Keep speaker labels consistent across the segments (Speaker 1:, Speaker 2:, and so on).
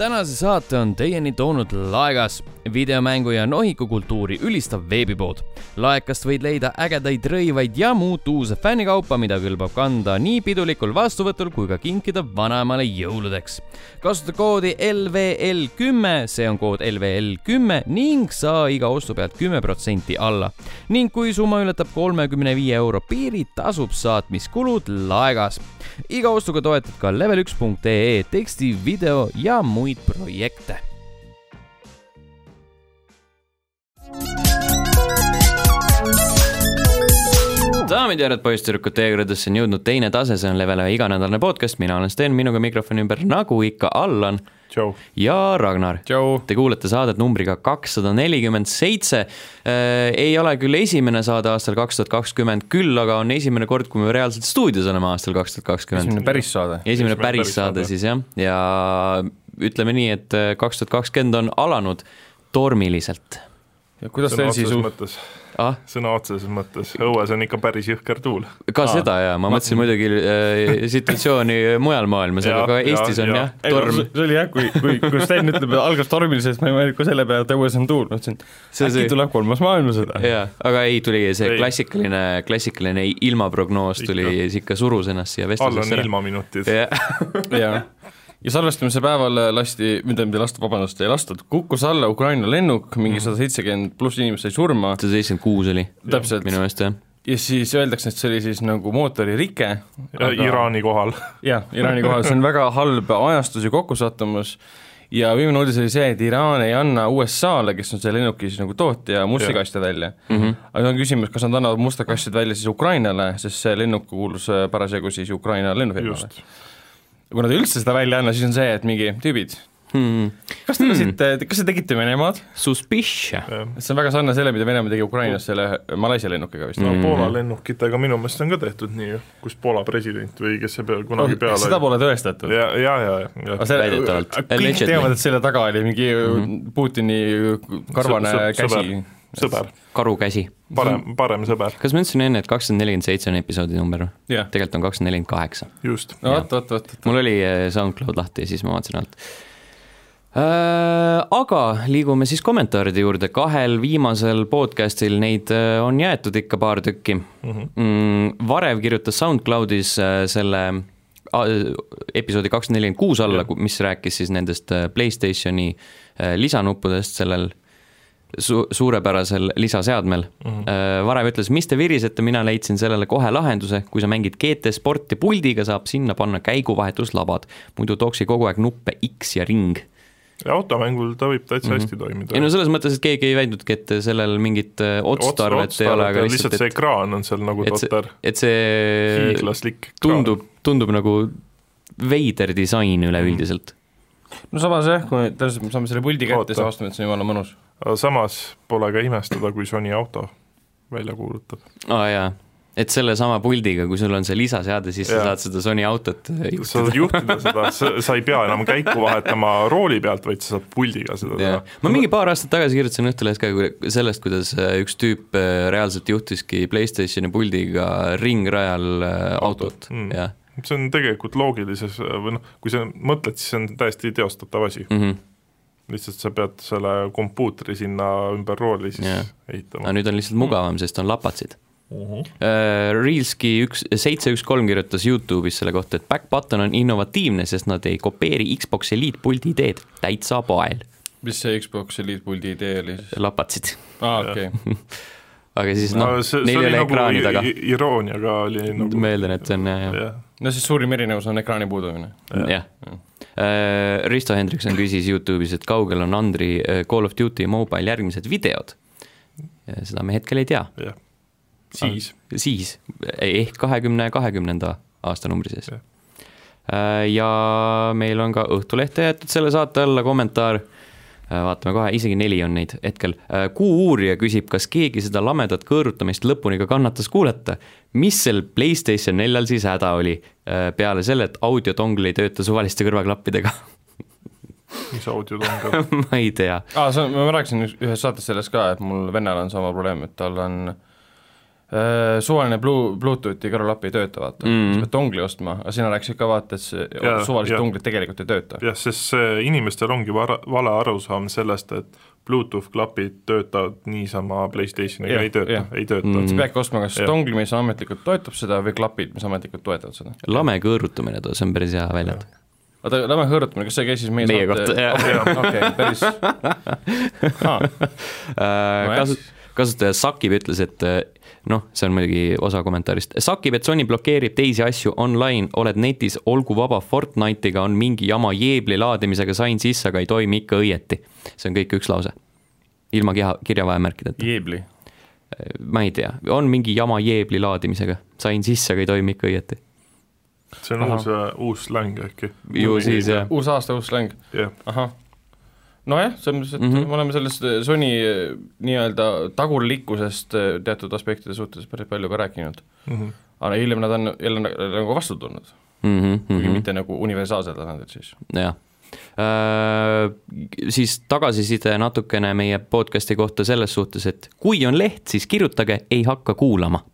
Speaker 1: tänase saate on teieni toonud Laegas, videomängu ja nohikukultuuri ülistav veebipood. laekast võid leida ägedaid rõivaid ja muud uuse fännikaupa, mida kõlbab kanda nii pidulikul vastuvõtul kui ka kinkida vanaemale jõuludeks. kasuta koodi LVL kümme, see on kood LVL kümme ning saa iga ostu pealt kümme protsenti alla. ning kui summa ületab kolmekümne viie euro piiri, tasub saatmiskulud Laegas. iga ostuga toetad ka level1.ee teksti , video ja muid projekte daamid ja härrad , poisssüdrukud , teie kõrvadesse on jõudnud teine tase , see on Level ühe iganädalane podcast , mina olen Sten , minuga mikrofoni ümber , nagu ikka , Allan
Speaker 2: tšau .
Speaker 1: ja Ragnar .
Speaker 2: tšau .
Speaker 1: Te kuulete saadet numbriga kakssada nelikümmend seitse . ei ole küll esimene saade aastal kaks tuhat kakskümmend , küll aga on esimene kord , kui me reaalselt stuudios oleme aastal kaks tuhat kakskümmend .
Speaker 2: esimene päris saade .
Speaker 1: esimene päris saade siis jah , ja ütleme nii , et äh, kaks tuhat kakskümmend on alanud tormiliselt .
Speaker 2: ja kuidas
Speaker 3: sõna
Speaker 2: teil siis
Speaker 3: otseses
Speaker 2: uh, ,
Speaker 3: mõttes ,
Speaker 1: ah ,
Speaker 3: sõna otseses mõttes , õues on ikka päris jõhker tuul .
Speaker 1: ka Aa, seda jaa , ma mõtlesin muidugi äh, situatsiooni mujal maailmas , aga
Speaker 3: Jaa,
Speaker 1: ka
Speaker 3: jaa,
Speaker 1: Eestis on
Speaker 3: jaa.
Speaker 1: jah
Speaker 2: ei no
Speaker 1: torm
Speaker 2: see . see oli jah , kui , kui , kui Sten ütleb , et algas tormiliselt , ma ei mõelnud ka selle peale , et õues on tuul , ma ütlesin ,
Speaker 1: See-
Speaker 2: äkki
Speaker 1: see-
Speaker 2: tuleb kolmas maailmasõda .
Speaker 1: jaa , aga ei , tuli see
Speaker 3: Ei.
Speaker 1: klassikaline , klassikaline ilmaprognoos tuli , ikka surus ennast siia
Speaker 3: all on
Speaker 1: vestlusesse .
Speaker 3: ilmaminutid .
Speaker 1: jah ,
Speaker 2: ja , ja salvestamise päeval äh, lasti , mitte mitte lasta , vabandust , ei lastud , kukkus alla Ukraina lennuk , mingi sada seitsekümmend pluss inimest sai surma
Speaker 1: sada seitsekümmend kuus oli
Speaker 2: Täpselt.
Speaker 1: minu meelest jah .
Speaker 2: ja siis öeldakse , et see oli siis nagu mootoririke .
Speaker 3: Iraani kohal .
Speaker 2: jah , Iraani kohal , see on väga halb ajastus ja kokkusattumus ja viimane uudis oli see , et Iraan ei anna USA-le , kes on selle lennuki siis nagu tootja , musti
Speaker 3: Jah. Mhm.
Speaker 2: kaste välja mm . -hmm. aga nüüd on küsimus , kas nad annavad mustad kastid välja siis Ukrainale , sest see lennuk kuulus äh, parasjagu siis Ukraina lennufirmale .
Speaker 3: just .
Speaker 2: kui nad üldse seda välja ei anna , siis on see , et mingi tüübid ,
Speaker 3: Mhm.
Speaker 2: kas te lasite hmm. , kas te tegite Venemaad ?
Speaker 1: Suspicia .
Speaker 2: see on väga sarnane selle , mida Venemaa tegi Ukrainas selle Malaisia lennukiga vist
Speaker 1: Mm.
Speaker 3: no Poola lennukitega minu meelest on ka tehtud nii ju , kus Poola president või kes see peal
Speaker 1: Oh,
Speaker 3: kunagi peale
Speaker 2: seda pole tõestatud .
Speaker 3: ja , ja , ja , ja
Speaker 2: aga . selle ,
Speaker 1: Väidetavalt.
Speaker 2: kõik
Speaker 1: Allegedly.
Speaker 2: teavad , et selle taga oli mingi mm -hmm. Putini karvane
Speaker 3: Sõ- sõ-
Speaker 2: käsi
Speaker 3: sõber. . sõber ,
Speaker 1: karukäsi . Mm.
Speaker 3: parem , parem sõber ,
Speaker 1: kas ma ütlesin enne , et kakssada nelikümmend seitse on episoodi number või ?
Speaker 2: jah ,
Speaker 1: tegelikult on kakssada nelikümmend kaheksa .
Speaker 3: just .
Speaker 2: no vot , vot , vot ,
Speaker 1: mul oli äh, SoundCloud lahti ja siis ma vaatasin alt . aga liigume siis kommentaaride juurde , kahel viimasel podcast'il neid äh, on jäetud ikka paar tükki mm . -hmm. Varev kirjutas SoundCloudis äh, selle a- episoodi kakssada nelikümmend kuus alla , mis rääkis siis nendest äh, Playstationi äh, lisanuppudest sellel su- , suurepärasel lisaseadmel mm . -hmm. Varev ütles , mis te virisete , mina leidsin sellele kohe lahenduse , kui sa mängid GT Sporti puldiga , saab sinna panna käiguvahetuslabad . muidu tooksi kogu aeg nuppe X ja ring .
Speaker 3: ja automängul ta võib täitsa hästi toimida .
Speaker 1: Mm-hmm. ei no selles mõttes , et keegi ei väitnudki , et sellel mingit äh, otstarvet ei ole , aga lihtsalt ,
Speaker 3: see
Speaker 1: et ,
Speaker 3: ekraan on seal nagu
Speaker 1: et see
Speaker 3: totter ,,
Speaker 1: et see
Speaker 3: hiiglaslik .
Speaker 1: tundub , tundub nagu veider disain üleüldiselt .
Speaker 2: no samas jah , kui tõenäoliselt me saame selle puldi kätte ,
Speaker 3: Oota.
Speaker 2: siis avastame , et see on jumala mõnus .
Speaker 3: aga samas pole ka imestada , kui Sony auto välja kuulutab .
Speaker 1: aa jaa , et sellesama puldiga , kui sul on see lisaseade , siis sa
Speaker 3: Jaa.
Speaker 1: saad seda Sony autot äh,
Speaker 3: sa saad juhtida seda , sa ei pea enam käiku vahetama rooli pealt , vaid sa saad puldiga seda teha
Speaker 1: jah , ma mingi paar aastat tagasi kirjutasin Õhtulehes ka kui- sellest , kuidas äh, üks tüüp äh, reaalselt juhtiski Playstationi puldiga ringrajal äh, autot
Speaker 3: Mm.
Speaker 1: jah
Speaker 3: see on tegelikult loogilises või noh , kui sa mõtled , siis see on täiesti teostatav asi ,
Speaker 1: mm . -hmm.
Speaker 3: lihtsalt sa pead selle kompuutri sinna ümber rooli siis
Speaker 1: Jah.
Speaker 3: ehitama
Speaker 1: aga . nüüd on lihtsalt mugavam ,
Speaker 3: Mm.
Speaker 1: sest on lapatsid .
Speaker 3: Uh -huh.
Speaker 1: Reelski üks , seitse üks kolm kirjutas Youtube'is selle kohta , et back button on innovatiivne , sest nad ei kopeeri Xbox Elite puldi ideed , täitsa pael ,
Speaker 2: mis see Xbox Elite puldi idee oli siis ?
Speaker 1: lapatsid .
Speaker 2: aa , okei okay. ,
Speaker 1: aga siis noh , neil ei ole ekraani taga .
Speaker 3: nagu irooniaga oli nagu
Speaker 1: ma eeldan , et see on jah , jah
Speaker 3: jah ,
Speaker 2: no siis suurim erinevus on ekraani puudumine .
Speaker 1: jah . Risto Hendrikson küsis Youtube'is , et kaugel on Andri äh, Call of Duty Mobile järgmised videod . seda me hetkel ei tea ,
Speaker 3: jah , siis
Speaker 1: siis ehk kahekümne kahekümnenda aastanumbri sees Äh,
Speaker 3: Jah. .
Speaker 1: ja meil on ka Õhtulehte jäetud selle saate alla kommentaar . vaatame kohe , isegi neli on neid hetkel . Kuu-uurija küsib , kas keegi seda lamedat kõõrutamist lõpuni ka kannatas kuulata . mis sel Playstation neljal siis häda oli ? peale selle , et audiotongl ei tööta suvaliste kõrvaklappidega .
Speaker 3: mis audiod on ka
Speaker 1: ma ei tea .
Speaker 2: Ah, aa , see on , ma rääkisin üks- ühes saates sellest ka , et mul vennal on sama probleem , et tal on suvaline Blue , Bluetoothi kõrvalapp ei tööta , vaata mm ,
Speaker 4: Mhm.
Speaker 2: -hmm. sa pead tongli ostma , aga sina rääkisid ka vaata , et see
Speaker 3: Jaa,
Speaker 2: suvalised
Speaker 3: jaa.
Speaker 2: donglid tegelikult ei tööta .
Speaker 3: jah , sest see inimestel ongi vara- , vale arusaam sellest , et Bluetooth klapid töötavad niisama Playstationiga ,
Speaker 2: Jah,
Speaker 3: ei tööta
Speaker 2: jah. , Mhm.
Speaker 3: ei tööta
Speaker 4: Mm.
Speaker 1: Mhm.
Speaker 3: mm.
Speaker 2: sa . peadki ostma kas
Speaker 3: Jah.
Speaker 2: dongli , mis ametlikult toetab seda või klapid , mis ametlikult toetavad seda .
Speaker 1: lame kõõrutamine , see on päris hea väljend .
Speaker 2: oota , lähme hõõrutamine , kas see käis siis meie
Speaker 1: Meie kohta, jah.
Speaker 2: kohta , jah . okei , päris ah, .
Speaker 1: Äh, kasu- , kasutaja Sakib ütles , et äh, noh , see on muidugi osa kommentaarist , Sakib , et Sony blokeerib teisi asju online , oled netis , olgu vaba , Fortnite'iga on mingi jama jeebli laadimisega sain sisse , aga ei toimi ikka õieti . see on kõik üks lause . ilma keha , kirjavahemärkideta ,
Speaker 2: Jeebli .
Speaker 1: ma ei tea , on mingi jama jeebli laadimisega , sain sisse , aga ei toimi ikka õieti .
Speaker 3: see on
Speaker 2: Ahah.
Speaker 3: uus , uus släng äkki .
Speaker 1: ju siis jah ,
Speaker 2: uus aasta , uus släng ,
Speaker 3: jah ,
Speaker 2: ahah nojah , selles mõttes , et mm
Speaker 1: Mhm.
Speaker 2: -hmm. me oleme sellest Sony eh, nii-öelda tagurlikkusest eh, teatud aspektide suhtes päris palju ka rääkinud .
Speaker 1: Mhm.
Speaker 2: aga hiljem nad on jälle na- nagu vastu tulnud mm , kuigi -hmm.
Speaker 1: jah .
Speaker 2: mitte nagu universaalsel tasandil siis .
Speaker 1: jah . Siis tagasiside natukene meie podcast'i kohta selles suhtes , et kui on leht , siis kirjutage , ei hakka kuulama .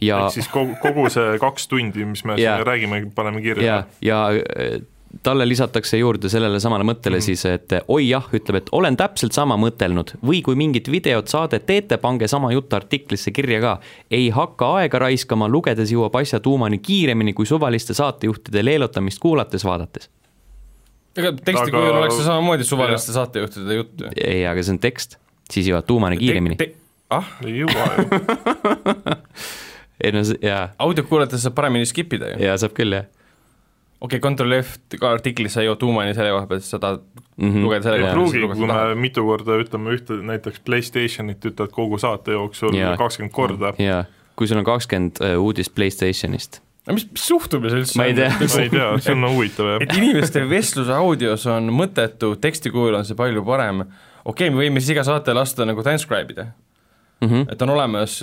Speaker 1: ja
Speaker 3: ehk , siis kogu , kogu see kaks tundi , mis me
Speaker 1: Jaa.
Speaker 3: siin räägime , paneme kirja
Speaker 1: ja ., ja äh, talle lisatakse juurde sellele samale mõttele mm. siis , et oi jah , ütleb , et olen täpselt sama mõtelnud või kui mingit videot , saadet teete , pange sama jutt artiklisse kirja ka . ei hakka aega raiskama , lugedes jõuab asja tuumani kiiremini kui suvaliste saatejuhtide leelotamist kuulates-vaadates .
Speaker 2: ega teksti
Speaker 3: Aga-
Speaker 2: aga... kujul oleks see samamoodi suvaliste saatejuhtide jutt ju .
Speaker 1: ei , aga see on tekst , siis jõuad tuumani kiiremini .
Speaker 2: ah ,
Speaker 3: ei jõua ju ,
Speaker 1: ei no see- jaa ,
Speaker 2: audiot kuulates saab paremini skip ida ju .
Speaker 1: jaa saab küll jah
Speaker 2: okei okay, , Ctrl F ka artiklis sai ju tuumani selle koha pealt , sa tahad
Speaker 1: mm -hmm.
Speaker 2: lugeda selle
Speaker 3: ei
Speaker 1: Jaa.
Speaker 2: koha
Speaker 3: pruugi , kui
Speaker 2: pealt .
Speaker 3: me mitu korda ütleme ühte , näiteks Playstationit ütled kogu saate jooksul
Speaker 1: Jaa.
Speaker 3: kakskümmend korda .
Speaker 1: jaa , kui sul on kakskümmend äh, uudist Playstationist ,
Speaker 2: aga mis , mis suhtumine see üldse
Speaker 1: Ma ei tea.
Speaker 3: ma ei tea , see on huvitav jah .
Speaker 2: et inimeste vestlus audios on mõttetu , teksti kujul on see palju parem , okei okay, , me võime siis iga saate lasta nagu transcribe ida mm .
Speaker 1: Mhm.
Speaker 2: -hmm. et on olemas ,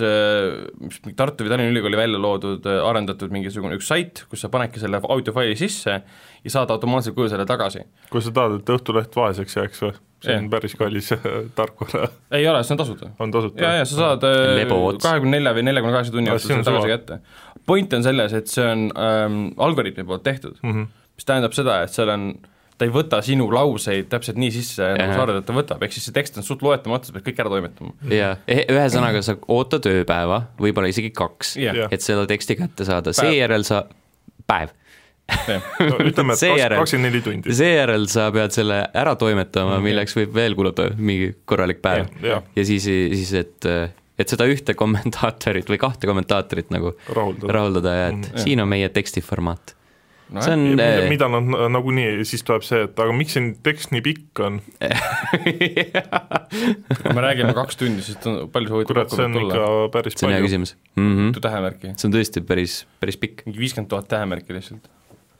Speaker 2: mis mingi Tartu või Tallinna Ülikooli välja loodud , arendatud mingisugune üks sait , kus sa panedki selle audiofaili sisse ja saad automaatselt kujul selle tagasi .
Speaker 3: kui sa tahad , et Õhtuleht vaeseks jääks või ? see
Speaker 2: Jah.
Speaker 3: on päris kallis äh, tarkvara ,
Speaker 2: ei ole , see on tasuta .
Speaker 3: on tasuta .
Speaker 2: ja , ja sa saad äh,
Speaker 1: Lebo ots.
Speaker 2: kahekümne nelja või neljakümne kaheksa tunni
Speaker 3: Ah,
Speaker 2: jooksul
Speaker 3: see on
Speaker 2: selle tagasi
Speaker 3: suva.
Speaker 2: kätte . point on selles , et see on ähm, algoritmi poolt tehtud
Speaker 3: mm . -hmm.
Speaker 2: mis tähendab seda , et seal on , ta ei võta sinu lauseid täpselt nii sisse , nagu
Speaker 1: Ahah.
Speaker 2: sa arvad , et ta võtab , ehk siis see tekst on suht loetamatu , sa pead kõik ära toimetama .
Speaker 1: jaa , ühesõnaga sa ootad ööpäeva , võib-olla isegi kaks
Speaker 2: jah ,
Speaker 3: Jah.
Speaker 1: et seda teksti kätte saada ,
Speaker 2: Päev.
Speaker 1: seejärel sa , päev ,
Speaker 2: jah .
Speaker 3: No, ütleme , et kaks-
Speaker 1: Seejärel-
Speaker 3: kakskümmend neli tundi .
Speaker 1: seejärel sa pead selle ära toimetama , milleks võib veel kuluda mingi korralik päev
Speaker 3: Jah, jah.
Speaker 1: ja siis , siis et , et seda ühte kommentaatorit või kahte kommentaatorit nagu
Speaker 3: rahuldada .
Speaker 1: rahuldada ja et siin on meie teksti formaat .
Speaker 2: No
Speaker 1: see on äh,
Speaker 3: mida, mida nad na- nagunii , siis tuleb see , et aga miks see tekst nii pikk on ,
Speaker 2: kui me räägime kaks tundi , siis on palju soovitab
Speaker 3: kurat , see on ikka . päris
Speaker 1: see on hea
Speaker 3: palju .
Speaker 1: küsimus mm . -hmm.
Speaker 2: mitu tähemärki ,
Speaker 1: see on tõesti päris , päris pikk .
Speaker 2: mingi viiskümmend tuhat tähemärki lihtsalt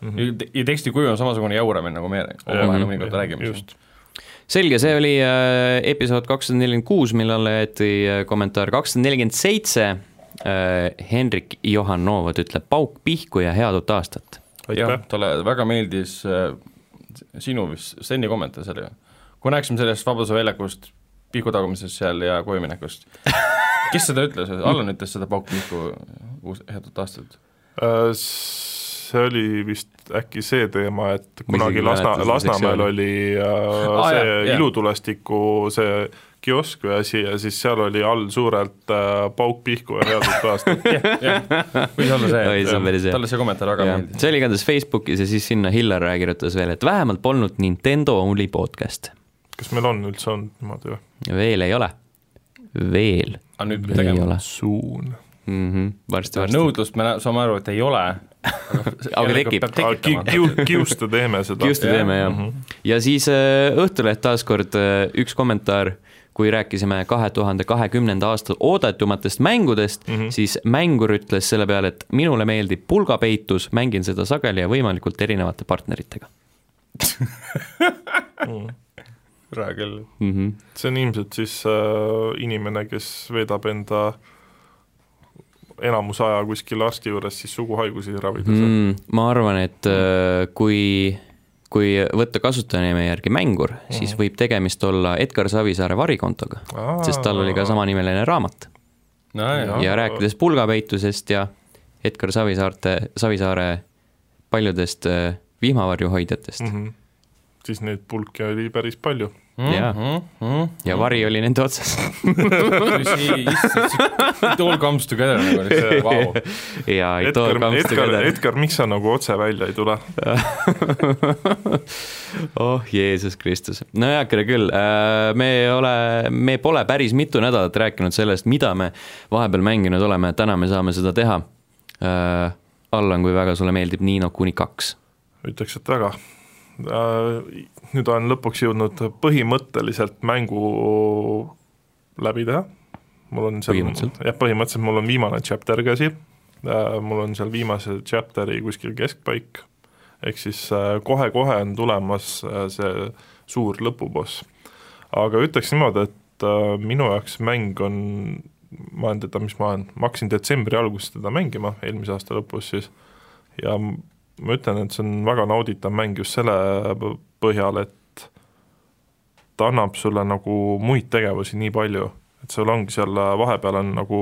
Speaker 2: mm . -hmm. ja teksti kuju on samasugune jauramine , nagu me
Speaker 3: Mhm. Jah,
Speaker 2: omavahel mõnikord
Speaker 3: jah,
Speaker 2: räägime .
Speaker 3: just.
Speaker 1: selge , see oli äh, episood kakssada nelikümmend kuus , millele jäeti äh, kommentaar kakssada nelikümmend seitse . Henrik Johanovad ütleb pauk pihku ja head uut aastat .
Speaker 2: jah
Speaker 3: aitäh ,,
Speaker 2: talle väga meeldis äh, sinu vist , Steni kommentaar selle , kui rääkisime sellest Vabaduse väljakust , Pihku tagumisest seal ja kojuminekust , kes seda ütles , Allan ütles seda Pauk Pihku uus , head uut aastat .
Speaker 3: Äh, see oli vist äkki see teema , et
Speaker 1: isegi
Speaker 3: kunagi
Speaker 1: ei
Speaker 3: Lasna
Speaker 1: mäleta , seda
Speaker 3: Lasnamäel
Speaker 1: sektsiooni.
Speaker 3: oli äh,
Speaker 2: Aa,
Speaker 3: see
Speaker 2: jah,
Speaker 3: ah,
Speaker 2: jah.
Speaker 3: ilutulestiku see kiosk või asi ja siis seal oli all suurelt äh, pauk pihku ja head uut aastat .
Speaker 2: võis olla
Speaker 1: Oi, see on päris
Speaker 2: see ,
Speaker 1: hea.
Speaker 2: talle see kommentaar väga meeldis .
Speaker 1: see oli igatahes Facebookis ja siis sinna Hillar kirjutas veel , et vähemalt polnud Nintendo Only podcast .
Speaker 3: kas meil on üldse olnud niimoodi või ?
Speaker 1: veel ei ole , veel
Speaker 2: aga Ah, nüüd peab
Speaker 1: ei
Speaker 2: tegema .
Speaker 1: ole
Speaker 3: suun .
Speaker 1: mm . -hmm. varsti , varsti .
Speaker 2: nõudlust me nä- saame aru , et ei ole ,
Speaker 1: aga tekib .
Speaker 2: tekitama .
Speaker 3: kiusta teeme seda .
Speaker 1: just me
Speaker 2: Jah.
Speaker 1: teeme jah . ja siis äh, Õhtuleht taaskord äh, üks kommentaar , kui rääkisime kahe tuhande kahekümnenda aasta oodatumatest mängudest mm , -hmm. siis mängur ütles selle peale , et minule meeldib pulgapeitus , mängin seda sageli ja võimalikult erinevate partneritega
Speaker 2: hea küll .
Speaker 1: mm . -hmm.
Speaker 3: see on ilmselt siis äh, inimene , kes veedab enda enamus aja kuskil arsti juures siis suguhaigusi ravides mm. .
Speaker 1: Mm, ma arvan , et äh, kui , kui võtta kasutajanime järgi mängur , siis võib tegemist olla Edgar Savisaare varikontoga , sest tal oli ka samanimeline raamat
Speaker 2: nojah ,
Speaker 1: ja rääkides pulgapeitusest ja Edgar Savisaarte , Savisaare paljudest äh, vihmavarjuhoidjatest mm.
Speaker 3: -hmm. siis neid pulke oli päris palju .
Speaker 2: Mhm,
Speaker 1: jaa.
Speaker 3: Mhm.
Speaker 1: ja vari oli nende otsas
Speaker 2: it all comes together nagu lihtsalt , vau .
Speaker 1: ja it all
Speaker 3: Edgar ,
Speaker 1: comes
Speaker 3: Edgar ,
Speaker 1: together .
Speaker 3: Edgar , miks sa nagu otse välja ei tule ?
Speaker 1: oh Jeesus Kristus , no heakene küll , me ei ole , me pole päris mitu nädalat rääkinud sellest , mida me vahepeal mänginud oleme , täna me saame seda teha . Allan , kui väga sulle meeldib Nino kuni kaks .
Speaker 3: ütleks , et väga . Nüüd olen lõpuks jõudnud põhimõtteliselt mängu läbi teha . mul on seal ,
Speaker 1: Põhimõtteliselt?
Speaker 3: jah , põhimõtteliselt mul on viimane chapter käsi , mul on seal viimase chapteri kuskil keskpaik, ehk siis äh, kohe-kohe on tulemas äh, see suur lõpuboss . aga ütleks niimoodi , et äh, minu jaoks mäng on , ma olen teda , mis ma olen , ma hakkasin detsembri alguses teda mängima , eelmise aasta lõpus siis , ja m- ma ütlen , et see on väga nauditav mäng just selle p- põhjal , et ta annab sulle nagu muid tegevusi nii palju , et sul ongi seal vahepeal on nagu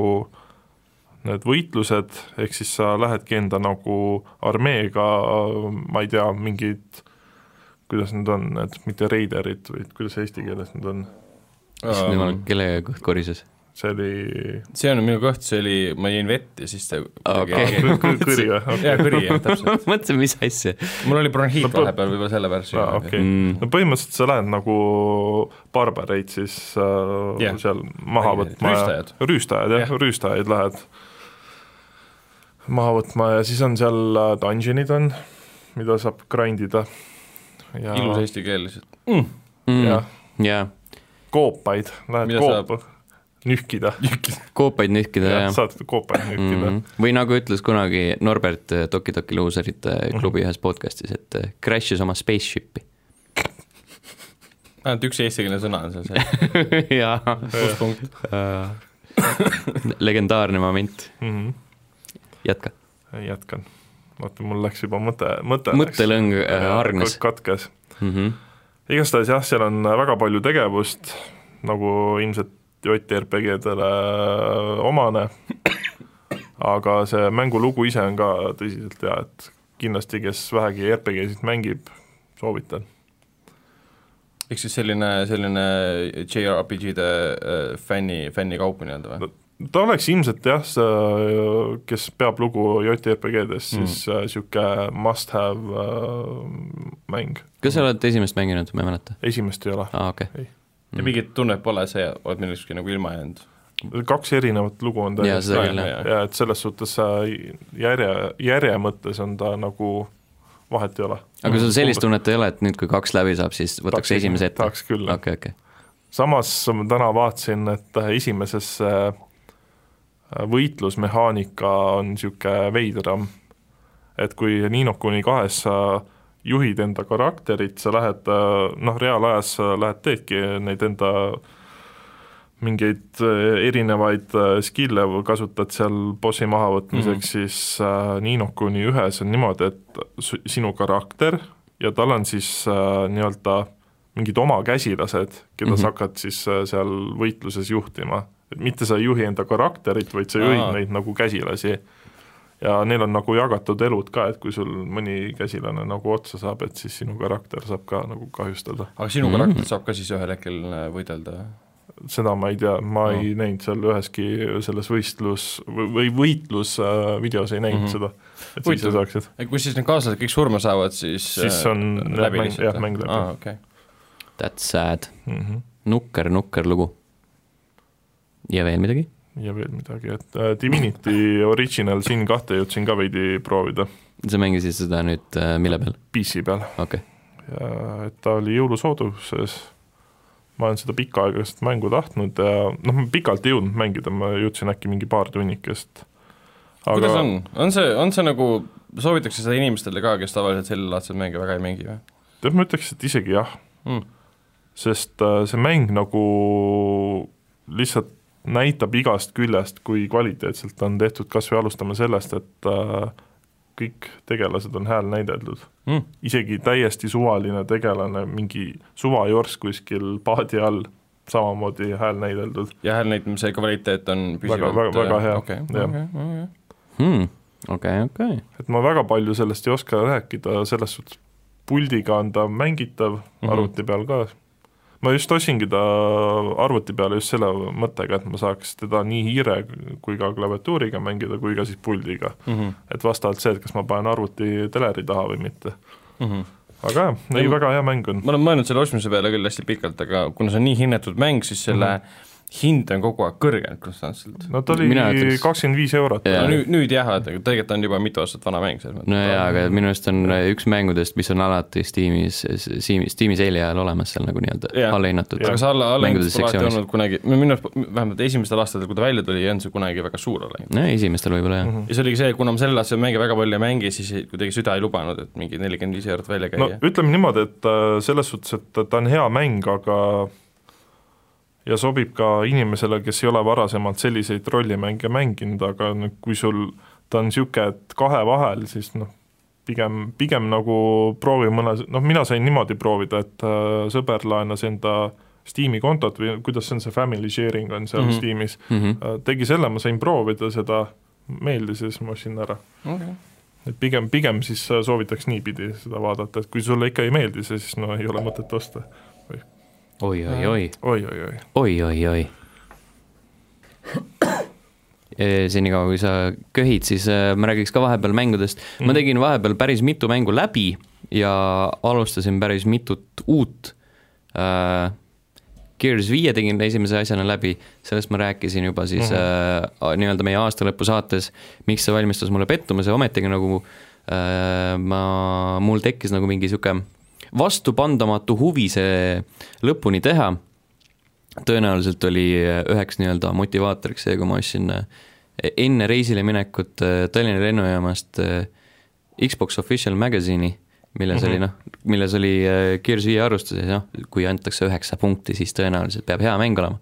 Speaker 3: need võitlused , ehk siis sa lähedki enda nagu armeega , ma ei tea , mingid kuidas need on , need mitte reiderid , vaid kuidas eesti keeles need on ,
Speaker 2: Ähm,
Speaker 1: issand jumal , kelle kõht korises ?
Speaker 3: see oli
Speaker 2: see on minu kõht , see oli , ma jõin vett ja siis ta
Speaker 1: Okei.
Speaker 3: kõ- kõ- kõri või ?
Speaker 2: jaa , kõri jah , täpselt .
Speaker 1: mõtlesin , mis asja .
Speaker 2: mul oli bronhiit
Speaker 3: No põ-
Speaker 2: vahepeal võib-olla sellepärast .
Speaker 3: aa , okei ,
Speaker 1: Mm.
Speaker 3: no põhimõtteliselt sa lähed nagu barbareid siis äh,
Speaker 2: Jah.
Speaker 3: yeah. seal maha
Speaker 2: Barbareid. Rüüstajad.
Speaker 3: võtma ja rüüstajad jah
Speaker 2: Jah.
Speaker 3: yeah. , rüüstajaid lähed maha võtma ja siis on seal äh, dungeonid on , mida saab grind ida ja
Speaker 2: ilus eesti keel lihtsalt .
Speaker 1: Mm,
Speaker 3: Jah.
Speaker 1: jaa ,
Speaker 3: koopaid , lähed
Speaker 2: Mida
Speaker 3: koopa , nühkida ,
Speaker 1: koopaid nühkida ja, ja. .
Speaker 3: saad koopaid nühkida
Speaker 2: Mhm.
Speaker 1: Mm.
Speaker 3: mm. ,
Speaker 1: või nagu ütles kunagi Norbert äh, Toki Toki Loserite
Speaker 3: Mhm.
Speaker 1: klubi ühes podcast'is , et äh, crash'is oma spaceship'i .
Speaker 2: ainult üks eestikeelne sõna on seal sees ,
Speaker 1: jaa Äh,
Speaker 2: plusspunkt .
Speaker 1: legendaarne moment ,
Speaker 3: -hmm.
Speaker 1: jätka .
Speaker 3: jätkan . vaata , mul läks juba mõte , mõte
Speaker 1: Mõttelõng, äh, hargnes.
Speaker 3: katkes
Speaker 1: Mm -hmm.
Speaker 3: igastahes jah , seal on väga palju tegevust , nagu ilmselt JRPG-dele omane , aga see mängulugu ise on ka tõsiselt hea , et kindlasti , kes vähegi RPG-sid mängib , soovitan .
Speaker 2: ehk siis selline , selline JRPG-de äh, fänni , fännikaup nii-öelda või ?
Speaker 3: ta oleks ilmselt jah , see , kes peab lugu JRPG-des , siis niisugune must-have äh, mäng ,
Speaker 1: kas sa oled esimest mänginud , ma ei mäleta
Speaker 3: esimest ei ole .
Speaker 1: ah, , okei okay. ,
Speaker 3: Mm.
Speaker 2: ja mingit tunnet pole , sa oled millestki nagu ilma jäänud .
Speaker 3: kaks erinevat lugu on
Speaker 1: Jaa, seda
Speaker 2: küll, jah.
Speaker 3: ja et selles suhtes äh, järje , järje mõttes on ta nagu , vahet ei ole .
Speaker 1: aga kas sul sellist tunnet ei ole , et nüüd , kui kaks läbi saab , siis võtaks
Speaker 3: Tahaks-
Speaker 1: esimese ette ?
Speaker 3: Mhm. tahaks küll, jah.
Speaker 1: okei , okei ,
Speaker 3: samas ma täna vaatasin , et esimeses äh, võitlusmehaanika on niisugune veidram , et kui Nino kuni kahes sa juhid enda karakterit , sa lähed äh, noh , reaalajas sa lähed teedki neid enda mingeid äh, erinevaid äh, skill'e või kasutad seal bossi mahavõtmiseks mm , -hmm. siis äh, Nino kuni ühes on niimoodi , et su- sinu karakter ja tal on siis äh, nii-öelda mingid oma käsilased , keda mm -hmm. sa hakkad siis äh, seal võitluses juhtima . et mitte sa ei juhi enda karakterit , vaid sa juhid
Speaker 2: Aa.
Speaker 3: neid nagu käsilasi . ja neil on nagu jagatud elud ka , et kui sul mõni käsilane nagu otsa saab , et siis sinu karakter saab ka nagu kahjustada .
Speaker 2: aga sinu karakter saab ka siis ühel hetkel äh, võidelda või ?
Speaker 3: seda ma ei tea , ma no. ei näinud seal üheski selles võistlus või või võitlus äh, videos ei näinud mm
Speaker 2: Mhm.
Speaker 3: -hmm. seda , et siis sa
Speaker 2: Huvitav.
Speaker 3: saaksid .
Speaker 2: kui siis need kaaslased kõik surma saavad , siis
Speaker 3: Siis
Speaker 2: äh,
Speaker 3: on jah,
Speaker 2: läbi
Speaker 3: mäng-
Speaker 2: lihtsalt
Speaker 3: jah, mäng läbi.
Speaker 2: aa , okei okay. .
Speaker 1: that's sad ,
Speaker 3: Mm -hmm.
Speaker 1: nukker , nukker lugu . ja veel midagi ?
Speaker 3: ja veel midagi , et äh, Divinity Original Sin kahte jõudsin ka veidi proovida
Speaker 1: sa mängisid seda nüüd äh, mille peal ,
Speaker 3: PC peal .
Speaker 1: okei okay. ,
Speaker 3: ja et ta oli jõulusooduses , ma olen seda pikka aega seda mängu tahtnud ja noh , ma pikalt ei jõudnud mängida , ma jõudsin äkki mingi paar tunnikest .
Speaker 2: kuidas on , on see , on see nagu , soovitakse seda inimestele ka , kes tavaliselt sellelaadseid mänge väga ei mängi või
Speaker 3: tead , ma ütleks , et isegi jah ,
Speaker 2: mm. ?
Speaker 3: sest äh, see mäng nagu lihtsalt näitab igast küljest , kui kvaliteetselt on tehtud , kas või alustame sellest , et äh, kõik tegelased on hääl näideldud .
Speaker 2: Mm.
Speaker 3: isegi täiesti suvaline tegelane , mingi suvajorss kuskil paadi all samamoodi hääl näideldud .
Speaker 2: ja häälnäitlemise kvaliteet on püsivalt
Speaker 3: väga,
Speaker 2: äh,
Speaker 3: väga, väga hea.
Speaker 2: okei
Speaker 3: Jah.
Speaker 1: Mhm.
Speaker 2: okay, , okei ,
Speaker 1: Hmm, okei , okei .
Speaker 3: et ma väga palju sellest ei oska rääkida , selles suhtes puldiga on ta mängitav mm ,
Speaker 2: Mhm.
Speaker 3: -hmm. arvuti peal ka . ma just ostsingi ta arvuti peale just selle mõttega , et ma saaks teda nii hiire kui ka klaviatuuriga mängida , kui ka siis puldiga .
Speaker 2: okei .
Speaker 3: et vastavalt see , et kas ma panen arvuti teleri taha või mitte . aga jah , ei
Speaker 2: Ja-
Speaker 3: väga hea mäng on .
Speaker 2: Mhm. ma olen mõelnud selle ostmise peale küll hästi pikalt , aga kuna see on nii hinnatud mäng , siis selle mm
Speaker 3: Mhm.
Speaker 2: -hmm. hind on kogu aeg kõrgenud konstantselt .
Speaker 3: no ta oli
Speaker 1: Mina ütleks-
Speaker 3: kakskümmend viis eurot .
Speaker 1: Jaa.
Speaker 2: no nüüd , nüüd jah , et aga tegelikult on juba mitu aastat vana mäng selles mõttes .
Speaker 1: no jaa , aga minu arust on äh, üks mängudest , mis on alati Steamis , Steamis , Steamis eeljääl olemas seal nagu nii-öelda
Speaker 2: Jah.
Speaker 1: allahinnatud .
Speaker 2: aga see alla ,
Speaker 1: mängude
Speaker 2: allahindlus pole alati
Speaker 1: sektsioonis.
Speaker 2: olnud kunagi , minu arust vähemalt esimestel aastatel , kui ta välja tuli , ei olnud see kunagi väga suur allahindlus .
Speaker 1: no esimestel võib-olla jah .
Speaker 2: ja see oligi see , kuna ma sellel aastal mänge väga palju ei mängi , siis ei- kuidagi süda ei lubanud , et mingi nelikümmend viis eurot välja
Speaker 3: no
Speaker 2: käia .
Speaker 3: ütleme niimoodi , et äh, selles suhtes , et ta- ta on hea mäng , aga ja sobib ka inimesele , kes ei ole varasemalt selliseid rollimänge mänginud , aga nüüd, kui sul ta on niisugune , et kahe vahel , siis noh , pigem , pigem nagu proovi mõne , noh mina sain niimoodi proovida , et äh, sõber laenas enda Steam'i kontot või kuidas see on , see family sharing on seal mm
Speaker 2: Mhm.
Speaker 3: -hmm. Steamis ,
Speaker 1: mhmh ,
Speaker 3: tegi selle , ma sain proovida seda , meeldis ja siis ma ostsin ära .
Speaker 2: Okay.
Speaker 3: et pigem , pigem siis äh, soovitaks niipidi seda vaadata , et kui sulle ikka ei meeldi see , siis no ei ole mõtet osta
Speaker 1: oi-oi-oi ,
Speaker 3: oi, . oi-oi-oi .
Speaker 1: oi-oi-oi . senikaua , kui sa köhid , siis eh, ma räägiks ka vahepeal mängudest . ma tegin vahepeal päris mitu mängu läbi ja alustasin päris mitut uut . Gears viie tegin esimese asjana läbi , sellest ma rääkisin juba siis mm -hmm. äh, nii-öelda meie aastalõpu saates , miks see valmistas mulle pettumuse , ometigi nagu äh, ma , mul tekkis nagu mingi niisugune vastupandamatu huvi see lõpuni teha tõenäoliselt oli eh, üheks nii-öelda motivaatoriks see , kui ma ostsin äh, enne reisile minekut äh, Tallinna lennujaamast äh, Xbox Official Magazine'i , milles mm -hmm.
Speaker 3: Mhm.
Speaker 1: oli noh , milles oli äh, Gears viie arvustus ja noh , kui antakse üheksa punkti , siis tõenäoliselt peab hea mäng olema .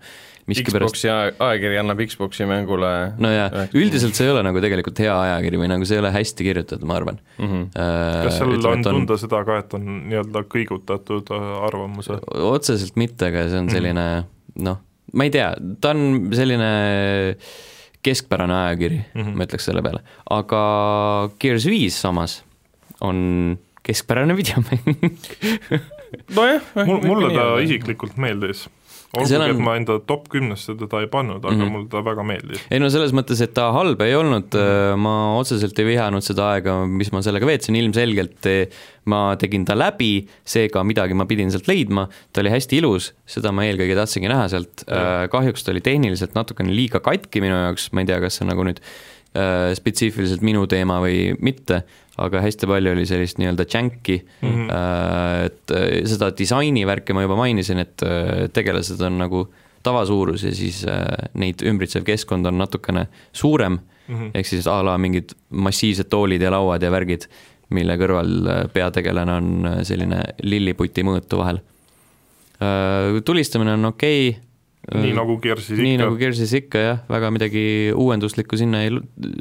Speaker 1: miskipärast ,
Speaker 2: Xboxi aeg- ajakiri annab Xboxi mängule
Speaker 1: no jaa , üldiselt see ei ole nagu tegelikult hea ajakiri või nagu see ei ole hästi kirjutatud , ma arvan . Eh,
Speaker 2: mm . -hmm.
Speaker 1: Äh,
Speaker 3: kas seal on tunda seda ka , et on nii-öelda kõigutatud äh, arvamuse ?
Speaker 1: otseselt mitte , aga see on selline noh , ma ei tea , ta on selline keskpärane ajakiri mm , -hmm. ma ütleks selle peale , aga Gears viis samas on keskpärane videomäng .
Speaker 2: nojah ,
Speaker 1: Äh,
Speaker 3: mul , mulle ta . isiklikult meeldis . olgugi ,
Speaker 1: Seal on-
Speaker 3: et ma enda top kümnesse teda ei pannud , aga mm
Speaker 1: Mhm.
Speaker 3: -hmm. mulle ta väga meeldis .
Speaker 1: ei no selles mõttes , et ta halb ei olnud , ma otseselt ei vihanud seda aega , mis ma sellega veetsin , ilmselgelt eh, ma tegin ta läbi , seega midagi ma pidin sealt leidma , ta oli hästi ilus , seda ma eelkõige tahtsingi näha sealt , kahjuks ta oli tehniliselt natukene liiga katki minu jaoks , ma ei tea , kas see on nagu nüüd eh, spetsiifiliselt minu teema või mitte , aga hästi palju oli sellist nii-öelda džänki mm , -hmm. et eh, seda disainivärki ma juba mainisin , et eh, tegelased on nagu tavasuurus ja siis eh, neid ümbritsev keskkond on natukene suurem mm
Speaker 3: Mhm.
Speaker 1: -hmm. , ehk siis a la mingid massiivsed toolid ja lauad ja värgid , mille kõrval eh, peategelane on eh, selline lilliputi mõõtu vahel . tulistamine on okei okay. .
Speaker 3: nii nagu Gearsis
Speaker 1: Äh, nii
Speaker 3: ikka
Speaker 1: nagu . Gearsis ikka jah , väga midagi uuenduslikku sinna ei ,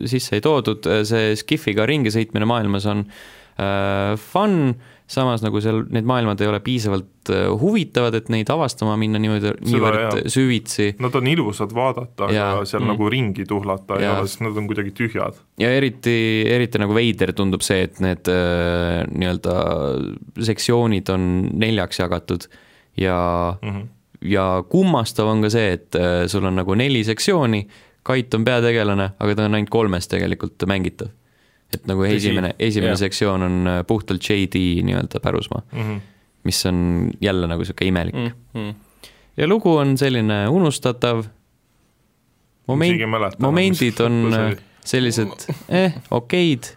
Speaker 1: sisse ei toodud , see Skiffiga ringi sõitmine maailmas on äh, fun , samas nagu seal need maailmad ei ole piisavalt äh, huvitavad , et neid avastama minna niimoodi , niivõrd
Speaker 3: jaa.
Speaker 1: süvitsi
Speaker 3: Nad on ilusad vaadata ,
Speaker 1: Jaa.
Speaker 3: aga seal
Speaker 1: Mhm.
Speaker 3: mm. nagu ringi tuhlata ei
Speaker 1: Jaa.
Speaker 3: ole , sest nad on kuidagi tühjad .
Speaker 1: ja eriti , eriti nagu veider tundub see , et need äh, nii-öelda sektsioonid on neljaks jagatud ja
Speaker 2: Mhm.
Speaker 1: mm , -hmm. ja kummastav on ka see , et äh, sul on nagu neli sektsiooni , Kait on peategelane , aga ta on ainult kolmes tegelikult mängitav . et nagu
Speaker 2: Tõsi,
Speaker 1: esimene , esimene
Speaker 2: jah.
Speaker 1: sektsioon on äh, puhtalt JD nii-öelda pärusmaa mm ,
Speaker 3: Mhm.
Speaker 1: -hmm. mis on jälle nagu niisugune imelik mm. .
Speaker 3: Mm-hmm.
Speaker 2: -hmm.
Speaker 1: ja lugu on selline unustatav ,
Speaker 3: Isegi ei mäleta
Speaker 1: moment ,
Speaker 3: enam,
Speaker 1: momendid
Speaker 3: mis
Speaker 1: on
Speaker 3: lõpus
Speaker 1: äh,
Speaker 3: oli.
Speaker 1: sellised eh , okeid ,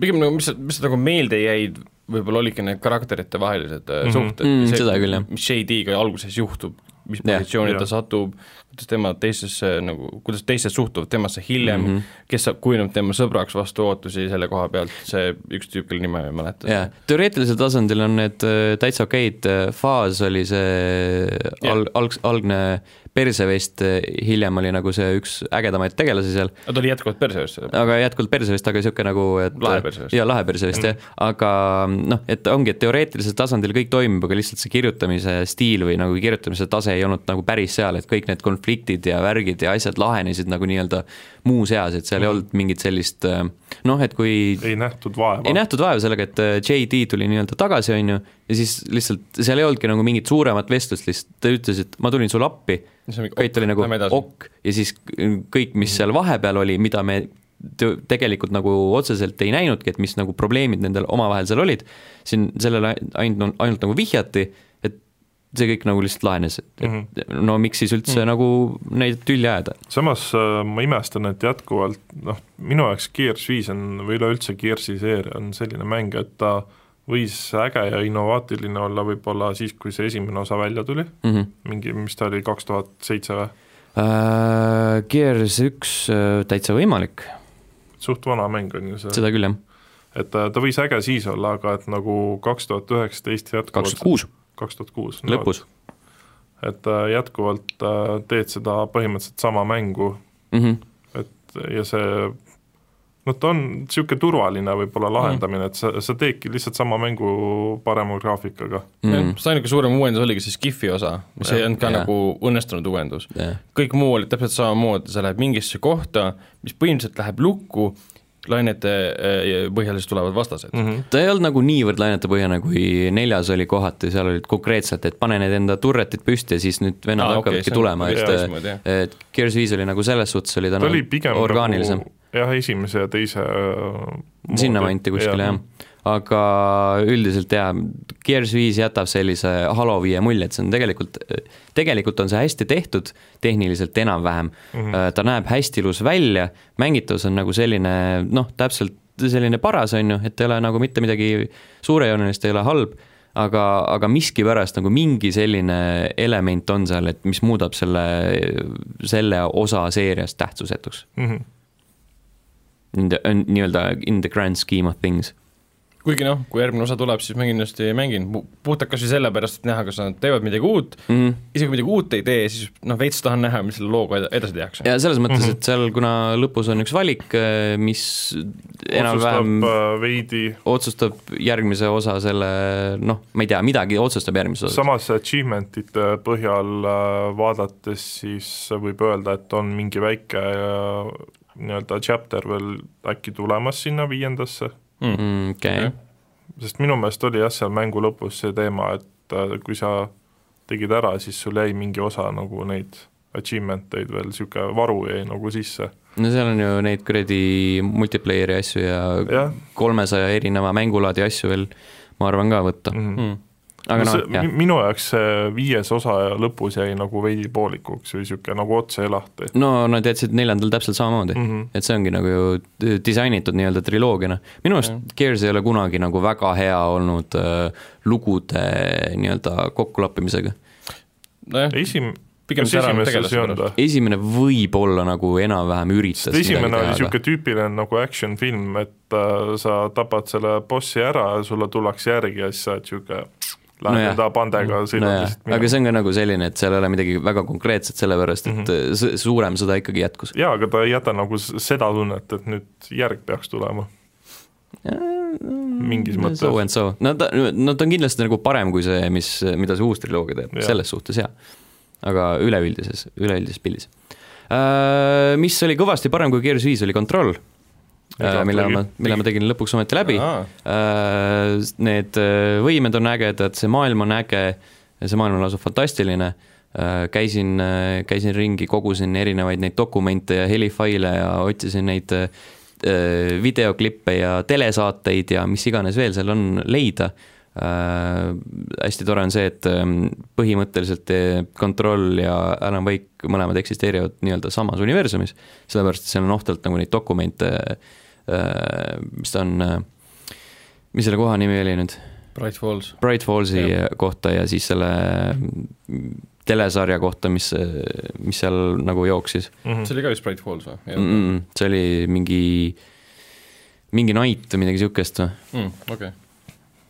Speaker 2: pigem nagu , mis , mis nagu meelde jäid , võib-olla olidki need karakterite vahelised mm -hmm. suhted
Speaker 1: Mm, seda küll, jah.
Speaker 2: mis JD-ga alguses juhtub , mis
Speaker 1: Jah.
Speaker 2: positsiooni ta
Speaker 3: Jah.
Speaker 2: satub , kuidas tema teistesse nagu , kuidas teised suhtuvad temasse hiljem
Speaker 1: Mhm.
Speaker 2: mm , -hmm. kes saab , kujuneb tema sõbraks vastu ootusi selle koha pealt , see üks tüüp , kelle nime ma ei mäleta .
Speaker 1: jaa , teoreetilisel tasandil on need äh, täitsa okeid , faas äh, oli see
Speaker 2: Jah.
Speaker 1: alg- , alg- , algne perse vist , hiljem oli nagu see üks ägedamaid tegelasi seal ,
Speaker 2: aga ta oli jätkuvalt perseöösse .
Speaker 1: aga jätkuvalt perse vist , aga niisugune nagu , et
Speaker 2: Lahe perse vist. Mm.
Speaker 1: jaa , lahe perse vist jah , aga noh , et ongi , et teoreetilisel tasandil kõik toimib , aga lihtsalt see kirjutamise stiil või nagu kirjutamise tase ei olnud nagu päris seal , et kõik need konfliktid ja värgid ja asjad lahenesid nagu nii-öelda muus eas , et
Speaker 2: Mm.
Speaker 1: seal ei olnud mingit sellist äh, noh , et kui
Speaker 3: ei nähtud vaeva .
Speaker 1: ei nähtud vaeva sellega , et äh, JD tuli nii-öelda tagasi , on ju , ja siis lihtsalt seal ei olnudki nagu mingit suuremat vestlust , lihtsalt ta ütles , et ma tulin sulle appi , kõik oli nagu ok ja siis äh, kõik , mis seal vahepeal oli , mida me tö- tegelikult nagu otseselt ei näinudki , et mis nagu probleemid nendel omavahel seal olid , siin sellele ainult , ainult nagu vihjati , et see kõik nagu lihtsalt lahenes , et mm
Speaker 3: Mhm.
Speaker 1: -hmm. no miks siis üldse mm -hmm. nagu neid tülli ajada .
Speaker 3: samas äh, ma imestan , et jätkuvalt noh , minu jaoks Gears viis on või üleüldse Gearsi seeria on selline mäng , et ta võis äge ja innovaatiline olla võib-olla siis , kui see esimene osa välja tuli ,
Speaker 1: Mm -hmm.
Speaker 3: mingi , mis ta oli , kaks tuhat seitse või ,
Speaker 1: uh, Gears üks uh, täitsa võimalik ,
Speaker 3: suht vana mäng on ju see ,
Speaker 1: seda küll jah ,
Speaker 3: et äh, ta, ta võis äge siis olla , aga et nagu kaks tuhat üheksateist
Speaker 1: kaks tuhat
Speaker 3: jätkuvalt
Speaker 1: kuus
Speaker 3: kaks tuhat kuus ,
Speaker 1: lõpus
Speaker 3: et äh, jätkuvalt äh, teed seda põhimõtteliselt sama mängu
Speaker 1: mm . -hmm.
Speaker 3: ja see noh , ta on niisugune turvaline võib-olla
Speaker 1: Mm.
Speaker 3: lahendamine , et sa , sa teedki lihtsalt sama mängu parema graafikaga .
Speaker 1: Mm
Speaker 2: see ainuke suurem uuendus oligi see Skiffi osa , mis ei olnud ka
Speaker 1: Jah.
Speaker 2: nagu õnnestunud uuendus .
Speaker 1: -hmm.
Speaker 2: kõik muu oli täpselt samamoodi , sa lähed mingisse kohta , mis põhimõtteliselt läheb lukku , lainete äh, põhjal siis tulevad vastased mm .
Speaker 3: -hmm.
Speaker 1: ta ei olnud nagu niivõrd lainetepõhjane , kui neljas oli kohati , seal olid konkreetselt , et pane need enda turretid püsti ja siis nüüd vennad
Speaker 2: Aa,
Speaker 1: ah,
Speaker 2: okei,
Speaker 1: hakkavadki
Speaker 2: see
Speaker 1: okay,
Speaker 2: on
Speaker 1: tulema ,
Speaker 2: veits
Speaker 1: et
Speaker 2: teistmoodi, jah.
Speaker 1: et Gears viis oli nagu selles suhtes oli ta,
Speaker 3: ta oli pigem
Speaker 1: nagu orgaanilisem
Speaker 3: nagu jah , esimese ja teise äh,
Speaker 1: nagu, , sinnakanti kuskile jah . aga üldiselt jaa , Gears viis jätab sellise Halo viie mulje , et see on tegelikult , tegelikult on see hästi tehtud , tehniliselt enam-vähem mm , -hmm. ta näeb hästi ilus välja , mängitavus on nagu selline noh , täpselt selline paras , on ju , et ei ole nagu mitte midagi suurejoonelist , ei ole halb , aga , aga miskipärast nagu mingi selline element on seal , et mis muudab selle , selle osa seeriast tähtsusetuks .
Speaker 3: mm . -hmm.
Speaker 1: In the , nii-öelda in the grand scheme of things .
Speaker 2: kuigi noh , kui järgmine osa tuleb , siis ma kindlasti mängin , puhtalt kas või sellepärast , et näha , kas nad teevad midagi uut ,
Speaker 1: mm .
Speaker 2: isegi kui midagi uut ei tee , siis noh , veits tahan näha , mis selle looga ed- edasi tehakse .
Speaker 1: ja selles mõttes ,
Speaker 3: Mhm.
Speaker 1: et seal , kuna lõpus on üks valik , mis enam-vähem
Speaker 3: otsustab äh, veidi ,
Speaker 1: otsustab järgmise osa selle noh , ma ei tea , midagi otsustab järgmise osa .
Speaker 3: samas achievement'ite põhjal äh, vaadates siis võib öelda , et on mingi väike äh, nii-öelda chapter veel äkki tulemas sinna viiendasse ,
Speaker 1: Mm, okei ,
Speaker 3: sest minu meelest oli jah , seal mängu lõpus see teema , et äh, kui sa tegid ära , siis sul jäi mingi osa nagu neid achievement eid veel , niisugune varu jäi nagu sisse .
Speaker 1: no seal on ju neid kuradi multiplayer'i asju ja
Speaker 3: jah ,
Speaker 1: kolmesaja erineva mängulaadi asju veel , ma arvan ka võtta ,
Speaker 3: Mhm.
Speaker 1: aga noh , jah ,
Speaker 3: minu jaoks see viies osa lõpus jäi nagu veidi poolikuks või niisugune nagu ots jäi lahti .
Speaker 1: no nad jätsid neljandal täpselt samamoodi mm .
Speaker 3: Mhm.
Speaker 1: -hmm. et see ongi nagu ju t- disainitud nii-öelda triloogiana . minu arust Gears ei ole kunagi nagu väga hea olnud äh, lugude nii-öelda kokkulappimisega .
Speaker 2: nojah ,
Speaker 3: esim- ,
Speaker 2: pigem
Speaker 3: kas
Speaker 2: see ära
Speaker 3: esimeses ei
Speaker 2: tegelaste
Speaker 3: olnud
Speaker 2: pärast .
Speaker 3: või ?
Speaker 1: esimene võib-olla nagu enam-vähem üritas
Speaker 3: sest esimene oli
Speaker 1: midagi teha ,
Speaker 3: niisugune tüüpiline nagu action film , et äh, sa tapad selle bossi ära ja sulle tullakse järgi ja siis sa oled niisugune
Speaker 1: Nojah.
Speaker 3: lähed enda pandega
Speaker 1: aga
Speaker 3: sõidad
Speaker 1: nojah ,
Speaker 3: lihtsalt
Speaker 1: Mm, aga
Speaker 3: minema .
Speaker 1: see on ka nagu selline , et seal ei ole midagi väga konkreetset , sellepärast et mm
Speaker 3: Mhm.
Speaker 1: -hmm. suurem sõda ikkagi jätkus .
Speaker 3: jaa , aga ta ei jäta nagu s- seda tunnet , et nüüd järg peaks tulema . mingis
Speaker 1: mm,
Speaker 3: mõttes.
Speaker 1: So and so , no ta , no ta on kindlasti nagu parem kui see , mis , mida see uus triloogia teeb ,
Speaker 3: Jah.
Speaker 1: selles suhtes jaa . aga üleüldises , üleüldises pildis . Mis oli kõvasti parem kui Gears viis , oli Control ,
Speaker 3: Igatpidi.
Speaker 1: mille ma , mille ma tegin lõpuks ometi läbi . Need äh, võimed on ägedad , see maailm on äge , see maailm on lausa fantastiline , käisin , käisin ringi , kogusin erinevaid neid dokumente ja helifaile ja otsisin neid äh, äh, videoklippe ja telesaateid ja mis iganes veel seal on leida . hästi tore on see , et ähm, põhimõtteliselt eh, Control ja Alan Wake mõlemad eksisteerivad nii-öelda samas universumis , sellepärast et seal on ohtralt nagu neid dokumente , mis ta on äh, mis selle koha nimi oli nüüd ,
Speaker 2: Bright Falls .
Speaker 1: Bright Fallsi ja.
Speaker 2: Jah.
Speaker 1: kohta ja siis selle mm, telesarja kohta , mis , mis seal nagu jooksis
Speaker 3: Mhm.
Speaker 2: see oli ka vist Bright Falls või ?
Speaker 1: mm . -mm, see oli mingi , mingi Night või midagi niisugust või ,
Speaker 2: Mm, okei .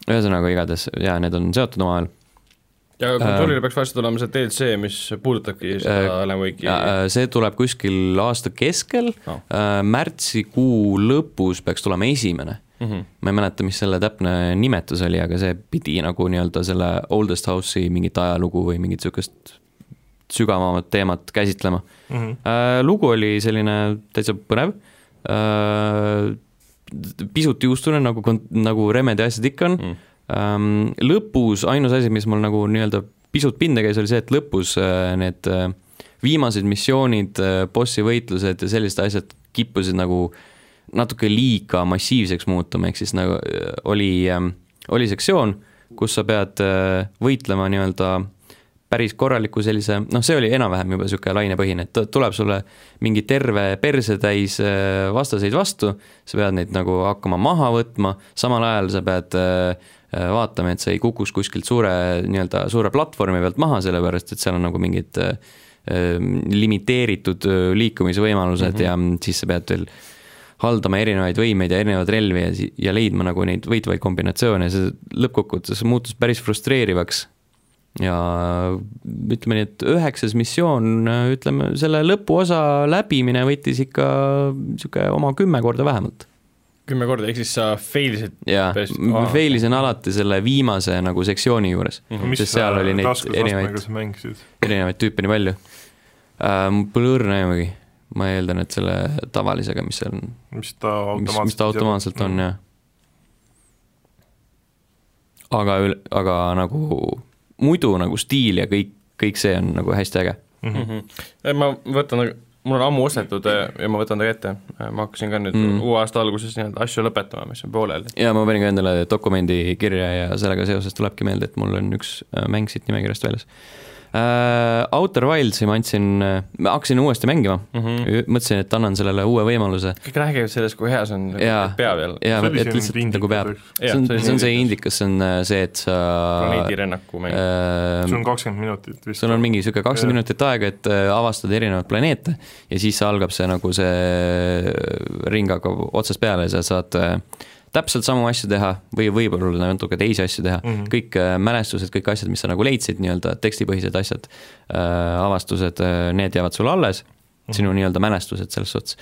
Speaker 1: ühesõnaga igatahes jaa , need on seotud omavahel .
Speaker 2: ja
Speaker 1: Ähm.
Speaker 2: kontrollile peaks varsti tulema see DLC , mis puudutabki seda Alan Wake'i
Speaker 1: Ja, äh, see tuleb kuskil aasta keskel
Speaker 2: No.
Speaker 1: no. , märtsikuu lõpus peaks tulema esimene mm .
Speaker 2: Mhm.
Speaker 1: -hmm. ma ei mäleta , mis selle täpne nimetus oli , aga see pidi nagu nii-öelda selle Oldest House'i mingit ajalugu või mingit niisugust sügavamat teemat käsitlema mm .
Speaker 3: Mhm.
Speaker 1: -hmm. Lugu oli selline täitsa põnev , pisut juustune , nagu , nagu Remedi asjad ikka on
Speaker 2: Mhm.
Speaker 1: mm , Ähm, lõpus ainus asi , mis mul nagu nii-öelda pisut pinda käis , oli see , et lõpus äh, need äh, viimased missioonid , bossi võitlused ja sellised asjad kippusid nagu natuke liiga massiivseks muutuma , ehk siis nagu äh, oli , oli sektsioon , kus sa pead äh, võitlema nii-öelda päris korraliku sellise , noh , see oli enam-vähem juba niisugune lainepõhine , et tu- tuleb sulle mingi terve perse täis äh, vastaseid vastu , sa pead neid nagu hakkama maha võtma , samal ajal sa pead äh, äh, vaatama , et sa ei kukuks kuskilt suure nii-öelda suure platvormi pealt maha , sellepärast et seal on nagu mingid äh, äh, limiteeritud äh, liikumisvõimalused mm -hmm. ja siis sa pead veel haldama erinevaid võimeid ja erinevaid relvi ja, si- ja leidma nagu neid võitvaid kombinatsioone , see lõppkokkuvõttes muutus päris frustreerivaks . ja ütleme nii , et üheksas missioon , ütleme selle lõpuosa läbimine võttis ikka niisugune oma kümme korda vähemalt .
Speaker 2: kümme korda , ehk siis sa fail isid
Speaker 1: jaa ,
Speaker 2: Päris-
Speaker 1: ma
Speaker 2: aa.
Speaker 1: fail isin alati selle viimase nagu sektsiooni juures
Speaker 2: Mhm.
Speaker 1: mm , -hmm. sest seal oli neid erinevaid ,
Speaker 3: sa mängisid ?
Speaker 1: erinevaid tüüpe nii palju uh, . mul pole õrna aimugi , ma eeldan , et selle tavalisega , mis seal on ,
Speaker 3: mis ta
Speaker 1: mis ,
Speaker 3: automaatselt
Speaker 1: mis ta automaatselt on , jah . aga üle , aga nagu muidu nagu stiil ja kõik , kõik see on nagu hästi äge .
Speaker 3: Mhm.
Speaker 2: mm . -hmm. ma võtan , mul on ammu ostetud eh, ja ma võtan ta kätte , ma hakkasin ka nüüd mm.
Speaker 1: Mm.
Speaker 2: uue aasta alguses nii-öelda asju lõpetama , mis on pooleli .
Speaker 1: ja ma panin ka endale dokumendi kirja ja sellega seoses tulebki meelde , et mul on üks äh, mäng siit nimekirjast väljas . Outer Wildsi ma andsin , ma hakkasin uuesti mängima mm ,
Speaker 3: Mhm.
Speaker 1: -hmm. mõtlesin , et annan sellele uue võimaluse
Speaker 2: kõik räägivad sellest , kui hea see on ,
Speaker 1: Jaa.
Speaker 2: peab jälle .
Speaker 1: ja
Speaker 3: See oli
Speaker 1: et
Speaker 3: selline
Speaker 1: lihtsalt
Speaker 3: indikas,
Speaker 1: nagu peab .
Speaker 3: eks?
Speaker 1: see on ,
Speaker 2: Jaa,
Speaker 1: see on see indikas , see on äh, see , et sa
Speaker 2: planeedirännaku mäng äh. .
Speaker 1: äh,
Speaker 3: sul on kakskümmend minutit vist .
Speaker 1: sul on mingi niisugune
Speaker 3: Jah.
Speaker 1: kakskümmend minutit aega , et äh, avastada erinevaid planeete ja siis algab see nagu see ring hakkab otsast peale ja sa saad äh, täpselt samu asju teha või võib-olla natuke teisi asju teha
Speaker 3: Mhm.
Speaker 1: mm , -hmm. kõik äh, mälestused , kõik asjad , mis sa nagu leidsid , nii-öelda tekstipõhised asjad äh, , avastused , need jäävad sul alles mm , -hmm. sinu nii-öelda mälestused selles suhtes .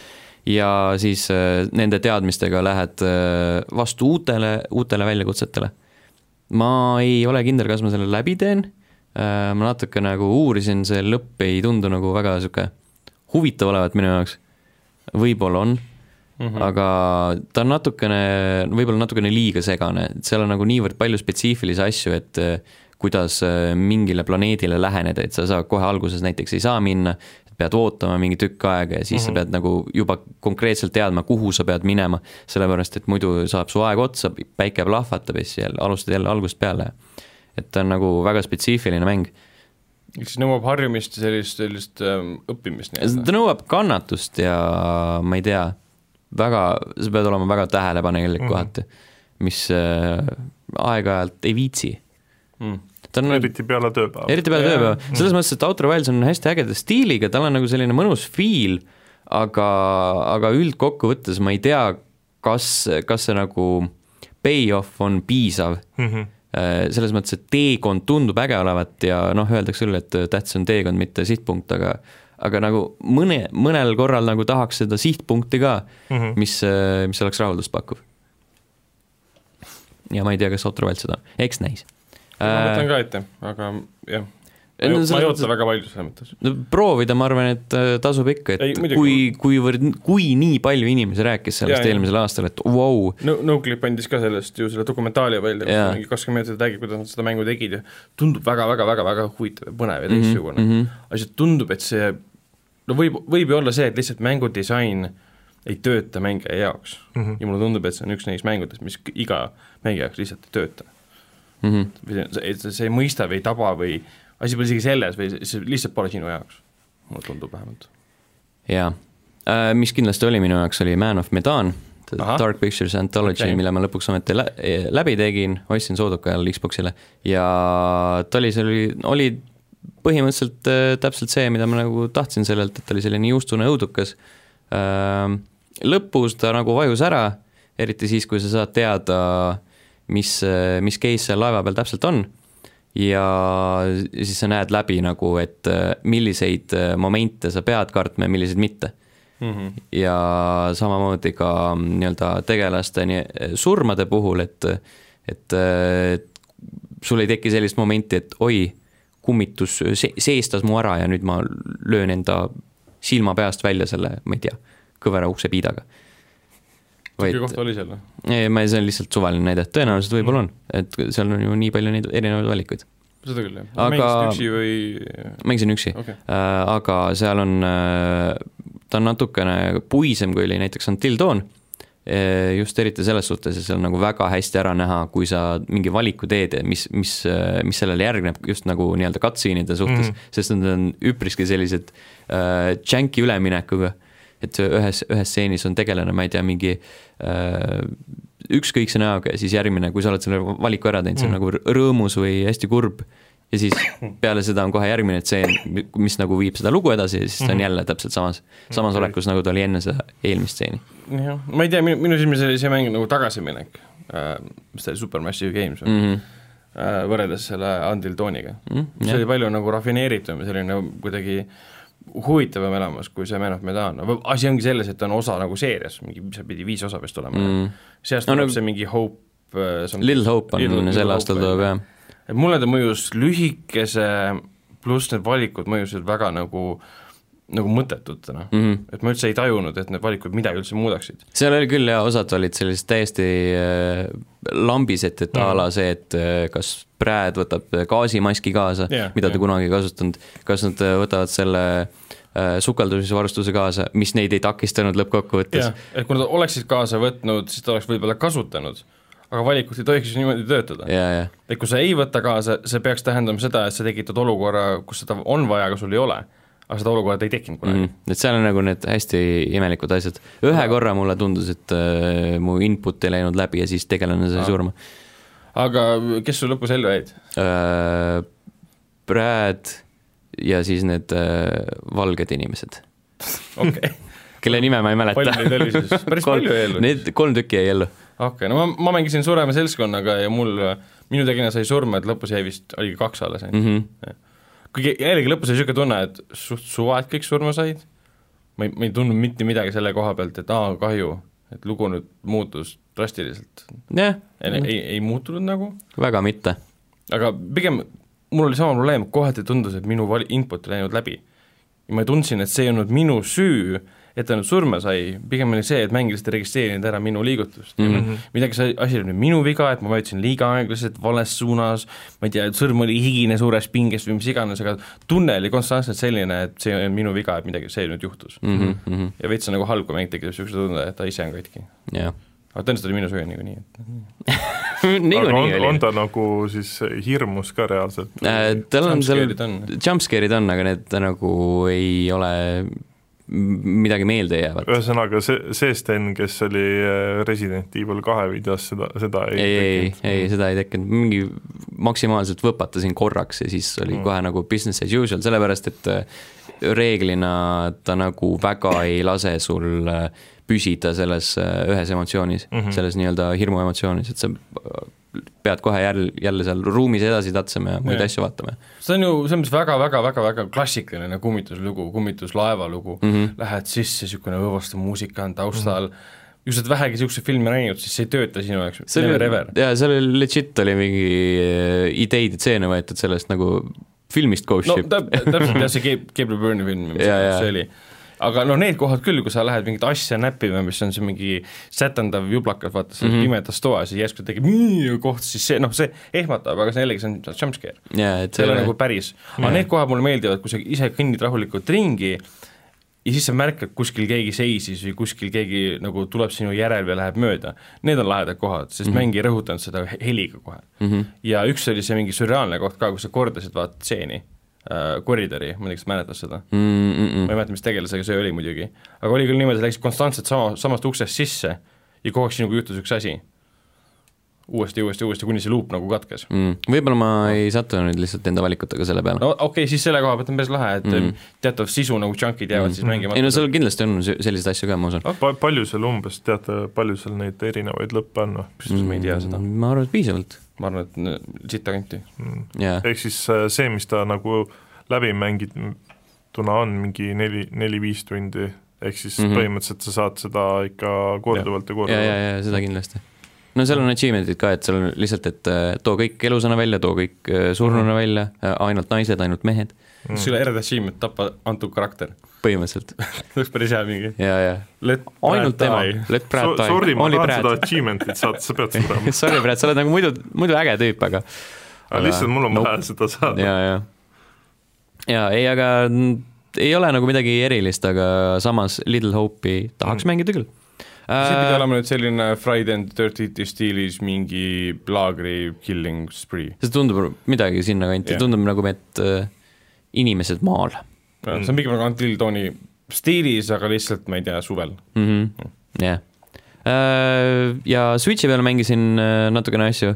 Speaker 1: ja siis äh, nende teadmistega lähed äh, vastu uutele , uutele väljakutsetele ma ei ole kindel , kas ma selle läbi teen , ma natuke nagu uurisin , see lõpp ei tundu nagu väga niisugune huvitav olevat minu jaoks , võib-olla on mm , -hmm. aga ta on natukene , võib-olla natukene liiga segane , et seal on nagu niivõrd palju spetsiifilisi asju , et eh, kuidas eh, mingile planeedile läheneda , et sa saad kohe alguses näiteks ei saa minna , pead ootama mingi tükk aega ja siis mm -hmm. sa pead nagu juba konkreetselt teadma , kuhu sa pead minema , sellepärast et muidu saab su aeg otsa , päike plahvatab ja siis jälle alustad jälle algusest peale . et ta on nagu väga spetsiifiline mäng .
Speaker 2: siis nõuab harjumist ja sellist , sellist ähm, õppimist
Speaker 1: ta
Speaker 2: nii-öelda .
Speaker 1: nõuab kannatust ja ma ei tea , väga , sa pead olema väga tähelepanelik mm -hmm. kohati , mis äh, aeg-ajalt ei viitsi .
Speaker 2: Mm.
Speaker 1: ta on
Speaker 3: eriti peale tööpäeva .
Speaker 1: eriti peale tööpäeva , selles mõttes , et Outer Wilds on hästi ägeda stiiliga , tal on nagu selline mõnus feel , aga , aga üldkokkuvõttes ma ei tea , kas , kas see nagu payoff on piisav mm .
Speaker 3: Mhm,
Speaker 1: -hmm. Selles mõttes , et teekond tundub äge olevat ja noh , öeldakse küll , et tähtis on teekond , mitte sihtpunkt , aga aga nagu mõne , mõnel korral nagu tahaks seda sihtpunkti ka mm ,
Speaker 3: mhm.
Speaker 1: -hmm. mis , mis oleks rahuldust pakkuv . ja ma ei tea , kas Outer Wilds seda on , eks näis . Äh,
Speaker 2: ma võtan ka ette , aga jah .
Speaker 1: ei, no
Speaker 2: ma
Speaker 1: selles
Speaker 2: ei
Speaker 1: mõttes-
Speaker 2: oota väga palju selles mõttes .
Speaker 1: no proovida , ma arvan , et äh, tasub ikka , et
Speaker 2: Ei,
Speaker 1: ei,
Speaker 2: muidugi.
Speaker 1: kui , kuivõrd , kui nii palju inimesi rääkis sellest
Speaker 2: Jaa,
Speaker 1: ja,
Speaker 2: jaa.
Speaker 1: eelmisel aastal , et vau wow, ,
Speaker 2: no , Noclip andis ka sellest ju selle dokumentaali välja ,
Speaker 1: Jaa.
Speaker 2: mingi kakskümmend minutit räägib , kuidas nad seda mängu tegid ja tundub väga-väga-väga-väga huvitav ja põnev ja
Speaker 1: Mhm.
Speaker 2: teistsugune mm . -hmm. aga see tundub , et see no võib , võib ju olla see , et lihtsalt mängudisain ei tööta mängija jaoks mm . -hmm. ja mulle tundub , et see on üks neist mängudest , mis k- iga mängija jaoks lihtsalt ei tööta
Speaker 1: mm -hmm.
Speaker 2: või see- see , see , see ei mõista või ei taba või asi pole isegi selles või see, see lihtsalt pole sinu jaoks , mulle tundub vähemalt .
Speaker 1: jaa . mis kindlasti oli minu jaoks , oli Man of Medan ,
Speaker 2: Ahah.
Speaker 1: Dark Pictures Anthology
Speaker 2: Okei.
Speaker 1: okay. , mille ma lõpuks ometi lä- eh, läbi tegin , ostsin sooduka ajal Xboxile ja ta oli , see oli , oli põhimõtteliselt äh, täpselt see , mida ma nagu tahtsin sellelt , et ta oli selline juustune õudukas . lõpus ta nagu vajus ära , äh, eriti siis , kui sa saad teada , mis , mis case seal laeva peal täpselt on ja siis sa näed läbi nagu , et äh, milliseid äh, momente sa pead kartma ja milliseid mitte
Speaker 2: mm . -hmm.
Speaker 1: ja samamoodi ka mm, nii-öelda tegelaste nii, äh, surmade puhul , et et äh, sul ei teki sellist momenti , et oi , kummitus se- seestas mu ära ja nüüd ma löön enda silma peast välja selle , ma ei tea , kõvera ukse piidaga .
Speaker 2: sihuke koht oli seal noh. või ?
Speaker 1: ei , ma , see on lihtsalt suvaline näide , tõenäoliselt võib-olla on , et seal on ju nii palju neid erinevaid valikuid .
Speaker 2: seda küll , jah .
Speaker 1: Aga-
Speaker 2: mängisid üksi või ?
Speaker 1: mängisin üksi
Speaker 2: okei okay. ,
Speaker 1: Äh, aga seal on , ta on natukene puisem , kui oli näiteks Until Dawn , just eriti selles suhtes , et seal on nagu väga hästi ära näha , kui sa mingi valiku teed , mis , mis , mis sellele järgneb just nagu nii-öelda cutscene'ide suhtes mm ,
Speaker 3: Mhm.
Speaker 1: -hmm. sest nad on üpriski sellised äh, janky üleminekuga , et ühes , ühes stseenis on tegelane , ma ei tea , mingi äh, ükskõikse näoga ja siis järgmine , kui sa oled selle valiku ära teinud , see on
Speaker 3: Mm.
Speaker 1: nagu rõ- rõõmus või hästi kurb ja siis peale seda on kohe järgmine tseen , mis nagu viib seda lugu edasi ja siis ta on
Speaker 3: Mhm.
Speaker 1: jälle täpselt samas , samas
Speaker 3: Okei.
Speaker 1: olekus , nagu ta oli enne seda eelmist stseeni .
Speaker 2: jah , ma ei tea , minu , minu silmis oli see mäng nagu tagasiminek äh, , mis ta oli , Supermassive Games või mm.
Speaker 1: Mhm.
Speaker 2: äh, , võrreldes selle Until Dawniga . see oli palju nagu rafineeritum ja selline nagu kuidagi huvitavam elamus , kui see Man of Medan , asi ongi selles , et ta on osa nagu seerias , mingi , mis seal pidi viis osa vist olema mm. , sealt
Speaker 1: No
Speaker 2: tuleb
Speaker 1: nagu-
Speaker 2: see mingi Hope äh,
Speaker 1: Little Hope
Speaker 2: Little-
Speaker 1: on
Speaker 2: Little
Speaker 1: sel
Speaker 2: Hope
Speaker 1: aastal
Speaker 2: on
Speaker 1: tuleb
Speaker 2: ju.
Speaker 1: jah ,
Speaker 2: et mulle ta mõjus lühikese , pluss need valikud mõjusid väga nagu , nagu mõttetutena mm. .
Speaker 1: Mhm.
Speaker 2: et ma üldse ei tajunud , et need valikud midagi üldse muudaksid .
Speaker 1: seal oli küll jaa , osad olid sellised täiesti äh, lambised , et a
Speaker 2: Mhm.
Speaker 1: la see , et äh, kas Brad võtab äh, gaasimaski kaasa
Speaker 2: Jah,
Speaker 1: yeah, , mida ta
Speaker 2: jah.
Speaker 1: yeah. kunagi ei kasutanud , kas nad äh, võtavad selle äh, sukeldusvarustuse kaasa , mis neid ei takistanud lõppkokkuvõttes
Speaker 2: jah , et kui nad oleksid kaasa võtnud , siis ta oleks võib-olla kasutanud , aga valikud ei tohiks ju niimoodi töötada .
Speaker 1: ja , ja
Speaker 2: et kui sa ei võta kaasa , see peaks tähendama seda , et sa tekitad olukorra , kus seda on vaja , aga sul ei ole . aga seda olukorda ei tekkinud kunagi
Speaker 1: mm, . et seal on nagu need hästi imelikud asjad , ühe korra mulle tundus , et äh, mu input ei läinud läbi ja siis tegelane sai
Speaker 2: Aa.
Speaker 1: surma
Speaker 2: mm. . aga kes sul lõpus ellu jäid ?
Speaker 1: äh, . Brad ja siis need äh, valged inimesed ,
Speaker 2: okei ,
Speaker 1: kelle nime ma ei mäleta .
Speaker 2: palju neid oli siis ? päris
Speaker 1: kolm
Speaker 2: palju jäi ellu .
Speaker 1: Need kolm tükki jäi ellu ,
Speaker 2: okei , no ma , ma mängisin suurema seltskonnaga ja mul , minu tegelane sai surma , et lõpus jäi vist , oligi kaks alles ainult
Speaker 1: Mhm.
Speaker 2: mm -hmm. . kuigi jällegi lõpus oli niisugune tunne , et suht suva , et kõik surma said , ma ei , ma ei tundnud mitte midagi selle koha pealt , et aa , kahju , et lugu nüüd muutus drastiliselt .
Speaker 1: jah ,
Speaker 2: ei , ei , ei muutunud nagu ,
Speaker 1: väga mitte ,
Speaker 2: aga pigem mul oli sama probleem , kohati tundus , et minu vali- , input ei läinud läbi . ja ma tundsin , et see ei olnud minu süü , et ta nüüd surma sai , pigem oli see , et mäng lihtsalt ei registreerinud ära minu liigutust
Speaker 1: Mhm.
Speaker 2: mm . -hmm. midagi see asi oli nüüd minu viga , et ma vajutasin liiga aeglaselt vales suunas , ma ei tea , et sõrm oli higine suures pinges või mis iganes , aga tunne oli konstantselt selline , et see on minu viga , et midagi , see nüüd juhtus mm .
Speaker 1: Mhm,
Speaker 2: -hmm. ja veits on nagu halb , kui mäng tekitab niisuguse tunde , et ta ise on katki .
Speaker 1: jah .
Speaker 2: aga tõenäoliselt oli minu süü niikuinii , et
Speaker 3: aga on,
Speaker 1: niikuinii
Speaker 3: on
Speaker 1: oli .
Speaker 3: ta nagu siis hirmus ka reaalselt
Speaker 1: Äh, tal on seal
Speaker 2: jumpscare'id on
Speaker 1: jumpscare'id on , aga need nagu ei ole m- midagi meeldejäävat .
Speaker 3: ühesõnaga , see , see Sten , kes oli äh, Resident Evil kahe videos , seda , seda ei,
Speaker 1: ei , ei ,
Speaker 3: tekkinud.
Speaker 1: ei , seda ei tekkinud , mingi maksimaalselt võpatasin korraks ja siis oli mm. kohe nagu business as usual , sellepärast et äh, reeglina ta nagu väga ei lase sul äh, püsida selles ühes emotsioonis mm ,
Speaker 3: Mhm.
Speaker 1: -hmm. selles nii-öelda hirmuemotsioonis , et sa äh, pead kohe jälle , jälle seal ruumis edasi tatsema ja muid
Speaker 2: Jah.
Speaker 1: asju vaatama .
Speaker 2: see on ju selles mõttes väga-väga-väga-väga klassikaline kummituslugu , kummituslaeva lugu mm ,
Speaker 1: Mhm.
Speaker 2: -hmm. lähed sisse , niisugune õõvastav muusika on taustal mm , -hmm. kui sa oled vähegi niisuguseid filme näinud , siis see ei tööta sinu jaoks ,
Speaker 1: see
Speaker 2: never
Speaker 1: oli
Speaker 2: ever ,.
Speaker 1: jaa , seal oli legit oli mingi äh, ideid ja stseene võetud sellest nagu filmist Ghost
Speaker 2: no
Speaker 1: Ship
Speaker 2: täp- , täpselt jah , see Gabe , Gabriel Byrne'i film , mis
Speaker 1: Jaa, jaa.
Speaker 2: see oli . aga noh , need kohad küll , kui sa lähed mingit asja näppima , mis on see mingi sätendav jublakas , vaata , selles
Speaker 1: Mhm.
Speaker 2: mm -hmm. pimedas toas ja järsku tekib nii koht , siis see noh , see ehmatab , aga see jällegi , see on jumpscare .
Speaker 1: jaa , et
Speaker 2: see ei ole
Speaker 1: oli-
Speaker 2: nagu päris , aga need kohad mulle meeldivad , kui sa ise kõnnid rahulikult ringi ja siis sa märkad , kuskil keegi seisis või kuskil keegi nagu tuleb sinu järel või läheb mööda . Need on lahedad kohad , sest mm -hmm. mäng ei rõhutanud seda he- heliga kohe mm . -hmm. ja üks oli see mingi sürreaalne koht ka , kus sa kordasid vaata stseeni äh, , koridori , ma ei tea , kas mäletad seda mm ?
Speaker 1: mm -mm.
Speaker 2: -hmm. ma ei mäleta , mis tegelasega see oli muidugi , aga oli küll niimoodi , et läksid konstantselt sama , samast uksest sisse ja kogu aeg sinuga juhtus üks asi . uuesti , uuesti , uuesti , kuni see luup nagu katkes .
Speaker 1: mm. . võib-olla ma ei sattunud lihtsalt enda valikutega selle peale
Speaker 2: no okei okay, , siis selle koha pealt on päris lahe , et mm. teatav sisu nagu junkid jäävad mm. siis
Speaker 1: no, .
Speaker 2: mängimata .
Speaker 1: Mhm. ei no seal kindlasti on se- selliseid asju ka , ma usun .
Speaker 3: Ah, Pa- , palju seal umbes , teate , palju seal neid erinevaid lõppe on noh? või ?
Speaker 2: kusjuures ma ei tea seda .
Speaker 1: Mhm. ma arvan , et piisavalt .
Speaker 2: ma arvan , et äh, n- sitta kanti .
Speaker 1: jah ,
Speaker 3: ehk siis äh, see , mis ta nagu läbi mängituna on mingi neli , neli-viis tundi , ehk siis mm
Speaker 1: Mhm.
Speaker 3: -hmm. põhimõtteliselt sa saad seda ikka korduvalt ja
Speaker 1: ja , ja ,
Speaker 3: korduvalt .
Speaker 1: ja seda kindlasti . no seal on achievement'id ka , et seal on lihtsalt , et äh, too kõik elusana välja , too kõik äh, surnuna välja , ainult naised , ainult mehed ,
Speaker 2: kas sul eraldi achievement tappa antud karakter ?
Speaker 1: põhimõtteliselt
Speaker 2: oleks päris hea mingi .
Speaker 1: ja , ja ainult tema , let Brad die ,
Speaker 3: Sorry , ma
Speaker 1: oli
Speaker 3: tahan seda
Speaker 1: Brad .
Speaker 3: achievement'it saada , sa pead seda ,
Speaker 1: Sorry , Brad , sa oled nagu muidu , muidu äge tüüp , aga
Speaker 3: aga lihtsalt mul on
Speaker 1: Nope.
Speaker 3: vaja seda saada .
Speaker 1: ja , ja . ja ei , aga n- ei ole nagu midagi erilist , aga samas Little Hope'i tahaks mm. mängida küll
Speaker 2: see pidi
Speaker 1: äh, .
Speaker 2: olema nüüd selline Friday and thirty stiilis mingi laagri killing spree . Äh,
Speaker 1: see tundub midagi sinnakanti
Speaker 2: Jah.
Speaker 1: yeah. , tundub nagu , et äh, inimesed maal
Speaker 2: see on pigem nagu Until Dawni stiilis , aga lihtsalt ma ei tea , suvel .
Speaker 1: mm . -hmm. jah yeah. . ja Switch'i peal mängisin äh, natukene asju .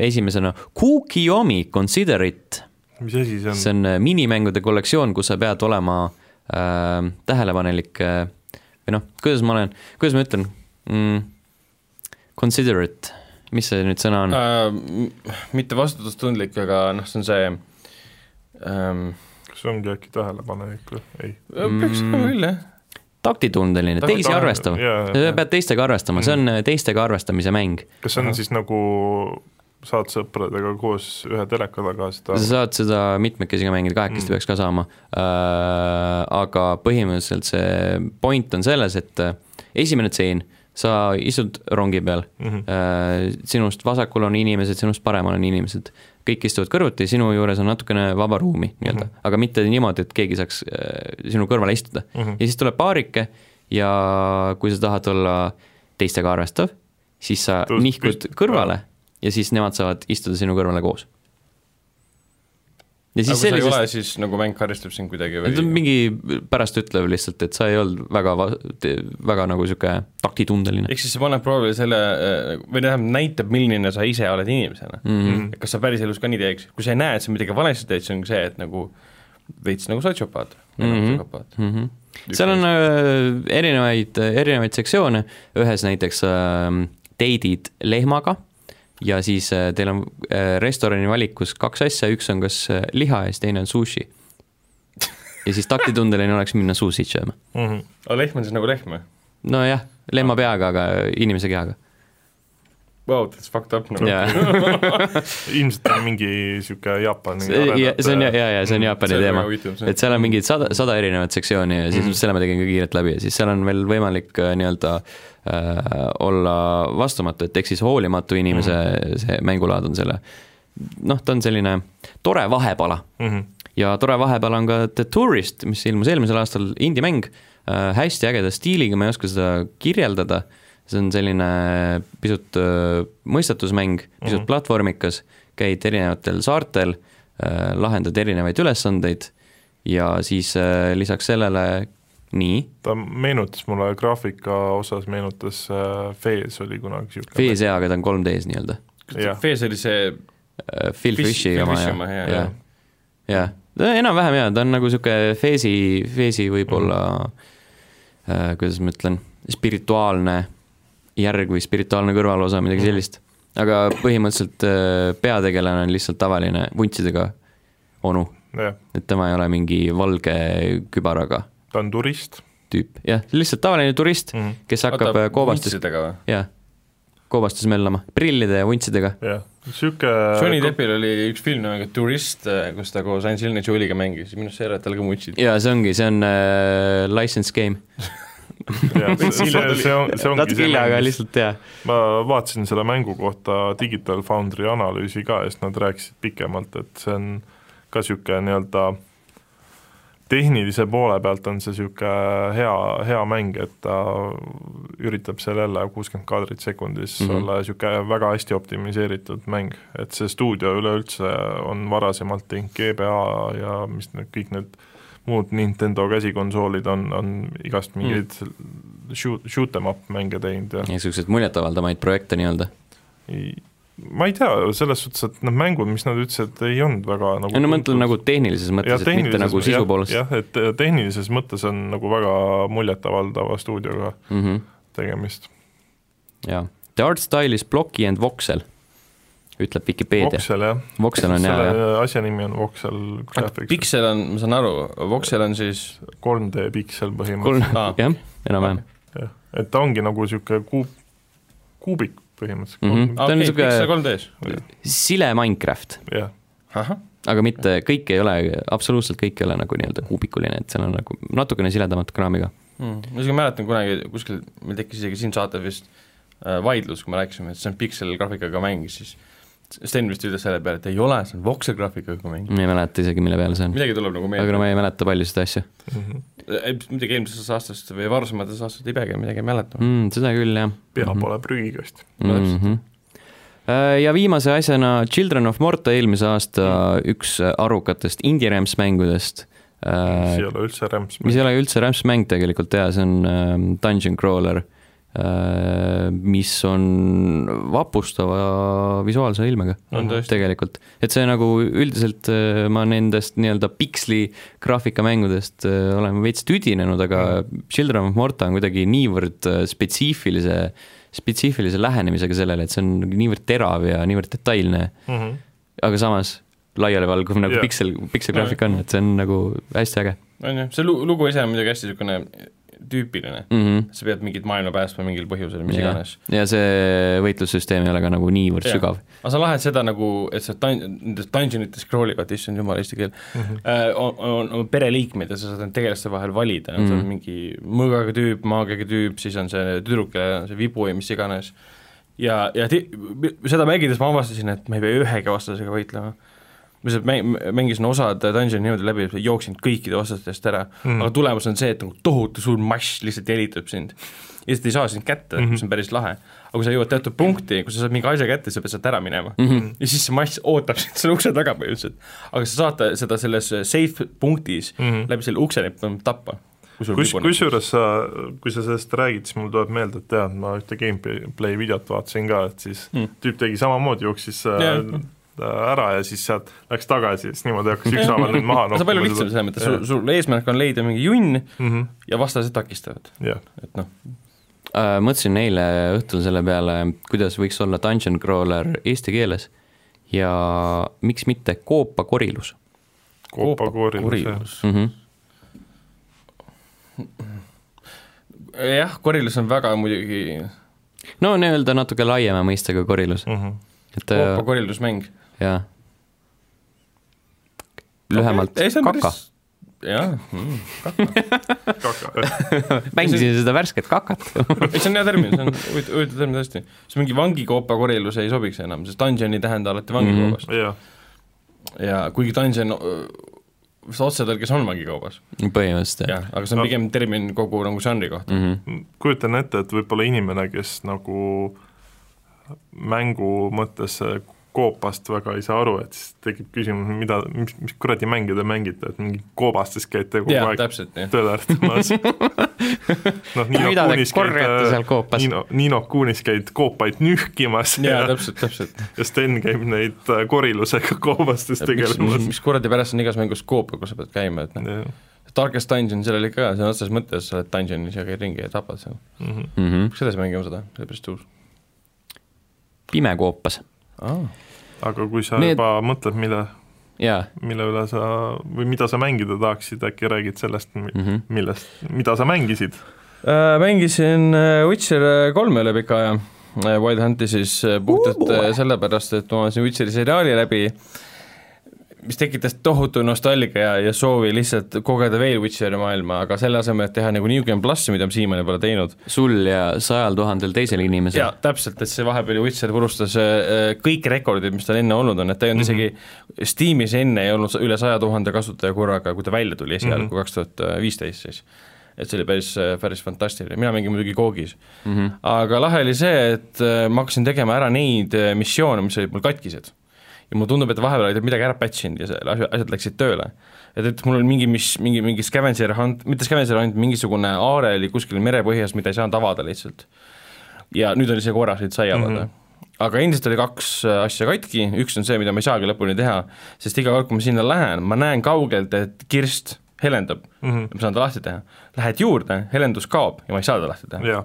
Speaker 1: esimesena Kukiyomi Consider It ,
Speaker 3: mis asi see
Speaker 1: see
Speaker 3: on ?
Speaker 1: on äh, minimängude kollektsioon , kus sa pead olema äh, tähelepanelik äh, või noh , kuidas ma olen , kuidas ma ütlen mm, , considerate , mis see nüüd sõna
Speaker 2: Äh,
Speaker 1: on ,
Speaker 2: Mitte vastutustundlik , aga noh , see on see ähm, äh,
Speaker 3: kas see ongi äkki tähelepanelik või ? ei .
Speaker 2: peaks
Speaker 1: Mhm.
Speaker 2: olema küll , jah .
Speaker 1: taktitundeline ,
Speaker 2: Takti-
Speaker 1: teisi
Speaker 3: ta-
Speaker 1: arvestav ,
Speaker 3: jaa, jaa,
Speaker 1: sa
Speaker 3: jaa.
Speaker 1: pead teistega arvestama , see on äh, teistega arvestamise mäng .
Speaker 3: kas see on siis nagu saad sõpradega koos ühe teleka taga seda
Speaker 1: sa saad seda mitmekesi ka mängida , kahekesti mm. peaks ka saama äh, . aga põhimõtteliselt see point on selles , et äh, esimene tseen , sa istud rongi peal mm ,
Speaker 3: Mhm.
Speaker 1: -hmm. äh, sinust vasakul on inimesed , sinust paremal on inimesed . kõik istuvad kõrvuti , sinu juures on natukene vaba ruumi nii-öelda
Speaker 2: Mhm.
Speaker 1: mm , -hmm. aga mitte niimoodi , et keegi saaks äh, sinu kõrvale istuda mm .
Speaker 2: Mhm.
Speaker 1: -hmm. ja siis tuleb paarike ja kui sa tahad olla teistega arvestav , siis sa
Speaker 3: Tõus-
Speaker 1: nihkud
Speaker 3: püst-
Speaker 1: kõrvale ja siis nemad saavad istuda sinu kõrvale koos . ja siis
Speaker 2: aga kui sa ei ole
Speaker 1: sellisest ,,
Speaker 2: siis nagu mäng karistab sind kuidagi või
Speaker 1: ta ? on mingi pärast ütlev lihtsalt , et sa ei olnud väga , väga nagu niisugune taktitundeline .
Speaker 2: ehk siis see paneb proovile selle , või tähendab , näitab , milline sa ise oled inimesena mm .
Speaker 1: Mhm.
Speaker 3: Mhm.
Speaker 2: -hmm. kas sa päriselus ka nii teeks , kui sa ei näe , et sa midagi valesti teed , see on see , et nagu veits nagu sotsiopaat mm . -hmm.
Speaker 1: mm . -hmm. seal on äh, erinevaid , erinevaid sektsioone , ühes näiteks äh, date'id lehmaga ja siis äh, teil on äh, restorani valikus kaks asja , üks on kas äh, liha ja siis teine on sushi . ja siis taktitundeline oleks minna sushi't sööma .
Speaker 3: mm ? -hmm.
Speaker 2: aga lehm on siis nagu lehm või ?
Speaker 1: nojah ,
Speaker 2: Ah.
Speaker 1: lehma peaga , aga inimese kehaga .
Speaker 2: Vau , that's fucked up nagu .
Speaker 1: jaa ,
Speaker 3: ilmselt on mingi niisugune Jaapani
Speaker 1: see on , jaa , jaa , see on Jaapani
Speaker 2: äh, see on nagu
Speaker 1: teema
Speaker 2: väga huvitav, . see. Mhm.
Speaker 1: et seal on mingid sada , sada erinevat sektsiooni ja siis mm. selle ma tegin ka kiirelt läbi ja siis seal on veel võimalik äh, nii-öelda äh, olla vastumatu , et ehk siis hoolimatu inimese
Speaker 2: Mhm.
Speaker 1: mm. see mängulaad on selle , noh , ta on selline tore vahepala
Speaker 3: mm . -hmm.
Speaker 1: ja tore vahepeal on ka The Tourist , mis ilmus eelmisel aastal , indie-mäng äh, , hästi ägeda stiiliga , ma ei oska seda kirjeldada , see on selline pisut äh, mõistatusmäng , pisut mm -hmm. platvormikas , käid erinevatel saartel äh, , lahendad erinevaid ülesandeid ja siis äh, lisaks sellele nii ,
Speaker 3: ta meenutas mulle graafika osas , meenutas äh, Fees oli kunagi niisugune .
Speaker 1: Fees hea , aga ta on 3D-s nii-öelda .
Speaker 3: jah.
Speaker 2: Fees oli see ,
Speaker 1: Phil
Speaker 2: Fish-
Speaker 1: Fishi
Speaker 2: Phil
Speaker 1: Äh, oma
Speaker 2: Fishi
Speaker 1: jah
Speaker 2: oma, , jaa,
Speaker 1: jah , jah , enam-vähem jaa , ta on nagu niisugune feesi , feesi võib-olla äh, kuidas ma ütlen , spirituaalne järg või spirituaalne kõrvalosa , midagi sellist . aga põhimõtteliselt äh, peategelane on lihtsalt tavaline vuntsidega onu ,
Speaker 3: jah ,
Speaker 1: et tema ei ole mingi valge kübaraga
Speaker 3: ta on turist
Speaker 1: tüüp , jah , lihtsalt tavaline turist ,
Speaker 3: mm ,
Speaker 1: kes hakkab äh, koobastus ,
Speaker 2: vuntsidega või ?
Speaker 1: jah , koobastus möllama , prillide ja vuntsidega ,
Speaker 3: -hmm. jah , niisugune
Speaker 2: Johnny Deppil oli üks film nimega Tourist , kus ta koos Angelina Jolie'ga mängis , minu arust see era , et tal ka vuntsid .
Speaker 1: ja see ongi , see on äh, license game .
Speaker 3: jah, see, see, see on , see ongi
Speaker 1: natuke hilja , aga
Speaker 3: mäng, mis-
Speaker 1: lihtsalt jaa .
Speaker 3: ma vaatasin selle mängu kohta Digital Foundry analüüsi ka ja siis nad rääkisid pikemalt , et see on ka niisugune nii-öelda tehnilise poole pealt on see niisugune hea , hea mäng , et ta üritab seal jälle kuuskümmend kaadrit sekundis mm
Speaker 1: Mhm.
Speaker 3: -hmm. olla niisugune väga hästi optimiseeritud mäng , et see stuudio üleüldse on varasemalt teinud GBA ja mis need kõik need muud Nintendo käsikonsoolid on , on igast mingeid mm. shoot , shoot em up mänge teinud ja
Speaker 1: niisuguseid muljetavaldamaid projekte nii-öelda .
Speaker 3: ei , ma ei tea , selles suhtes , et need mängud , mis nad ütlesid , ei olnud väga nagu
Speaker 1: no ma mõtlen nagu tehnilises
Speaker 3: Jah,
Speaker 1: mõttes , et mitte
Speaker 3: tehnilises-
Speaker 1: nagu sisu
Speaker 3: jah,
Speaker 1: poolest .
Speaker 3: jah , et äh, tehnilises mõttes on nagu väga muljetavaldava stuudioga
Speaker 1: Mhm,
Speaker 3: tegemist .
Speaker 1: jaa . The Art Style is Blocky and Voxel . ütleb Vikipeedia .
Speaker 3: Voxel jah ,
Speaker 1: Voxel on hea , jah .
Speaker 3: selle asja nimi on Voxel Graphics ,
Speaker 2: Pixel on , ma saan aru , Voxel on siis
Speaker 3: 3D piksel põhimõtteliselt ,
Speaker 1: kolm
Speaker 2: aa. ,
Speaker 1: jah , enam-vähem .
Speaker 3: jah , et ta ongi nagu niisugune kuub , kuubik põhimõtteliselt
Speaker 1: Mhm.
Speaker 3: mm ,
Speaker 1: Ta
Speaker 2: aa,
Speaker 1: on
Speaker 2: okei
Speaker 1: niisugune-
Speaker 2: okay, , Pixel 3D-s .
Speaker 1: sile Minecraft ,
Speaker 3: -hmm. jah ,
Speaker 2: ahah ,
Speaker 1: aga mitte kõik ei ole , absoluutselt kõik ei ole nagu nii-öelda kuubikuline , et seal on nagu natukene siledamat kraami ka .
Speaker 2: Hmm, ma isegi mäletan kunagi kuskil , meil tekkis isegi siin saates vist äh, vaidlus , kui me rääkisime , et see on Pixel graafikaga mäng , siis Sten vist ütles selle peale , et ei ole , see on Voxel graafikaga mäng .
Speaker 1: ma ei mäleta isegi , mille peale see on .
Speaker 2: midagi tuleb nagu
Speaker 1: Hmm. aga
Speaker 2: meelde
Speaker 1: no , ma ei mäleta paljusid asju
Speaker 3: mhm.
Speaker 2: ei muidugi eelmisest aastast või varasematest aastast ei peagi midagi mäletama .
Speaker 1: mm, . seda küll , jah
Speaker 3: pea
Speaker 1: Mhm.
Speaker 3: pole prügikast .
Speaker 1: mm . -hmm. Äh, ja viimase asjana Children of Morta eelmise aasta üks arukatest Indie Ramps mängudest , Äh,
Speaker 3: mis ei
Speaker 1: mis
Speaker 3: ole üldse rämps .
Speaker 1: ei ole üldse Ramps mäng tegelikult jaa , see on äh, Dungeon Crawler , mis on vapustava visuaalse ilmega
Speaker 2: on tõesti ,
Speaker 1: tegelikult , et see nagu üldiselt äh, ma nendest nii-öelda piksli graafikamängudest äh, olen veits tüdinenud , aga Children of Morta on kuidagi niivõrd äh, spetsiifilise , spetsiifilise lähenemisega sellele , et see on niivõrd terav ja niivõrd detailne ,
Speaker 3: Mhm,
Speaker 1: aga samas laialivalguv nagu
Speaker 3: Jah.
Speaker 1: yeah. piksel , pikselgraafik on , et see on nagu hästi äge
Speaker 2: on ju , see lu- , lugu ise on muidugi hästi niisugune tüüpiline ,
Speaker 1: mm . -hmm.
Speaker 2: sa pead mingit maailma päästma mingil põhjusel , mis
Speaker 1: Jah.
Speaker 2: iganes .
Speaker 1: ja see võitlussüsteem ei ole ka nagu niivõrd
Speaker 2: Jah.
Speaker 1: yeah. sügav .
Speaker 2: aga sa lahed seda nagu , et sa dun- , nendes dungeonites scroll ivad , issand jumal , eesti keel äh, , on, on, on pereliikmed ja sa saad need tegelaste vahel valida , on sul
Speaker 1: Mhm.
Speaker 2: mingi mõõgaga tüüp , maagiaga tüüp , siis on see tüdruk ja see vibu ja mis iganes . ja , ja ti- seda mängides ma avastasin , et ma ei pea ühegi vastasega võitlema . ma lihtsalt mäng- , mängisin osad dungeoni niimoodi läbi , jooksin kõikide vastastest ära
Speaker 3: Mhm.
Speaker 2: mm. , aga tulemus on see , et nagu tohutu suur mass lihtsalt jälitab sind . ja siis ta ei saa sind kätte
Speaker 3: Mhm.
Speaker 2: mm , -hmm. mis on päris lahe . aga kui sa jõuad teatud punkti , kus sa saad mingi asja kätte , sa pead sealt ära minema mm . -hmm. ja siis see mass ootab sind selle ukse taga põhimõtteliselt . aga sa saad ta- seda selles safe punktis mm
Speaker 3: mhm.
Speaker 2: -hmm. läbi selle ukse neid põhimõtteliselt tappa .
Speaker 3: kus , kusjuures sa , kui sa sellest räägid , siis mul tuleb meelde , et tead , ma ühte gameplay videot vaatasin ka , et siis
Speaker 2: Mm.
Speaker 3: tüüp tegi samamoodi , jooksis äh,
Speaker 2: Jah.
Speaker 3: ära ja siis sealt läks tagasi ja siis niimoodi hakkas ükshaaval neid maha
Speaker 2: see on palju lihtsam selles mõttes , sul , sul eesmärk on leida mingi junn
Speaker 3: Mhm.
Speaker 2: ja vastased takistavad ,
Speaker 3: jah ,
Speaker 2: et noh ,
Speaker 1: Äh, mõtlesin eile õhtul selle peale , kuidas võiks olla dungeon crawler eesti keeles ja miks mitte koopakorilus
Speaker 3: koopakoorilis ,
Speaker 2: korilus .
Speaker 1: mm . -hmm.
Speaker 2: jah , korilus on väga muidugi
Speaker 1: no nii-öelda natuke laiema mõistega korilus ,
Speaker 3: Mhm.
Speaker 1: et äh,
Speaker 2: koopakorildusmäng .
Speaker 1: jah . lühemalt kaka ,.
Speaker 2: jah ,
Speaker 3: kaka ,
Speaker 1: mängisin seda värsket kakat .
Speaker 2: ei see on hea termin , see on huvitav , huvitav termin tõesti . see mingi vangikoopa korilus ei sobiks enam , sest dungeon ei tähenda alati
Speaker 1: Mhm.
Speaker 2: vangikoobast mm
Speaker 3: jah ,
Speaker 2: -hmm. ja kuigi dungeon öö, see otsetõlkes on vangikoobas ,
Speaker 1: põhimõtteliselt jah
Speaker 2: jah , aga see on pigem termin kogu nagu žanri kohta .
Speaker 1: mm . -hmm.
Speaker 3: kujutan ette , et võib-olla inimene , kes nagu mängu mõttes äh, koopast väga ei saa aru , et siis tekib küsimus , mida , mis , mis kuradi mänge te mängite , et mingi koobastes käite kogu
Speaker 2: jah ,
Speaker 3: aeg
Speaker 2: täpselt , jah .
Speaker 3: tölerdamas . noh , Niino
Speaker 1: mida te
Speaker 3: Kuunis
Speaker 1: korjate seal
Speaker 3: käid ,
Speaker 1: koopas ?
Speaker 3: Niino , Niino Kuunis käid koopaid nühkimas
Speaker 2: jaa ,
Speaker 3: ja,
Speaker 2: täpselt , täpselt .
Speaker 3: ja Sten käib neid äh, korilusega koobastes
Speaker 2: mis , mis,
Speaker 3: tegelemas .
Speaker 2: mis kuradi pärast on igas mängus koop , kus sa pead käima , et noh , Darkest Dungeon seal oli ka , sõna otseses mõttes sa oled dungeonis ja käid ringi ja tapad seal .
Speaker 3: Mhm.
Speaker 1: Mhm.
Speaker 2: peaks edasi mängima seda , see oli päris tuus .
Speaker 1: pime koopas ,
Speaker 3: aga kui sa
Speaker 1: Need-
Speaker 3: Need... juba mõtled , mille ,
Speaker 1: jaa
Speaker 3: mille üle sa või mida sa mängida tahaksid , äkki räägid sellest ,
Speaker 1: mm . -hmm.
Speaker 3: millest , mida sa mängisid ?
Speaker 2: Äh, mängisin äh, Witcher äh, kolme üle pika aja , Wild Hunti siis äh, puhtalt äh, sellepärast , et ma vaatasin Witcheri seriaali läbi , mis tekitas tohutu nostalgia ja , ja soovi lihtsalt kogeda veel Witcheri maailma , aga selle asemel , et teha nagu New Game plussi , mida ma siiamaani pole teinud .
Speaker 1: sul ja sajal tuhandel teisel inimesel
Speaker 2: jaa , täpselt , et see vahepeal ju Witcher purustas äh, äh, kõik rekordid , mis tal enne olnud on , et ta ei olnud mm -hmm. isegi , Steamis enne ei olnud sa- üle saja tuhande kasutaja korraga , kui ta välja tuli esialgu kaks tuhat viisteist siis . et see oli päris , päris fantastiline , mina mängin muidugi koogis
Speaker 1: mm . -hmm.
Speaker 2: aga lahe oli see , et äh, ma hakkasin tegema ära neid äh, missioone , mis olid mul katkised . ja mulle tundub , et vahepeal olid midagi ära patch inud ja see- asja , asjad läksid tööle . et , et mul oli mingi , mis , mingi , mingi scavenger hunt , mitte scavenger hunt , mingisugune aare oli kuskil merepõhjas , mida ei saanud avada lihtsalt . ja nüüd oli see korras , nüüd sai avada mm . -hmm. aga endiselt oli kaks äh, asja katki , üks on see , mida ma ei saagi lõpuni teha , sest iga kord , kui ma sinna lähen , ma näen kaugelt , et kirst helendab mm , -hmm. ma saan ta lahti teha . Lähed juurde , helendus kaob ja ma ei saa ta lahti teha
Speaker 3: jah ,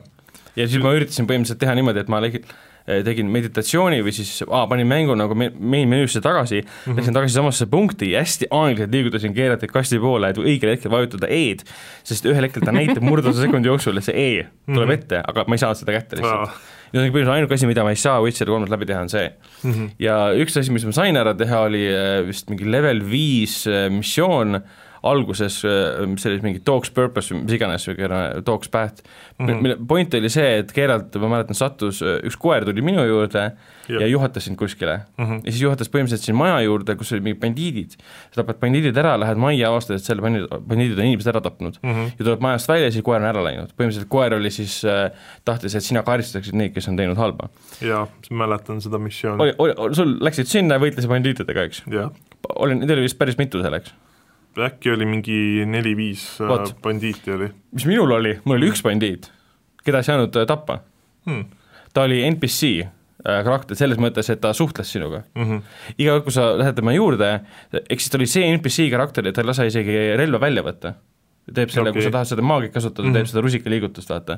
Speaker 2: ja siis ma üritasin põhimõtteliselt teha niimoodi , et ma legi- eh, tegin meditatsiooni või siis aa, panin mängu nagu me- main menüüsse tagasi mm , -hmm. läksin tagasi samasse punkti ja hästi aeglaselt liigutasin keeratud kasti poole , et õigel hetkel vajutada E-d , sest ühel hetkel ta näitab murdosa sekundi jooksul , et see E tuleb mm -hmm. ette , aga ma ei saanud seda kätte lihtsalt . ja see on põhimõtteliselt ainuke asi , mida ma ei saa Witcher kolmes läbi teha , on see mm . -hmm. ja üks asi , mis ma sain ära teha , oli äh, vist mingi level viis äh, missioon alguses , mis oli mingi talks purpose või mis iganes , niisugune talks path mm , -hmm. mille point oli see , et keeralt , ma mäletan , sattus , üks koer tuli minu juurde
Speaker 3: Jah.
Speaker 2: ja juhatas sind kuskile mm . -hmm. ja siis juhatas põhimõtteliselt sind maja juurde , kus olid mingid bandiidid . sa tapad bandiidid ära , lähed majja , avastad , et seal bandiid , bandiidid on inimesed ära tapnud mm .
Speaker 3: Mhm.
Speaker 2: -hmm. ja tuled majast välja ja siis koer on ära läinud . põhimõtteliselt koer oli siis äh, , tahtis , et sina karistaksid neid , kes on teinud halba .
Speaker 3: jaa , mäletan seda missiooni .
Speaker 2: oli , oli , sul läksid sinna ja võitlesid bandiitidega , eks ?
Speaker 3: jah ,
Speaker 2: oli , neid oli vist päris mitu seal , eks ?
Speaker 3: äkki oli mingi neli-viis äh,
Speaker 2: Vot.
Speaker 3: bandiiti oli
Speaker 2: mis minul oli , mul oli üks bandiit , keda ei saanud äh, tappa .
Speaker 3: hmm. .
Speaker 2: ta oli NPC äh, karakter selles mõttes , et ta suhtles sinuga .
Speaker 3: Mm -hmm.
Speaker 2: iga kord , kui sa lähed tema juurde , eks siis ta oli see NPC karakter ja ta ei lase isegi relva välja võtta . teeb selle okay. , kui
Speaker 3: Okei.
Speaker 2: sa tahad seda maagiat kasutada mm , -hmm. teeb seda rusikaliigutust , vaata .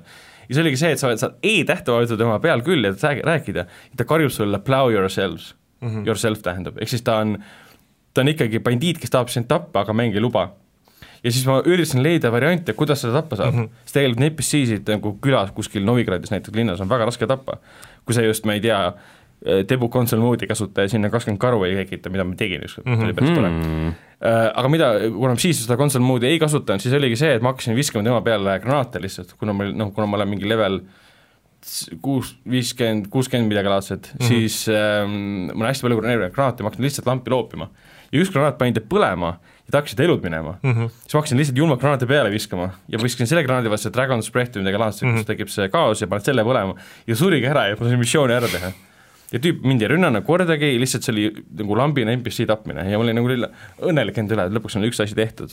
Speaker 2: ja see oligi see , et sa oled- saad E-tähte vajutada tema peal küll ja sa- rääkida , ta karjub sulle plow yourselves mm , -hmm. yourself tähendab , ehk siis ta on , ta on ikkagi bandiit , kes tahab sind tappa , aga mäng ei luba ja siis ma üritasin leida variante , kuidas seda tappa saab mm , -hmm. sest tegelikult neid NPC-sid nagu külas kuskil Novigradis näiteks linnas on väga raske tappa , kui sa just , ma ei tea , Tebu console mode'i kasutaja sinna kakskümmend karu ei tekita , mida ma tegin ükskord mm , -hmm. oli päris tore . Aga mida , kuna ma siis seda console mode'i ei kasutanud , siis oligi see , et ma hakkasin viskama tema peale granaate lihtsalt , kuna ma , noh , kuna ma olen mingi level s- kuus , viiskümmend , kuuskümmend midagi laadset mm , -hmm. siis ähm, mul on hästi palju granaate , ma hakkasin lihtsalt lampi loopima . ja üks granaat pani ta põlema ja ta hakkasid elud minema mm . -hmm. siis ma hakkasin lihtsalt julmalt granaate peale viskama ja viskasin selle granaadi vastu Dragon Spread või midagi laadset mm , -hmm. kus tekib see kaos ja paned selle põlema ja surigi ära ja ma sain missiooni ära teha ja tüüp mind ei rünnanud kordagi , lihtsalt see oli nagu lambine NPC tapmine ja ma olin nagu lilla- õnnelik enda üle , et lõpuks on üks asi tehtud .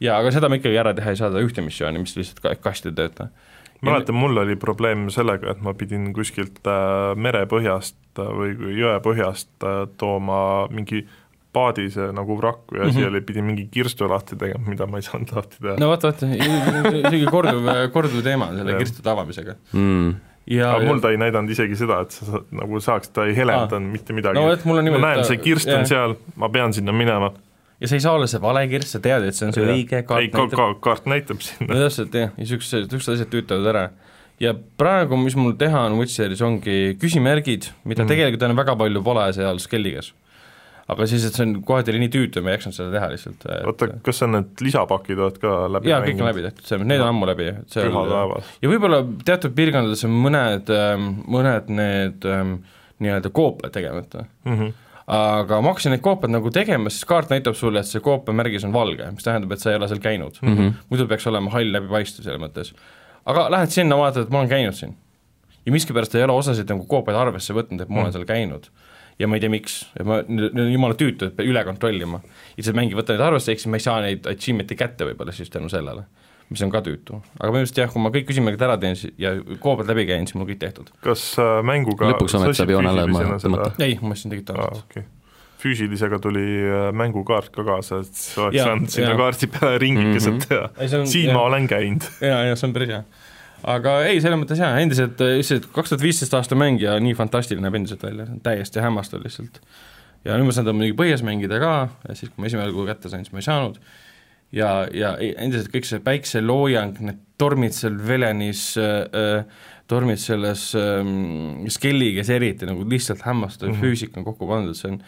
Speaker 2: ja aga seda ma ikkagi ära teha ei saa , seda ühte missiooni , mis lihtsalt ka- kasti ei tööta .
Speaker 3: mäletan , mul oli probleem sellega , et ma pidin kuskilt äh, merepõhjast äh, või kui jõe põhjast äh, tooma mingi paadise nagu vrakku ja mm -hmm. siia oli- pidin mingi kirstu lahti tegema , mida ma ei saanud lahti teha no, .
Speaker 2: Mhm. no vaata , vaata , isegi korduv , korduv teema on selle
Speaker 3: Jah.
Speaker 2: kirstude avamisega .
Speaker 1: mm. .
Speaker 2: ja
Speaker 3: aga mul ta ei näidanud isegi seda , et sa saad, nagu saaks , ta ei helendanud mitte midagi
Speaker 2: No vot, mul on niimoodi,
Speaker 3: ma näen
Speaker 2: et , ta-
Speaker 3: see kirst on
Speaker 2: jah.
Speaker 3: seal , ma pean sinna minema .
Speaker 2: ja see ei saa olla see vale kirst , sa tead , et see on see õige
Speaker 3: ei ,
Speaker 2: kaart
Speaker 3: ka,
Speaker 2: näitab
Speaker 3: ka, kaart näitab sinna
Speaker 2: no täpselt jah , ja siuksed , siuksed asjad tüütavad ära . ja praegu , mis mul teha on Witcheris , ongi küsimärgid , mida mm. tegelikult on väga palju pole seal Skelligas . aga siis , et see on kohati oli nii tüütu , ma ei jaksanud seda teha lihtsalt .
Speaker 3: oota , kas sa need lisapakid oled ka läbi
Speaker 2: jaa , kõik on läbi tehtud , see , need on ammu läbi , et see
Speaker 3: püha taevas .
Speaker 2: ja võib-olla teatud piirkondades on mõned , mõned need ähm, nii-öelda koopad tegemata
Speaker 3: Mm -hmm.
Speaker 2: aga ma hakkasin neid koopaid nagu tegema , siis kaart näitab sulle , et see koopamärgis on valge , mis tähendab , et sa ei ole seal käinud mm . -hmm. muidu peaks olema hall läbipaistev selles mõttes . aga lähed sinna , vaatad , et ma olen käinud siin . ja miskipärast ei ole osasid nagu koopaid arvesse võtnud , et ma olen seal käinud . ja ma ei tea , miks , et ma , need on jumala tüütu , et peab üle kontrollima . ja siis mäng ei võta neid arvesse , ehk siis ma ei saa neid achievement'i kätte võib-olla siis tänu sellele , mis on ka tüütu . aga põhimõtteliselt jah , kui ma kõik küsimärgid ära teen si- ja koopad läbi käin , siis mul kõik tehtud .
Speaker 3: kas äh, mänguga
Speaker 1: Lõpuks ometi
Speaker 3: sa
Speaker 1: saab joone alla
Speaker 3: füüsilisena
Speaker 1: tõmmata.
Speaker 3: seda-
Speaker 2: ei , ma ostsin digitaalselt
Speaker 3: aa , okei . füüsilisega tuli äh, mängukaart ka kaasa , et sa oleks
Speaker 2: Jaa,
Speaker 3: saanud sinna
Speaker 2: jaa. Mhm.
Speaker 3: kaardi peale ringikeselt mm
Speaker 2: Ei,
Speaker 3: -hmm.
Speaker 2: see on-
Speaker 3: teha . siin
Speaker 2: jah.
Speaker 3: ma olen käinud .
Speaker 2: jaa , jaa , see on päris hea . aga ei , selles mõttes jaa , endiselt äh, lihtsalt kaks tuhat viisteist aasta mäng ja nii fantastiline näeb endiselt välja , täiesti hämmastav lihtsalt . ja nüüd ma saan teda muidugi põhjas mängida ka , siis kui ma esimene kuu kätte sain , siis ma ei saanud , ja , ja ei- endiselt kõik see päikseloojang , need tormid seal Velenis äh, , äh, tormid selles äh, Skelliges eriti nagu lihtsalt hämmastav mm -hmm. füüsika on kokku pandud , see on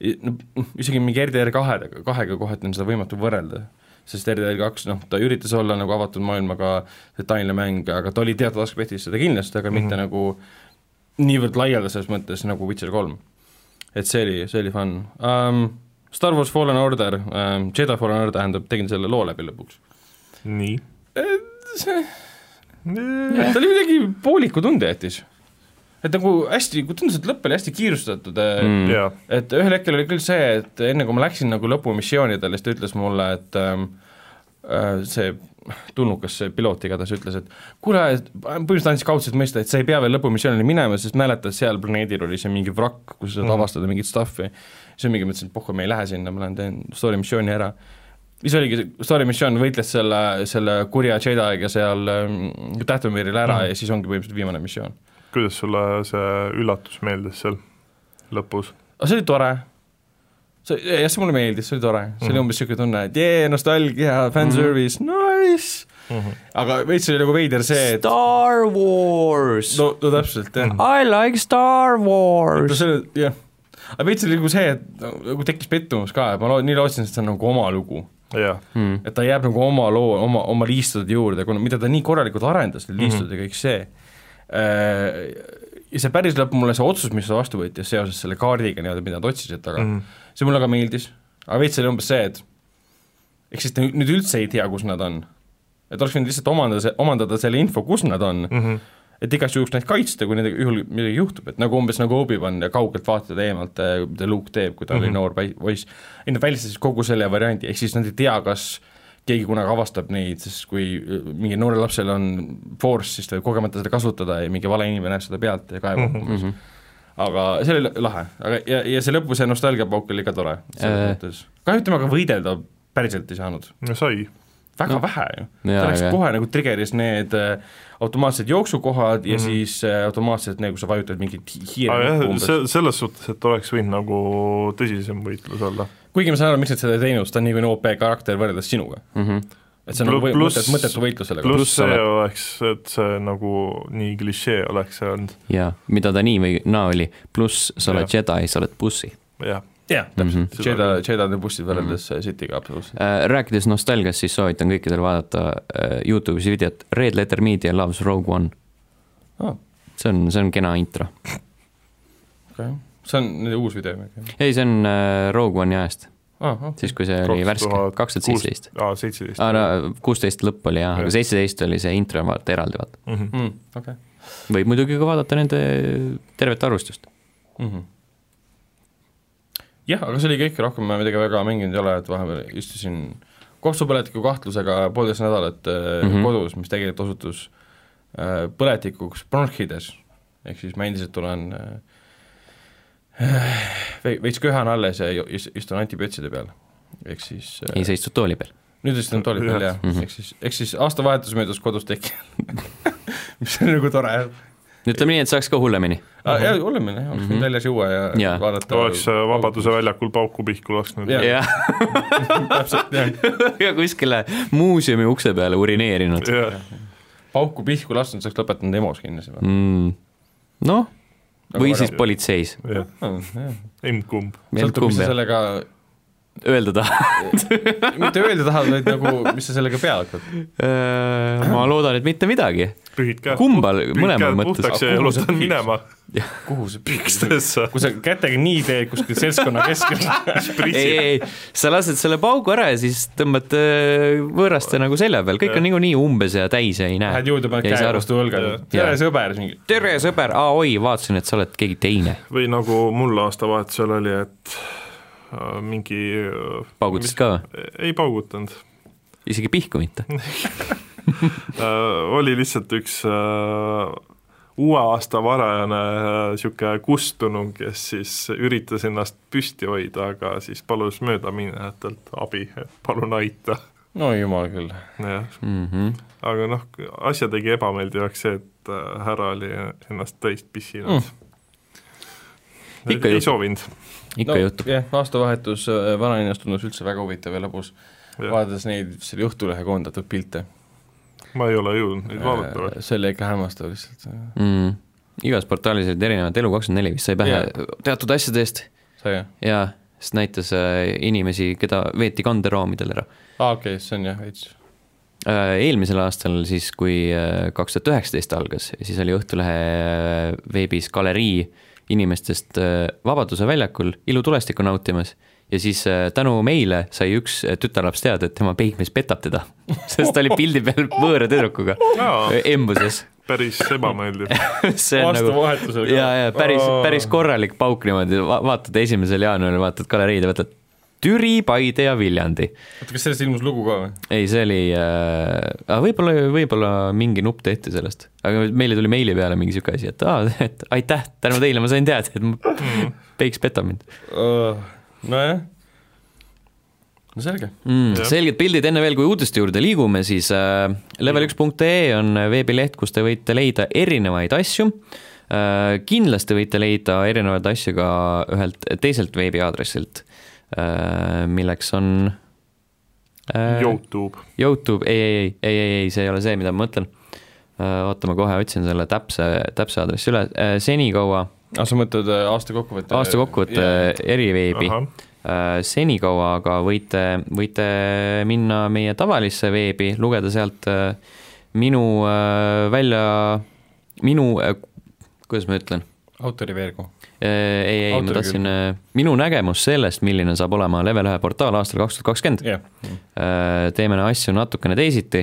Speaker 2: i- no noh, isegi mingi RDR kahega , kahega kohati on seda võimatu võrrelda , sest RDR kaks , noh , ta üritas olla nagu avatud maailmaga detailne mäng , aga ta oli teatud aspektis seda kindlasti , aga mm -hmm. mitte nagu niivõrd laialdases mõttes nagu Witcher kolm . et see oli , see oli fun um, . Star Wars Fallen Order um, , Jedi Fallen Order tähendab , tegin selle loo läbi lõpuks .
Speaker 3: nii .
Speaker 2: Äh,
Speaker 3: Mm.
Speaker 2: ta oli kuidagi pooliku tunde jättis . et nagu hästi , tundus , et lõpp oli hästi kiirustatud mm. ,
Speaker 3: jaa ,
Speaker 2: et ühel hetkel oli küll see , et enne kui ma läksin nagu lõpumissioonidele , siis ta ütles mulle , et ähm, äh, see tulnukas , see piloot igatahes ütles , et kuule , põhimõtteliselt andis kaudselt mõista , et sa ei pea veel lõpumissioonile minema , sest mäletad , seal planeedil oli see mingi vrakk , kus sa saad avastada mingit stuff'i , siis mingi mõtlesin , et pohhu , ma ei lähe sinna , ma lähen teen story missiooni ära . siis oligi see story missioon , võitles selle , selle kurja Jedi'ga seal ähm, Tähtemüürile ära mm. ja siis ongi põhimõtteliselt viimane missioon .
Speaker 3: kuidas sulle see üllatus meeldis seal lõpus?
Speaker 2: aga see oli tore. see, jah, see mulle meeldis, see oli tore, see mm -hmm. oli umbes niisugune tunne, et jee, nostalgia, fanservice mm, -hmm. nice mm. -hmm. aga veits oli nagu veider see, et
Speaker 1: Star Wars
Speaker 2: no, no täpselt, jah.
Speaker 1: I like Star
Speaker 2: no
Speaker 1: Wars
Speaker 2: see oli, jah. aga veits oli nagu see, et nagu tekkis pettumus ka, et ma loo- , nii lootsin, et see on nagu oma lugu.
Speaker 3: jah ,
Speaker 1: mm. .
Speaker 2: et ta jääb nagu oma loo , oma , oma liistude juurde , kuna , mida ta nii korralikult arendas ,
Speaker 3: Mhm.
Speaker 2: need liistud ja kõik see , ja see päris lõpp mulle , see otsus , mis ta vastu võttis seoses selle kaardiga nii-öelda , mida nad otsisid taga mm ,
Speaker 3: Mhm.
Speaker 2: -hmm. see mulle ka meeldis , aga veits oli umbes see , et ehk siis ta nüüd- nüüd üldse ei tea , kus nad on . et oleks võinud lihtsalt omandada see , omandada selle info , kus nad on mm ,
Speaker 3: Mhm.
Speaker 2: -hmm. et igaks juhuks neid kaitsta , kui nendega juhul midagi juhtub , et nagu umbes nagu Obi-Wan ja kaugelt vaatad eemalt , mida Luke teeb , kui ta
Speaker 1: Mhm.
Speaker 2: mm -hmm. oli noor pai- poiss , ei nad välistasid kogu selle variandi , ehk siis nad ei tea , kas keegi kunagi avastab neid , sest kui mingil noorel lapsel on force , siis ta võib kogemata seda kasutada ja mingi vale inimene näeb seda pealt ja kaevab
Speaker 1: Mhm.
Speaker 2: mm . -hmm. aga see oli lahe , aga ja , ja see lõpus see nostalgiapauk oli ka tore selles
Speaker 1: Äh.
Speaker 2: mõttes . kahju , et temaga võidelda päriselt ei saanud ,
Speaker 3: no sai ,
Speaker 2: väga
Speaker 1: No.
Speaker 2: no. vähe ju .
Speaker 1: Jaa,
Speaker 2: ta läks
Speaker 1: aga-
Speaker 2: kohe nagu trigger'is need äh, automaatsed jooksukohad ja mm -hmm. siis äh, automaatselt need , kus sa vajutad mingit hi-
Speaker 3: aga
Speaker 2: hiire
Speaker 3: Mhm. jah
Speaker 2: nuppu , umbes .
Speaker 3: see , selles suhtes , et oleks võinud nagu tõsisem võitlus olla .
Speaker 2: kuigi ma saan aru , miks nad seda ei teinud , sest ta on niikuinii OP karakter võrreldes sinuga .
Speaker 1: Mhm.
Speaker 2: et see on nagu
Speaker 3: Plu-
Speaker 2: või-
Speaker 3: pluss-
Speaker 2: mõttetu , mõttetu võitlus sellega .
Speaker 3: pluss see oleks , et see nagu nii klišee oleks olnud ,
Speaker 1: jaa , mida ta nii või naa oli , pluss sa oled Jedi , sa oled bussi .
Speaker 3: jah .
Speaker 2: jah , täpselt
Speaker 3: Mhm.
Speaker 2: mm , Jedi , Jedi on bussid võrreldes mm -hmm. City'ga absoluutselt .
Speaker 1: Äh, Rääkides nostalgiast , siis soovitan kõikidel vaadata äh, Youtube'is videot Red Letter Media Loves Rogue One .
Speaker 2: aa ,
Speaker 1: see on , see on kena intro .
Speaker 2: okei , see on nüüd uus video mingi ,
Speaker 1: ei , see on äh, Rogue One'i ajast ,
Speaker 2: aa , okei .
Speaker 1: siis kui see oli värske , kaks tuhat seitseteist .
Speaker 3: aa , seitseteist .
Speaker 1: aa , no kuusteist lõpp oli jah , aga
Speaker 3: Jah.
Speaker 1: seitseteist oli see intro vaata eraldi vaata .
Speaker 3: Mhm.
Speaker 2: Mm, okei .
Speaker 1: võib muidugi ka vaadata nende tervet arvustust .
Speaker 2: Mhm. jah , aga see oli kõik , rohkem ma midagi väga mänginud ei ole , et vahepeal istusin kopsupõletiku kahtlusega poolteist nädalat mm
Speaker 1: Mhm.
Speaker 2: -hmm. kodus , mis tegelikult osutus äh, põletikuks bronhides , ehk siis ma endiselt olen äh, vei- veits köhan alles ja ju- is- istun antibiotside peal , ehk siis äh,
Speaker 1: ei , Mhm. sa istud tooli peal .
Speaker 2: nüüd vist on tooli peal
Speaker 3: Jah.
Speaker 2: jah , ehk siis , ehk siis aastavahetus möödus kodus tekkinud , mis on nagu tore .
Speaker 1: ütleme nii , et saaks ka hullemini .
Speaker 2: jah , oleme , oleks võinud väljas juua ja,
Speaker 1: Mhm. Jaa.
Speaker 2: vaadata .
Speaker 3: oleks äh, Vabaduse väljakul pauku pihku lasknud
Speaker 2: Jah.
Speaker 1: jah ,
Speaker 2: täpselt , jah .
Speaker 1: ja kuskile muuseumi ukse peale urineerinud
Speaker 3: jah ,
Speaker 2: pauku pihku lasknud , saaks lõpetanud EMO-s kindlasti või ?
Speaker 1: mm. . noh , või
Speaker 2: Aga
Speaker 1: siis
Speaker 2: väga-
Speaker 1: politseis ,
Speaker 3: jah , emb-kumb .
Speaker 1: sõltub
Speaker 2: Ah, sõltub ,
Speaker 1: kumb
Speaker 2: mis sa
Speaker 1: jah ,
Speaker 2: sellega ,
Speaker 1: öelda tahad .
Speaker 2: mitte öelda tahad , vaid nagu , mis sa sellega peale hakkad .
Speaker 1: Äh, ma loodan , et mitte midagi .
Speaker 3: pühid käed .
Speaker 1: Kumbal- mõlema mõttes.
Speaker 3: puhtaks ja
Speaker 2: Aga kuhu sa
Speaker 3: jalutan
Speaker 2: pühid?
Speaker 3: minema ,
Speaker 2: kuhu see pihk ,
Speaker 3: pikstesse .
Speaker 2: kui sa kätega nii teed kuskil seltskonna keskel ,
Speaker 1: ei , ei , ei , sa lased selle paugu ära ja siis tõmbad äh, võõraste nagu selja peal , kõik on niikuinii umbes ja täis ja ei näe .
Speaker 2: lähed juurde , paned käe vastu õlga ,
Speaker 1: Jaa.
Speaker 2: tere sõber mingi .
Speaker 1: tere , sõber , aa oi , vaatasin , et sa oled keegi teine .
Speaker 3: või nagu mul aastavahetusel oli , et äh, mingi äh,
Speaker 1: paugutasid ka või ?
Speaker 3: ei paugutanud ,
Speaker 1: isegi pihku mitte .
Speaker 3: oli lihtsalt üks äh, uue aasta varajane niisugune kustunu , kes siis üritas ennast püsti hoida , aga siis palus möödaminejatelt abi , et palun aita .
Speaker 2: no jumal küll .
Speaker 3: jah ,
Speaker 1: Mhm.
Speaker 3: aga noh , asja tegi ebameeldivaks see , et äh, härra oli ennast täis pissinud mm. .
Speaker 1: Mm. Ikka
Speaker 3: ei
Speaker 1: juhtub.
Speaker 3: soovinud .
Speaker 1: ikka no, juhtub .
Speaker 2: jah , aastavahetus äh, vanalinnas tundus üldse väga huvitav ja lõbus , vaadates neid selle Õhtulehe koondatud pilte .
Speaker 3: ma ei ole jõudnud
Speaker 1: Äh,
Speaker 3: neid vaadata veel .
Speaker 2: see oli ikka hämmastav lihtsalt ,
Speaker 1: Mm. igas portaalis olid erinevad , Elu24 vist sai pähe yeah.
Speaker 2: Jaa.
Speaker 1: teatud asjade eest
Speaker 2: sai jah ?
Speaker 1: ja siis näitas äh, inimesi , keda veeti kanderaamidel ära .
Speaker 2: aa okei okay, , see on jah veits ,
Speaker 1: eelmisel aastal siis , kui äh, kaks tuhat üheksateist algas , siis oli Õhtulehe äh, veebis galerii inimestest äh, Vabaduse väljakul ilutulestikku nautimas ja siis äh, tänu meile sai üks äh, tütarlaps teada , et tema peigmees petab teda , sest ta oli pildi peal võõra tüdrukuga embuses .
Speaker 3: päris ebameeldiv .
Speaker 1: see on nagu
Speaker 2: Aastavahetusel ka.
Speaker 1: ja , ja päris
Speaker 2: Aa. ,
Speaker 1: päris korralik pauk niimoodi , vaatad esimesel jaanuaril , vaatad galeriid ja võtad Türi , Paide ja Viljandi .
Speaker 2: oota kas sellest ilmus lugu ka või ?
Speaker 1: ei , see oli äh, , võib-olla , võib-olla mingi nupp tehti sellest , aga meile tuli meili peale mingi sihuke asi , et aa , et aitäh , tänu teile , ma sain teada , et ma- peiks petab mind
Speaker 2: Öö, Äh, nojah , no selge ,
Speaker 1: mm, .
Speaker 3: Jah.
Speaker 1: selged pildid , enne veel , kui uudiste juurde liigume , siis äh, level1.ee on veebileht , kus te võite leida erinevaid asju , kindlasti võite leida erinevaid asju ka ühelt teiselt veebiaadressilt , milleks on äh,
Speaker 3: Youtube ,
Speaker 1: Youtube , ei , ei , ei , ei , ei , ei , see ei ole see , mida ma mõtlen . oota , ma kohe otsin selle täpse , täpse aadressi üle , senikaua ,
Speaker 2: aa , sa mõtled äh, aasta kokkuvõtte ?
Speaker 1: aastakokkuvõte eriveebi ,
Speaker 3: ahah ,
Speaker 1: senikaua aga võite , võite minna meie tavalisse veebi , lugeda sealt äh, minu äh, välja , minu , kuidas ma ütlen ,
Speaker 2: autori veergu .
Speaker 1: ei , ei , ma
Speaker 2: Autori
Speaker 1: tahtsin , minu nägemus sellest , milline saab olema level ühe portaal aastal kaks tuhat kakskümmend ,
Speaker 2: jah ,
Speaker 1: Äh, teeme asju natukene teisiti .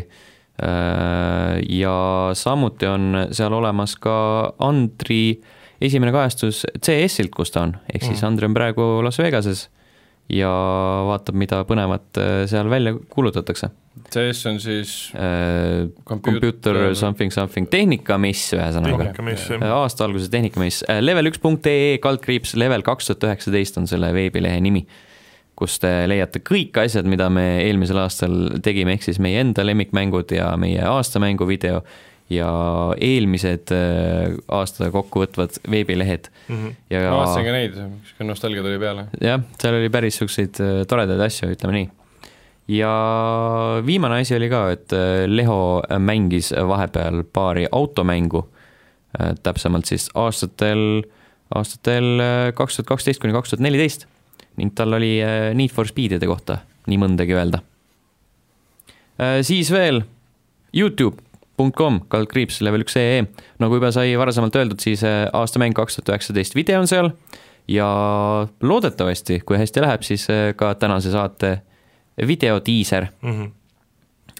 Speaker 1: ja samuti on seal olemas ka Andri esimene kajastus CS-ilt , kus ta on , ehk siis Andri on praegu Las Vegases ja vaatab , mida põnevat äh, seal välja kuulutatakse .
Speaker 2: CS on siis
Speaker 1: Computer something something tehnikamiss , ühesõnaga .
Speaker 3: tehnika mees ,
Speaker 1: Äh, aasta alguses Äh, tehnikamiss , level1.ee kaldkriips level kaks tuhat üheksateist on selle veebilehe nimi , kus te leiate kõik asjad , mida me eelmisel aastal tegime , ehk siis meie enda lemmikmängud ja meie aastamängu video ja eelmised äh, aasta kokkuvõtvad veebilehed
Speaker 3: Mhm,
Speaker 2: ma
Speaker 1: ja
Speaker 2: vaatasin ka neid , sihuke nostalgia tuli peale .
Speaker 1: jah , seal oli päris niisuguseid äh, toredaid asju , ütleme nii . ja viimane asi oli ka , et äh, Leho mängis vahepeal paari automängu , täpsemalt siis aastatel , aastatel äh, kaks tuhat kaksteist kuni kaks tuhat neliteist ning tal oli äh, Need for Speedide kohta nii mõndagi öelda . Äh, siis veel Youtube.com , kaldkriips level üks ee , nagu juba sai varasemalt öeldud , siis äh, aastamäng kaks tuhat üheksateist video on seal ja loodetavasti , kui hästi läheb , siis äh, ka tänase saate videodiiser
Speaker 3: mhm.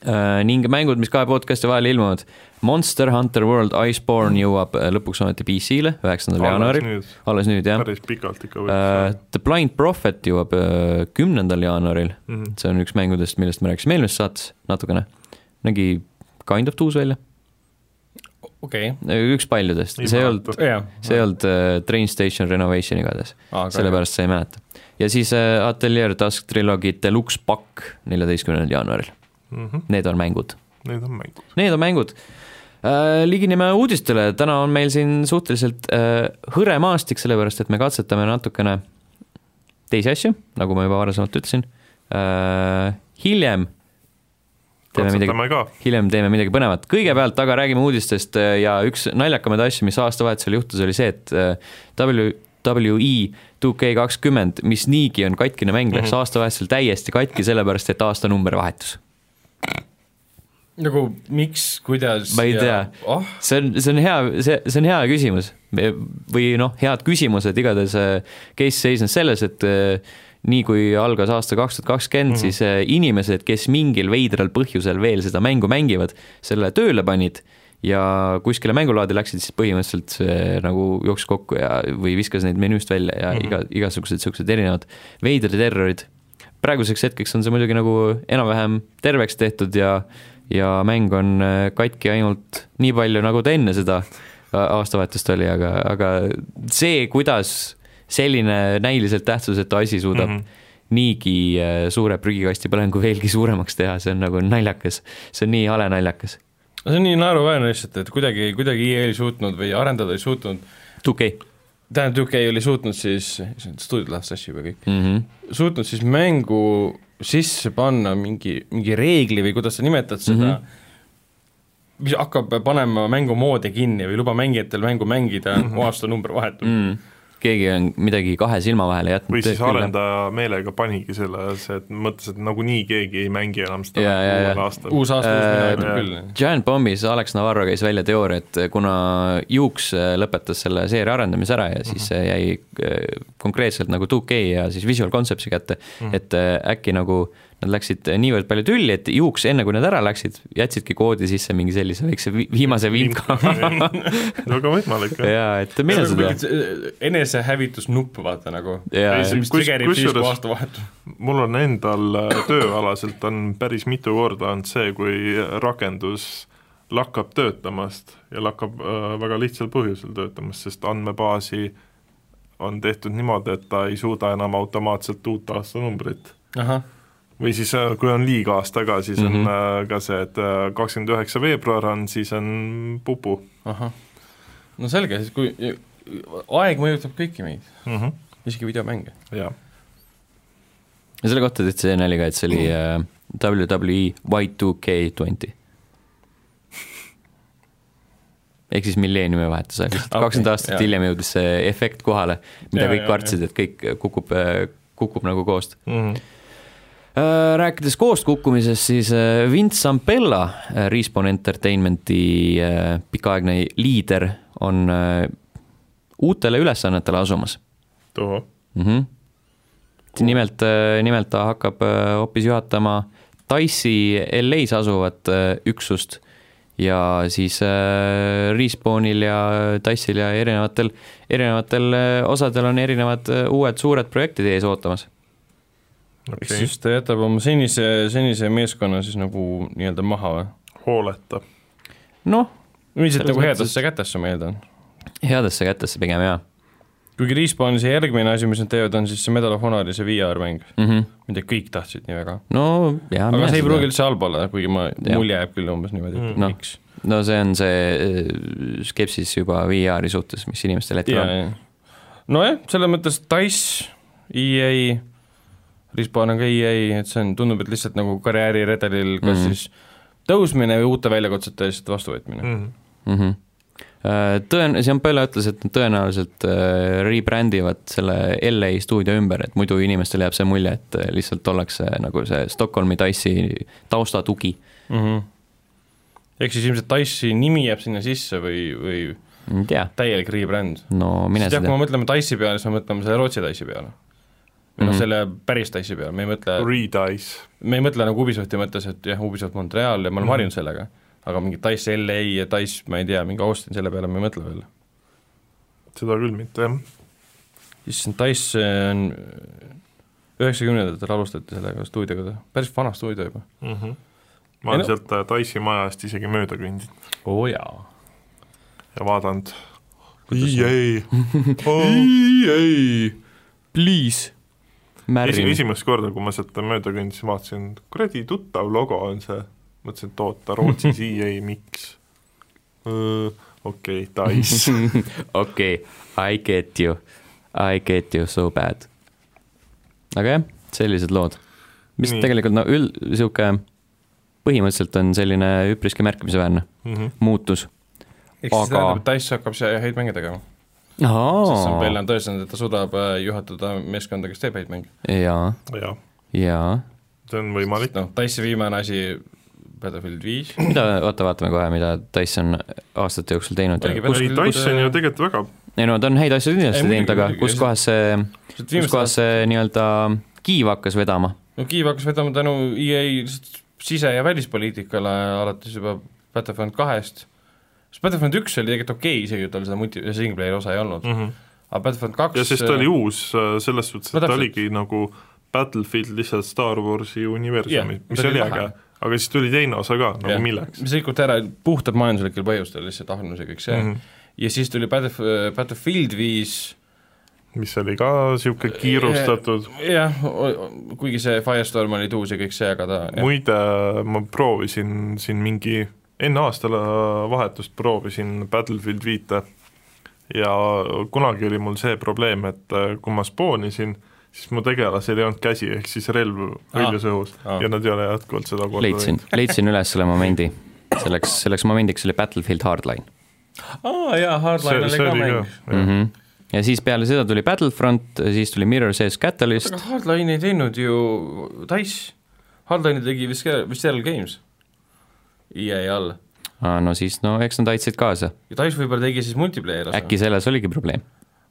Speaker 1: Äh, ning mängud , mis kahe podcast'i vahel ilmuvad . Monster Hunter World Iceborne jõuab äh, lõpuks ometi PC-le , üheksandal jaanuaril , alles nüüd jah .
Speaker 3: päris pikalt ikka
Speaker 1: Uh,
Speaker 3: võiks
Speaker 1: The Blind Prophet jõuab äh, kümnendal jaanuaril ,
Speaker 3: uh, .
Speaker 1: see on üks mängudest , millest me rääkisime eelmises saates natukene . nägi kind of uus välja ,
Speaker 2: okei ,
Speaker 1: üks paljudest , see ei olnud ,
Speaker 2: jah .
Speaker 1: see ei olnud uh, Train Station Renovation igatahes . sellepärast sa ei mäleta . ja siis äh, Atelier Task Trilogy Deluxe pakk neljateistkümnendal jaanuaril ,
Speaker 3: olnud .
Speaker 1: need on mängud .
Speaker 3: Need mhm. on mängud .
Speaker 1: Need on mängud . ligineme uudistele , täna on meil siin suhteliselt äh, hõre maastik , sellepärast et me katsetame natukene teisi asju , nagu ma juba varasemalt ütlesin . hiljem teeme midagi ,
Speaker 3: katsetame ka ,
Speaker 1: hiljem teeme midagi põnevat , kõigepealt aga räägime uudistest äh, ja üks naljakamaid asju , mis aastavahetusel juhtus , oli see , et äh, W , E WE 2K20 , mis niigi on katkine mäng , läks aastavahetusel täiesti katki , sellepärast et aastanumber vahetus .
Speaker 2: nagu miks , kuidas
Speaker 1: Ma ei
Speaker 2: ja-
Speaker 1: tea.
Speaker 2: oh ,
Speaker 1: see on , see on hea , see , see on hea küsimus Me- või noh , head küsimused , igatahes äh, case seisnes selles , et äh, nii kui algas aasta kaks tuhat kakskümmend , siis äh, inimesed , kes mingil veidral põhjusel veel seda mängu mängivad , selle tööle panid ja kuskile mängulaadi läksid , siis põhimõtteliselt see nagu jooksis kokku ja , või viskas neid menüüst välja ja mm -hmm. iga , igasugused niisugused erinevad veidrad errorid . praeguseks hetkeks on see muidugi nagu enam-vähem terveks tehtud ja , ja mäng on äh, katki ainult nii palju , nagu ta enne seda a- aastavahetust oli , aga , aga see , kuidas selline näiliselt tähtsusetu asi suudab mm
Speaker 3: Mhm.
Speaker 1: -hmm. niigi äh, suure prügikasti põlengu veelgi suuremaks teha , see on nagu naljakas . see on nii hale naljakas .
Speaker 2: see on nii naeruväärne lihtsalt , et kuidagi , kuidagi EA ei suutnud või arendajad ei suutnud ,
Speaker 1: okei .
Speaker 2: tähendab , UK ei ole suutnud siis , stuudiod lähevad sassi juba kõik ,
Speaker 1: mm . -hmm.
Speaker 2: suutnud siis mängu sisse panna mingi , mingi reegli või kuidas sa nimetad seda mm , -hmm mis hakkab panema mängumoodi kinni või luba mängijatel mängu mängida mm -hmm. aastanumber vahetult mm .
Speaker 1: Mm. keegi on midagi kahe silma vahele jätnud .
Speaker 3: või siis arendaja meelega panigi selle , see , et mõtles , et nagunii keegi ei mängi enam seda
Speaker 1: Jaa, jaa, jaa.
Speaker 3: uuel aastal .
Speaker 2: uus aasta uus
Speaker 1: Äh,
Speaker 2: midagi
Speaker 3: jah.
Speaker 2: küll .
Speaker 1: Giant Bombis Alex Navarro käis välja teooria , et kuna Juuks äh, lõpetas selle seeria arendamise ära ja siis see jäi äh, konkreetselt nagu 2K ja siis Visual Conceptsi kätte , et äh, äkki nagu nad läksid niivõrd palju tülli , et Juuks , enne kui nad ära läksid , jätsidki koodi sisse mingi sellise väikse vi- viimase vimka .
Speaker 3: väga võimalik , jah .
Speaker 1: jaa , et mine sa tea .
Speaker 2: äh, enesehävitusnupp , vaata nagu .
Speaker 1: Jaa.
Speaker 2: mis
Speaker 3: Kus-
Speaker 2: triggerib siis , kui
Speaker 3: kusjuures-
Speaker 2: aastavahetus .
Speaker 3: mul on endal äh, tööalaselt on päris mitu korda olnud see , kui rakendus lakkab töötamast ja lakkab äh, väga lihtsal põhjusel töötamast , sest andmebaasi on tehtud niimoodi , et ta ei suuda enam automaatselt uut aastanumbrit .
Speaker 2: ahah ,
Speaker 3: või siis äh, kui on liiga aasta ka , äh, siis mm -hmm. on äh, ka see , et kakskümmend üheksa veebruar on , siis on pupu .
Speaker 2: ahah . no selge, siis kui aeg mõjutab kõiki meid ,
Speaker 3: mm . -hmm.
Speaker 2: isegi videomänge .
Speaker 3: jah ,
Speaker 1: ja selle kohta tehti see nali ka , et see oli äh,
Speaker 2: Mm.
Speaker 1: E WWE Y2K20 . ehk siis milleeniumi vahetus oli ,
Speaker 2: Okei,
Speaker 1: kakskümmend aastat
Speaker 2: jaa.
Speaker 1: hiljem jõudis see efekt kohale , mida
Speaker 2: Jaa,
Speaker 1: kõik
Speaker 2: jaa,
Speaker 1: kartsid , et kõik äh, kukub , kukub nagu koost .
Speaker 3: mm -hmm.
Speaker 1: Äh, rääkides koost kukkumisest , siis äh, Vince Zampella , Respawn Entertainmenti äh, pikaaegne liider , on äh, uutele ülesannetele asumas
Speaker 3: tohoh ,
Speaker 1: mm . -hmm. nimelt , nimelt ta hakkab äh, hoopis juhatama Dice'i LA-s asuvat äh, üksust ja siis äh, Respawnil ja Dice'il ja erinevatel , erinevatel äh, osadel on erinevad äh, uued suured projektid ees ootamas .
Speaker 2: ehk
Speaker 3: okei okay. ,
Speaker 2: siis ta jätab oma senise , senise meeskonna siis nagu nii-öelda maha või ?
Speaker 3: hooleta ,
Speaker 1: noh ,
Speaker 2: üldiselt
Speaker 1: Selles
Speaker 2: nagu
Speaker 1: mõttes,
Speaker 2: headesse kätesse , ma eeldan .
Speaker 1: headesse kätesse pigem jaa
Speaker 2: kuigi Respawni see järgmine asi , mis nad teevad , on siis see Medal of Honori see VR-mäng ,
Speaker 1: mm . -hmm
Speaker 2: mida kõik tahtsid nii väga .
Speaker 1: no jaa ,
Speaker 2: aga see ei pruugi üldse halb olla , kuigi ma ,
Speaker 1: Jah.
Speaker 2: mulje jääb küll umbes niimoodi , et
Speaker 1: Mm. Noh,
Speaker 2: miks .
Speaker 1: no see on see äh, skepsis juba VR-i suhtes , mis inimestel hetkel on .
Speaker 2: nojah , selles mõttes Dice , EA , Lisbon on ka EA , et see on , tundub , et lihtsalt nagu karjääriredelil kas
Speaker 1: Mhm.
Speaker 2: mm. siis tõusmine või uute väljakutsete eest vastuvõtmine mm. .
Speaker 1: mm -hmm. Tõen- , Jean-Paul ütles , et nad tõenäoliselt äh, rebrand ivad selle LA stuudio ümber , et muidu inimestele jääb see mulje , et äh, lihtsalt ollakse nagu see Stockholmi Dice'i taustatugi
Speaker 2: Mm -hmm. ehk siis ilmselt Dice'i nimi jääb sinna sisse või , või
Speaker 1: ei tea ,
Speaker 2: täielik rebrand .
Speaker 1: no mine
Speaker 2: sest jah , kui
Speaker 1: seda
Speaker 2: me mõtleme Dice'i peale , siis me mõtleme selle Rootsi Dice'i peale . või noh ,
Speaker 1: Mhm.
Speaker 2: selle päris Dice'i peale , me ei mõtle ,
Speaker 3: redice ,
Speaker 2: me ei mõtle nagu Ubisofti mõttes , et jah , Ubisoft Montreal ja me oleme mm.
Speaker 3: Mhm.
Speaker 2: harjunud sellega , aga mingi Dice LA ja Dice , ma ei tea , mingi Austin , selle peale me ei mõtle veel .
Speaker 3: seda küll mitte jah ,
Speaker 2: issand , Dice on , üheksakümnendatel alustati sellega stuudioga , päris vana stuudio juba .
Speaker 3: ma olen
Speaker 2: Ei no-
Speaker 3: sealt äh, Dice'i maja eest isegi mööda kõndinud
Speaker 2: oo oh, jaa .
Speaker 3: ja vaadanud .
Speaker 2: Kuidas on?
Speaker 3: ei , Oh,
Speaker 2: ei , please .
Speaker 3: Esi- ,
Speaker 1: märgin .
Speaker 3: esimest korda , kui ma sealt mööda kõndisin , vaatasin , kuradi tuttav logo on see , mõtlesin , et oota , Rootsis EA , miks ? okei , Dice ,
Speaker 1: okei , I get you , I get you so bad . aga jah , sellised lood , mis
Speaker 3: Nii.
Speaker 1: Nii. tegelikult no üld- , sihuke põhimõtteliselt on selline üpriski märkimisväärne
Speaker 3: Mhm.
Speaker 1: muutus .
Speaker 2: ehk
Speaker 1: Aga-
Speaker 2: siis aga... tähendab , et Dice hakkab siia häid mänge tegema oh. , sest Sambel
Speaker 1: jaa ,
Speaker 2: on tõestanud , et ta suudab äh, juhatada meeskonda , kes teeb häid mänge .
Speaker 3: jah ,
Speaker 1: jaa ,
Speaker 3: see on võimalik ,
Speaker 2: noh , Dice'i viimane asi , Battlefield viis ,
Speaker 1: mida , oota , vaatame kohe , mida Dice on aastate jooksul teinud
Speaker 2: Oligi
Speaker 1: ja kus ,
Speaker 3: ei Dice on ju tegelikult väga
Speaker 1: ei no ta on häid asju
Speaker 2: Ei,
Speaker 1: kindlasti
Speaker 2: muidugi,
Speaker 1: teinud , aga
Speaker 2: muidugi,
Speaker 1: kus
Speaker 2: ja
Speaker 1: kohas see , kus
Speaker 2: viimast
Speaker 1: kohas see nii-öelda kiiv hakkas vedama
Speaker 2: no Kiiev hakkas vedama tänu EA lihtsalt sise- ja välispoliitikale alates juba Battlefront kahest , sest Battlefront üks oli tegelikult okei okay, , isegi tal seda multi- , singleplayer'i osa ei olnud ,
Speaker 3: mm . -hmm.
Speaker 2: aga Battlefront kaks
Speaker 3: ja sest ta oli uus äh, selles suhtes ,
Speaker 2: No
Speaker 3: et ta
Speaker 2: täpselt.
Speaker 3: oligi nagu Battlefield lihtsalt Star Warsi universumi
Speaker 2: Jah, ,
Speaker 3: mis
Speaker 2: ta oli
Speaker 3: oli
Speaker 2: lahe.
Speaker 3: äge , aga siis tuli teine osa ka , nagu
Speaker 2: Jah.
Speaker 3: milleks .
Speaker 2: mis rikuti ära puhtalt majanduslikel põhjustel , lihtsalt ahnus ja kõik see
Speaker 1: Mhm.
Speaker 3: Mhm.
Speaker 2: mm , -hmm. ja siis tuli Battle , Battlefield viis
Speaker 3: mis oli ka niisugune kiirustatud ,
Speaker 2: jah , kuigi see Firestorm oli tuus ja kõik see , aga ta jah,
Speaker 3: muide ma proovisin siin mingi , enne aastavahetust proovisin Battlefield viite ja kunagi oli mul see probleem , et äh, kui ma spoonisin , siis mu tegelasel ei olnud käsi , ehk siis relv hõljus õhus
Speaker 2: Aa.
Speaker 3: ja nad ei ole jätkuvalt seda korda
Speaker 1: leidsin , leidsin üles selle momendi , selleks , selleks momendiks oli Battlefield Hardline
Speaker 2: aa jaa , Hardline
Speaker 3: see ,
Speaker 2: oli
Speaker 3: see
Speaker 2: ka
Speaker 3: oli
Speaker 2: mäng
Speaker 3: ka ,
Speaker 1: mm .
Speaker 3: jah.
Speaker 1: -hmm. ja siis peale seda tuli Battlefront , siis tuli Mirror's Edge Catalyst
Speaker 2: aga , noh. Hardline ei teinud ju Dice , Hardline'i tegi vist , vist Serial Games EA all .
Speaker 1: Ah, no siis no eks nad aitasid kaasa ,
Speaker 2: ja Dice võib-olla tegi siis multiplayer'i osa .
Speaker 1: äkki selles oligi probleem ,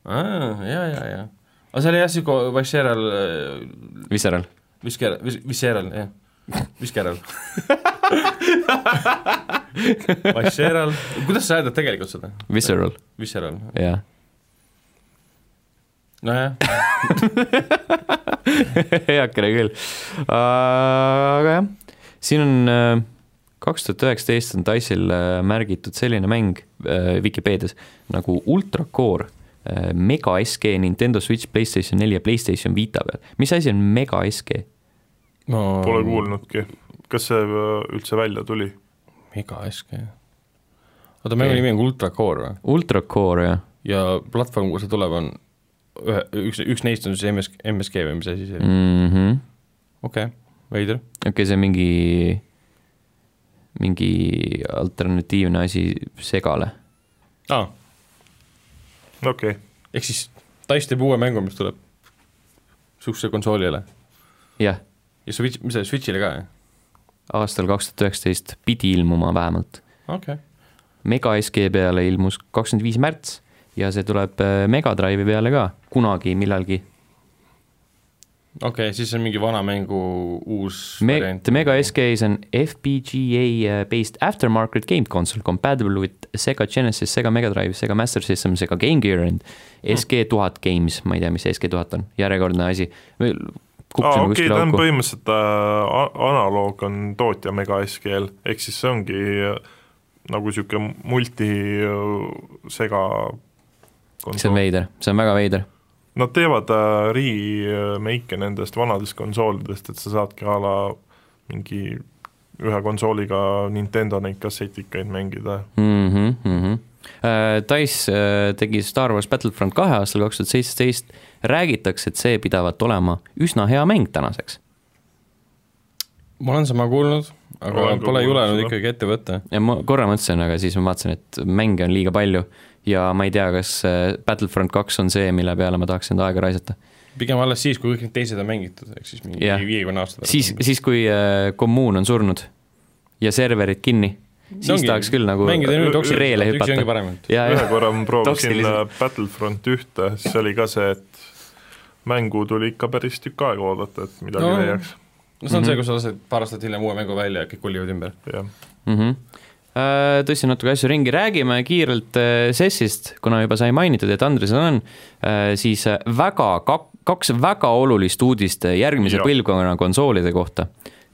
Speaker 2: aa , jaa , jaa , jaa . aga see oli jah , niisugune Visceral , äh,
Speaker 1: Visceral .
Speaker 2: Visceral , Visceral , jah , Visceral . Visceral , kuidas sa hääldad tegelikult seda ?
Speaker 1: Visceral ,
Speaker 2: Visceral ,
Speaker 1: jah .
Speaker 2: nojah ,
Speaker 1: heakene küll , aga jah , siin on äh, kaks tuhat üheksateist on Dice'il äh, märgitud selline mäng äh, Vikipeedias nagu Ultra Core , Mega SG , Nintendo Switch , Playstation neli ja Playstation Vita peal , mis asi on Mega SG ?
Speaker 2: no
Speaker 3: Pole kuulnudki . kas see äh, üldse välja tuli ?
Speaker 2: iga SK . oota , mängu nimi on Ultra Core või ?
Speaker 1: Ultracore , jah .
Speaker 2: ja platvorm , kuhu see tuleb , on ühe , üks , üks neist on siis MS , MSG või mis asi see oli ,
Speaker 1: okei ,
Speaker 2: okei , veider .
Speaker 1: Mhm. see on mingi , mingi alternatiivne asi segale .
Speaker 2: aa ,
Speaker 3: okei okay. ,
Speaker 2: ehk siis Dice teeb uue mängu , mis tuleb niisuguse konsoolile
Speaker 1: jah ,
Speaker 2: ja Switch , mis see , Switchile ka , jah ?
Speaker 1: aastal kaks tuhat üheksateist pidi ilmuma vähemalt .
Speaker 2: okei okay. ,
Speaker 1: Mega SG peale ilmus kakskümmend viis märts ja see tuleb äh, Mega Drive'i peale ka kunagi , millalgi .
Speaker 2: okei okay, , siis on mingi vana mängu uus
Speaker 1: Me- , The Mega SG is an FPGA uh, based aftermarket game console compatible with Sega Genesis , Sega Mega Drive , Sega Master System , Sega Game Gear and
Speaker 3: Ah.
Speaker 1: SG tuhat games , ma ei tea , mis SG tuhat on , järjekordne asi .
Speaker 3: aa
Speaker 1: kukkusime
Speaker 3: okei ,
Speaker 1: kuskile
Speaker 3: ta on
Speaker 1: auku .
Speaker 3: põhimõtteliselt äh, a- analoog on tootja Mega SQL , ehk siis see ongi äh, nagu äh, niisugune multisega
Speaker 1: see on veider , see on väga veider .
Speaker 3: Nad teevad äh, remake'e nendest vanadest konsoolidest , et sa saadki a la mingi ühe konsooliga Nintendo neid kassetikaid mängida .
Speaker 1: mm . -hmm. Äh, Dice äh, tegi Star Wars Battlefront kahe aastal kaks tuhat seitseteist , räägitakse , et see pidavat olema üsna hea mäng tänaseks .
Speaker 2: ma olen sama kuulnud , aga
Speaker 3: Olen ka
Speaker 2: pole
Speaker 3: kuulnud
Speaker 2: julenud
Speaker 3: seda.
Speaker 2: ikkagi ette võtta .
Speaker 1: ja ma korra mõtlesin , aga siis ma vaatasin , et mänge on liiga palju ja ma ei tea , kas äh, Battlefront kaks on see , mille peale ma tahaks enda aega raisata .
Speaker 2: pigem alles siis , kui kõik need teised on mängitud , ehk siis mingi
Speaker 1: Jah.
Speaker 2: viiekümne aasta
Speaker 1: siis , siis kui äh, kommuun on surnud ja serverid kinni , siis
Speaker 2: ongi-
Speaker 1: ongi, tahaks küll nagu
Speaker 2: mängida nüüd toksiliselt,
Speaker 1: reele
Speaker 2: üks ongi
Speaker 1: hüpata .
Speaker 2: parem .
Speaker 1: ja ,
Speaker 3: ühe
Speaker 1: ja ,
Speaker 3: korra ma proovisin
Speaker 1: Toksiliselt.
Speaker 3: äh, Battlefront ühte , siis oli ka see , et mängu tuli ikka päris tükk aega oodata , et midagi
Speaker 2: No.
Speaker 3: no. leiaks ,
Speaker 2: no see on see , kus sa lased paar aastat hiljem uue mängu välja ja kõik kullivad ümber .
Speaker 3: jah .
Speaker 1: mhmh . tõstsin Mhm. Äh, natuke asju ringi , räägime kiirelt äh, SES-ist , kuna juba sai mainitud , et Andresel on , siis äh, väga kak- , kaks väga olulist uudist äh, järgmise
Speaker 3: Jah.
Speaker 1: põlvkonna konsoolide kohta .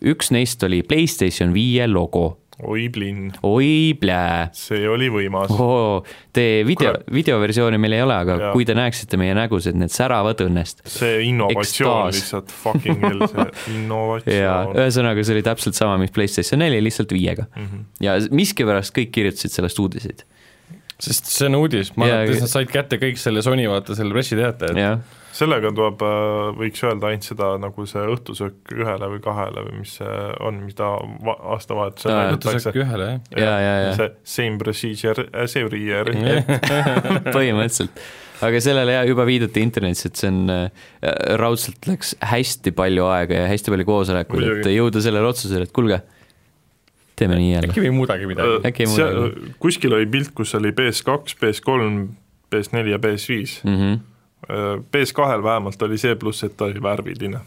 Speaker 1: üks neist oli PlayStation viie logo ,
Speaker 3: oi plinn ,
Speaker 1: oi plää .
Speaker 3: see oli võimas .
Speaker 1: ohoo , te video , videoversiooni meil ei ole , aga ja.
Speaker 3: Jaa.
Speaker 1: kui te näeksite meie nägusid , need säravad õnnest .
Speaker 3: see innovatsioon
Speaker 1: Ekstaas.
Speaker 3: lihtsalt , fucking hell , see
Speaker 1: ja
Speaker 3: innovatsioon .
Speaker 1: ühesõnaga , see oli täpselt sama , mis PlayStation neli , lihtsalt viiega mm .
Speaker 3: Mhm.
Speaker 1: -hmm. ja miskipärast kõik kirjutasid sellest uudiseid .
Speaker 2: sest see on uudis , ma
Speaker 1: Jaa,
Speaker 2: arvan , et
Speaker 1: aga-
Speaker 2: nad said kätte kõik selle Sony vaata selle pressiteate , et
Speaker 1: jah
Speaker 3: sellega tuleb , võiks öelda ainult seda , nagu see õhtusöök ühele või kahele või mis see on , mida va- aastavahetusel
Speaker 1: Aa,
Speaker 2: õhtusöök
Speaker 3: näidatakse .
Speaker 2: ühele , jah .
Speaker 1: Jaa, jaa, jaa.
Speaker 3: see same procedure äh, as every year .
Speaker 1: põhimõtteliselt , aga sellele jah , juba viidati internetis , et see on äh, , raudselt läks hästi palju aega ja hästi palju koosolekuid , et
Speaker 3: Muidugi.
Speaker 1: jõuda sellele otsusele , et kuulge , teeme nii jälle .
Speaker 2: äkki me ei muudagi midagi .
Speaker 1: Äkki ei muudagi.
Speaker 3: kuskil oli pilt , kus oli PS2 , PS3 , PS4 ja PS5 .
Speaker 1: Mm -hmm.
Speaker 3: Äh, PS2-l vähemalt oli see pluss , et ta oli värviline .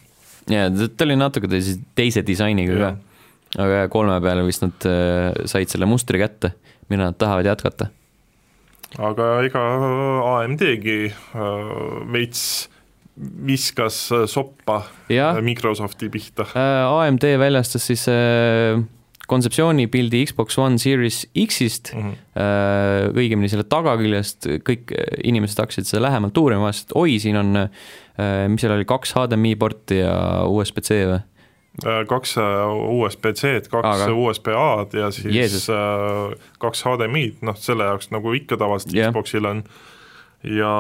Speaker 1: ja ta- ta oli natuke teise , teise disainiga ka
Speaker 3: Jah. ,
Speaker 1: aga jah, kolme peale vist nad äh, said selle mustri kätte , mida nad tahavad jätkata .
Speaker 3: aga ega AMD-gi äh, veits viskas äh, soppa äh,
Speaker 1: jah ,
Speaker 3: Microsofti pihta .
Speaker 1: AMD väljastas siis äh, kontseptsioonipildi Xbox One Series X-ist äh, õigemini selle tagaküljest , kõik äh, inimesed hakkasid seda lähemalt uurima , vaatasid , et oi , siin on , mis seal oli , kaks HDMI porti ja USB-C või ?
Speaker 3: Äh, kaks äh, USB-C-d , kaks
Speaker 1: Aga-
Speaker 3: Aga. USB-A-d ja siis
Speaker 1: Jeesus.
Speaker 3: äh, kaks HDMI-d , noh selle jaoks nagu ikka tavaliselt
Speaker 1: Jah.
Speaker 3: yeah. Xboxil on ja,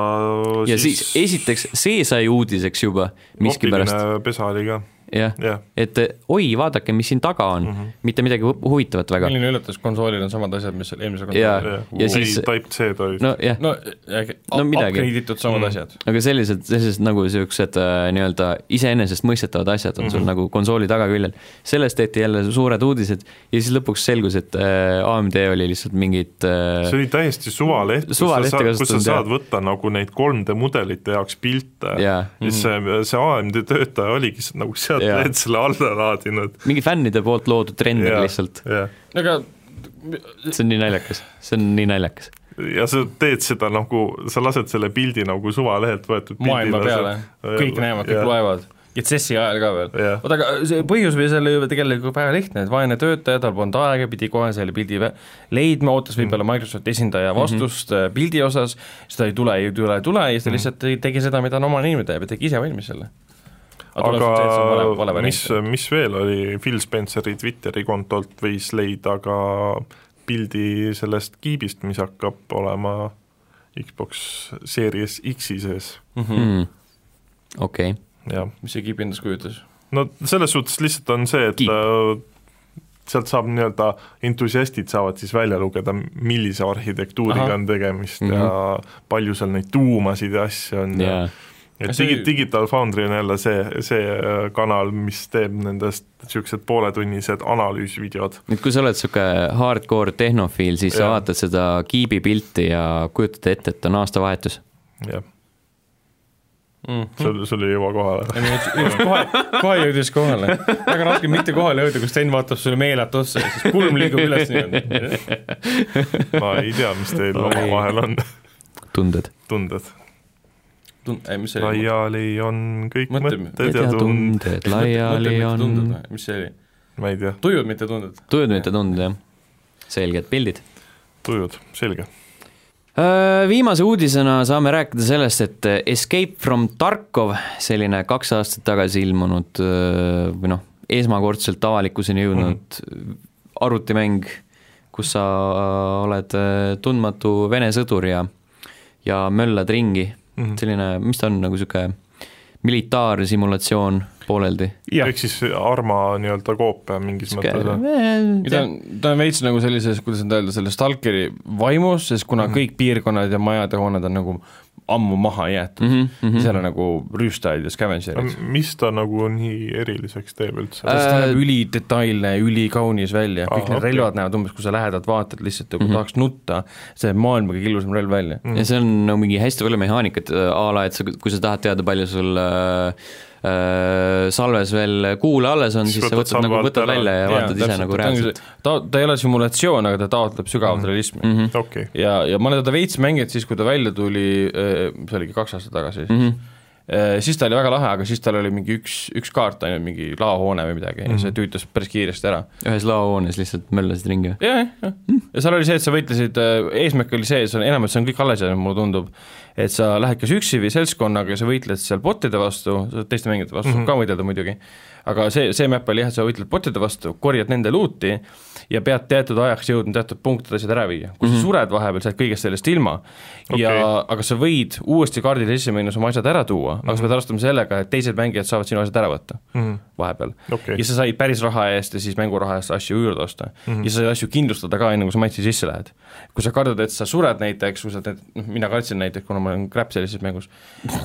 Speaker 1: ja siis esiteks , see sai uudiseks juba miskipärast ,
Speaker 3: optiline pesa oli ka ,
Speaker 1: jah ,
Speaker 3: jah ,
Speaker 1: et äh, oi , vaadake , mis siin taga on mm , -hmm. mitte midagi hu- huvitavat väga .
Speaker 2: milline üllatus , konsoolil on samad asjad , mis seal eelmisel
Speaker 1: Jaa.
Speaker 2: konsoolil .
Speaker 3: ja
Speaker 1: Ja siis-
Speaker 3: Type-C-d olid no. ,
Speaker 1: nojah ,
Speaker 2: no ,
Speaker 1: No midagi. Mm.
Speaker 2: upgrade itud samad asjad .
Speaker 1: aga sellised , sellised nagu niisugused äh, nii-öelda iseenesestmõistetavad asjad on sul mm -hmm. nagu konsooli tagaküljel . sellest tehti jälle suured uudised ja siis lõpuks selgus , et äh, AMD oli lihtsalt mingid äh,
Speaker 3: see oli täiesti suvaleht , kus sa
Speaker 1: Suvalehte
Speaker 3: saad , kus sa
Speaker 1: kasutanud,
Speaker 3: saad
Speaker 1: jah.
Speaker 3: võtta nagu neid 3D mudelite jaoks pilte
Speaker 1: Jaa. Mhm.
Speaker 3: ja siis see , see AMD töötaja oligi lihtsalt nagu sealt
Speaker 1: Jaa.
Speaker 3: yeah. selle alla laadinud .
Speaker 1: mingi fännide poolt loodud trender yeah. lihtsalt ,
Speaker 3: jah ,
Speaker 2: aga
Speaker 1: see on nii naljakas , see on nii naljakas .
Speaker 3: ja sa teed seda nagu , sa lased selle pildi nagu suvalehelt võetud
Speaker 2: maailma
Speaker 3: pildina
Speaker 2: peale ,
Speaker 3: seal-
Speaker 2: kõik näevad , kõik
Speaker 3: Jah.
Speaker 2: loevad . ja tsessi ajal ka veel .
Speaker 3: Jah.
Speaker 2: oota , aga see põhjus või selle ju tegelikult väga lihtne , et vaene töötaja , tal polnud aega , pidi kohe selle pildi vä- leidma , ootas
Speaker 3: Mhm.
Speaker 2: võib-olla Microsofti esindaja vastust mm -hmm. pildi osas , seda ei tule , ei tule , ei tule ja siis ta
Speaker 3: Mhm.
Speaker 2: lihtsalt tegi- tegi seda , mida ta oma inimene teeb ja tegi ise valmis selle .
Speaker 3: aga mis , mis veel oli , Phil Spenceri Twitteri kontolt võis leida ka pildi sellest kiibist , mis hakkab olema Xbox Series X-i sees ,
Speaker 2: Hmm.
Speaker 1: mm. . okei okay. ,
Speaker 3: jah .
Speaker 2: Mhm. mis see kiip endast kujutas ?
Speaker 3: no selles suhtes lihtsalt on see , et
Speaker 1: Kiip.
Speaker 3: äh, sealt saab nii-öelda , entusiastid saavad siis välja lugeda , millise arhitektuuriga
Speaker 2: Ahah.
Speaker 3: on tegemist mm
Speaker 1: Mhm.
Speaker 3: -hmm. ja palju seal neid tuumasid ja asju on ja
Speaker 1: jaa .
Speaker 3: et
Speaker 2: Ja see-
Speaker 3: digi- , Digital Foundry on jälle see , see äh, kanal , mis teeb nendest niisugused pooletunnised analüüsvideod .
Speaker 1: nüüd , kui sa oled niisugune hardcore tehnofiil , siis ja. sa
Speaker 3: Jaa.
Speaker 1: vaatad seda kiibipilti ja kujutad ette , et on aastavahetus .
Speaker 3: jah ,
Speaker 2: Mm.
Speaker 3: sul , sul ei jõua kohale .
Speaker 2: kohe , kohe jõudis kohale , väga raske mitte kohale jõuda , kui Sten vaatab sulle meelatu otsa ja siis kulm liigub üles niimoodi .
Speaker 3: ma ei tea , mis teil omavahel on
Speaker 1: tunded ?
Speaker 3: tunded .
Speaker 2: ei , mis see oli ?
Speaker 3: laiali on kõik
Speaker 2: Mõtle-
Speaker 3: mõtted ja tund- ,
Speaker 1: laiali on .
Speaker 2: mis see oli ?
Speaker 3: ma ei tea ,
Speaker 2: tujud , mitte tunded ?
Speaker 1: tujud , mitte tunded , jah . selged pildid .
Speaker 3: tujud , selge .
Speaker 1: Äh, Viimase uudisena saame rääkida sellest , et Escape from Tarkov , selline kaks aastat tagasi ilmunud öö, või noh , esmakordselt avalikkuseni jõudnud arvutimäng , kus sa äh, oled öö, tundmatu Vene sõdur ja , ja möllad ringi . selline , mis ta on , nagu niisugune militaarsimulatsioon pooleldi .
Speaker 3: ehk siis Arma nii-öelda koopia mingis mõttes
Speaker 1: Äh,
Speaker 3: on .
Speaker 2: ta on , ta on veits nagu sellises , kuidas nüüd öelda , selle Stalkeri vaimus , sest kuna
Speaker 1: Mhm.
Speaker 2: kõik piirkonnad ja majad ja hooned on nagu ammu maha jäetud
Speaker 1: Mhm,
Speaker 2: mm , -hmm. seal on nagu rüüstajaid ja scavengerid mm .
Speaker 3: mis ta nagu nii eriliseks teeb üldse ?
Speaker 2: ta
Speaker 1: Äh,
Speaker 2: näeb ülidetailne , ülikaunis välja , kõik
Speaker 3: Ahah,
Speaker 2: need
Speaker 3: okei.
Speaker 2: relvad näevad umbes , kui sa lähedalt vaatad lihtsalt nagu mm
Speaker 1: Mhm.
Speaker 2: -hmm. tahaks nutta , see näeb maailma kõige ilusam relv välja .
Speaker 1: ja
Speaker 3: Mhm.
Speaker 1: see on nagu mingi hästi palju mehaanikat äh, a la , et sa , kui sa tahad teada , palju sul äh, äh, salves veel kuule alles on ,
Speaker 3: Siis
Speaker 1: siis sa
Speaker 3: võtad
Speaker 1: võtad nagu ,
Speaker 3: salve alt
Speaker 1: võtad
Speaker 3: ära.
Speaker 1: välja ja vaatad ise nagu reaalselt .. Mhm.
Speaker 2: ta , ta ei ole simulatsioon , aga ta taotleb sügavat mm -hmm. realismi mm . -hmm
Speaker 3: okei ,
Speaker 2: ja , ja ma olen teda veits mänginud siis , kui ta välja tuli , see oligi kaks aastat tagasi siis mm , -hmm. siis ta oli väga lahe , aga siis tal oli mingi üks , üks kaart ainult , mingi laohoone või midagi mm , -hmm. ja see tüütas päris kiiresti ära .
Speaker 1: ühes laohoones lihtsalt möllasid ringi või ?
Speaker 2: jah , jah , ja seal oli see , et sa võitlesid , eesmärk oli see , see on enamalt , see on kõik alles jäänud , mulle tundub , et sa lähed kas üksi või seltskonnaga ja sa võitled seal bot'ide vastu , teiste mängijate vastu mm -hmm. ka võidelda muidugi , aga see , see map oli jah , et sa võitled bot'ide vastu , korjad nende luuti ja pead teatud ajaks jõudma teatud punktid asjad ära viia , kui mm -hmm. sa sured vahepeal , sa jääd kõigest sellest ilma okay. ja aga sa võid uuesti kaardile sisse minnes oma asjad ära tuua mm , -hmm. aga sa pead arvestama sellega , et teised mängijad saavad sinu asjad ära võtta mm -hmm. vahepeal
Speaker 3: Mhm. Okei.
Speaker 2: ja sa said päris raha eest ja siis mänguraha eest asju juurde osta mm . -hmm. ja sa said asju kindlustada ka , enne kui sa matši sisse lähed . kui sa kardad , et sa sured näiteks , kui sa teed , noh mina kartsin näiteks , kuna ma olen crap sellises mängus ,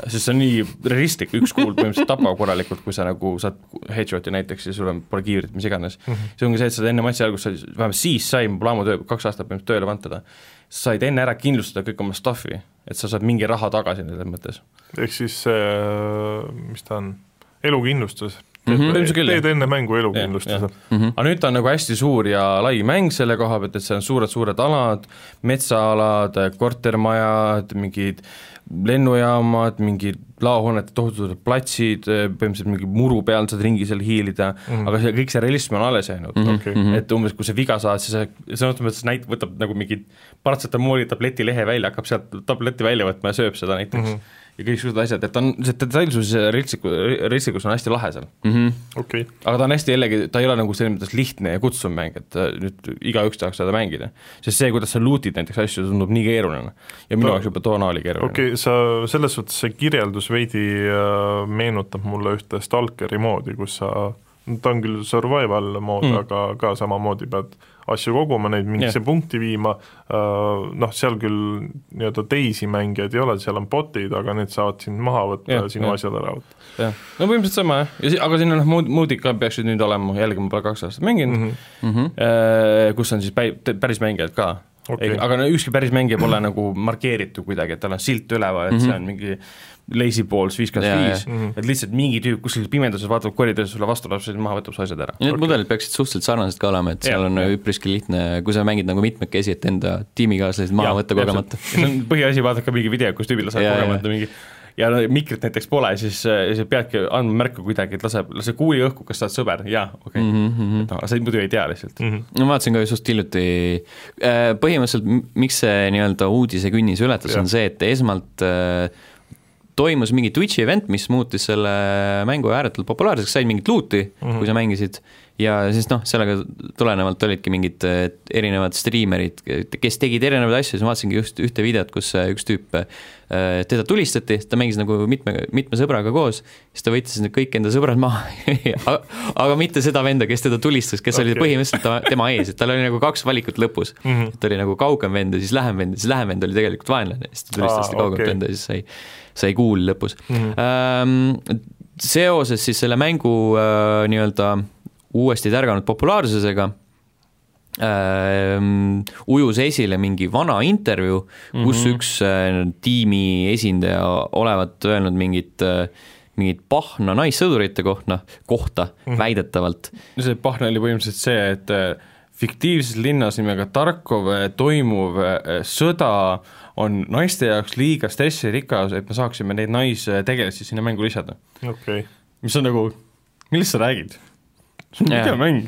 Speaker 2: sest see on nii realistlik , üks kuul põhimõtteliselt tapab korralikult , kui sa nagu saad headshot'i näiteks ja sul on , pole kiivrit , mis iganes mm . -hmm. see ongi see , et sa enne matši algust , vähemalt siis sai , mul plaamu töö , kaks aastat põhimõtteliselt tööle pannud teda , said enne ära kindlustada kõik oma stuff'i , et sa saad mingi raha tagasi selles mõttes .
Speaker 3: ehk siis see , mis ta on , elukindlustus
Speaker 2: Mhm.
Speaker 3: teed,
Speaker 2: Ilmselt küll,
Speaker 3: teed
Speaker 2: jah.
Speaker 3: enne mängu
Speaker 2: Jah,
Speaker 3: elukindlustuse
Speaker 2: jah. . aga nüüd ta on nagu hästi suur ja lai mäng selle koha pealt , et seal on suured-suured alad , metsaalad , kortermajad , mingid lennujaamad , mingid laohoonete tohutud platsid , põhimõtteliselt mingi muru peal saad ringi seal hiilida mm , -hmm. aga see kõik see realism on alles jäänud mm .
Speaker 3: Okei. Mhm.
Speaker 2: et umbes , kui sa viga saad , siis see sõna otseses mõttes näit- , võtab nagu mingi paratsetamooli tabletilehe välja , hakkab sealt tableti välja võtma ja sööb seda näiteks
Speaker 3: Mhm.
Speaker 2: mm . -hmm. ja kõiksugused asjad , et on , see detailsus ja realistliku- , realistlikkus on hästi lahe seal
Speaker 3: Mhm. okei ,
Speaker 2: aga ta on hästi jällegi , ta ei ole nagu selles mõttes lihtne ja kutsuv mäng , et äh, nüüd igaüks tahaks seda mängida . sest see , kuidas sa loot'id näiteks asju , tundub nii keeruline . ja minu
Speaker 3: No.
Speaker 2: jaoks juba toona oli keeruline
Speaker 3: okei , sa selles suhtes see kirjeldus veidi äh, meenutab mulle ühte Stalkeri moodi , kus sa , ta on küll survival mood mm. , aga ka samamoodi pead asju koguma , neid mingisse
Speaker 2: Hmm. Jah.
Speaker 3: yeah. punkti viima äh, , noh , seal küll nii-öelda teisi mängijaid ei ole , seal on bot'id , aga need saavad sind maha võtta
Speaker 2: Jah,
Speaker 3: yeah, ja sinu
Speaker 2: jah.
Speaker 3: yeah. asjad ära võtta .
Speaker 2: jah , no põhimõtteliselt sama jah , ja si- , aga siin on noh , mood , moodid ka peaksid nüüd olema , jällegi ma pole kaks aastat mänginud mm ,
Speaker 3: Mhm.
Speaker 1: Mhm.
Speaker 2: -hmm. kus on siis päi- , päris mängijad ka
Speaker 3: Okei.
Speaker 2: okay. . aga no ükski päris mängija pole nagu markeeritud kuidagi , et tal on silt üleval , et mm -hmm. see on mingi lazy balls viis kaks
Speaker 1: Mhm. Jaa,
Speaker 2: viis
Speaker 3: jah. Mhm. ,
Speaker 2: et lihtsalt mingi tüüp kuskil pimeduses vaatab koridoris sulle vastu , läheb sulle maha , võtab su asjad ära .
Speaker 1: Need okay. mudelid peaksid suhteliselt sarnased ka olema , et seal
Speaker 2: Jah,
Speaker 1: on
Speaker 2: jah.
Speaker 1: üpriski lihtne , kui sa mängid nagu mitmekesi , et enda tiimikaaslased maha
Speaker 2: Jaa,
Speaker 1: võtta kogemata .
Speaker 2: täpselt. Ja see on põhiasi , vaadake mingi video , kus tüübil laseb
Speaker 1: Jaa,
Speaker 2: kogemata mingi ja no mikrit näiteks pole , siis , siis peadki andma märku kuidagi , et lase , lase kuuli õhku , kas sa oled sõber , jaa , okei .
Speaker 1: Mhm,
Speaker 2: et noh , sa ei- muidu ei tea lihtsalt
Speaker 3: Mhm.
Speaker 2: mm .
Speaker 1: no ma vaatasin ka just hiljuti , põhimõtteliselt m- miks see nii-öelda uudise künnis ületas , on see , et esmalt äh, toimus mingi Twitch'i event , mis muutis selle mängu ääretult populaarseks , said mingit loot'i mm , -hmm. kui sa mängisid ja siis noh , sellega tulenevalt olidki mingid eh, erinevad striimerid , kes tegid erinevaid asju , siis ma vaatasingi just ühte videot , kus eh, üks tüüp eh, teda tulistati , ta mängis nagu mitme , mitme sõbraga koos , siis ta võttis need kõik enda sõbrad maha , aga mitte seda venda , kes teda tulistas , kes okay. oli
Speaker 3: Okei.
Speaker 1: põhimõtteliselt ta, tema ees , et tal oli nagu kaks valikut lõpus mm .
Speaker 3: Mhm.
Speaker 1: -hmm. et oli nagu kaugem vend ja siis lähem vend ja siis lähem vend oli tegelikult vaenlane , siis ta
Speaker 3: Aa,
Speaker 1: tulistas seda kaugemat
Speaker 3: okei.
Speaker 1: okay. venda
Speaker 3: Mhm.
Speaker 1: ja siis sai , sai kuul lõpus mm . -hmm. Seoses siis selle mängu äh, nii-öelda uuesti tärganud populaarsusega ähm, ujus esile mingi vana intervjuu , kus mm
Speaker 3: Mhm.
Speaker 1: -hmm. üks äh, tiimi esindaja olevat öelnud mingit äh, mingit pahna naissõdurite kohta , kohta
Speaker 3: Mhm.
Speaker 1: mm -hmm. väidetavalt .
Speaker 2: no see pahne oli põhimõtteliselt see , et äh, fiktiivses linnas nimega Tarkov äh, toimuv äh, sõda on naiste jaoks liiga stressirikas , et me saaksime neid naistegelasi sinna mängu lisada .
Speaker 3: okei ,
Speaker 2: mis on nagu , millest sa räägid ? see on
Speaker 1: Jaa.
Speaker 2: videomäng .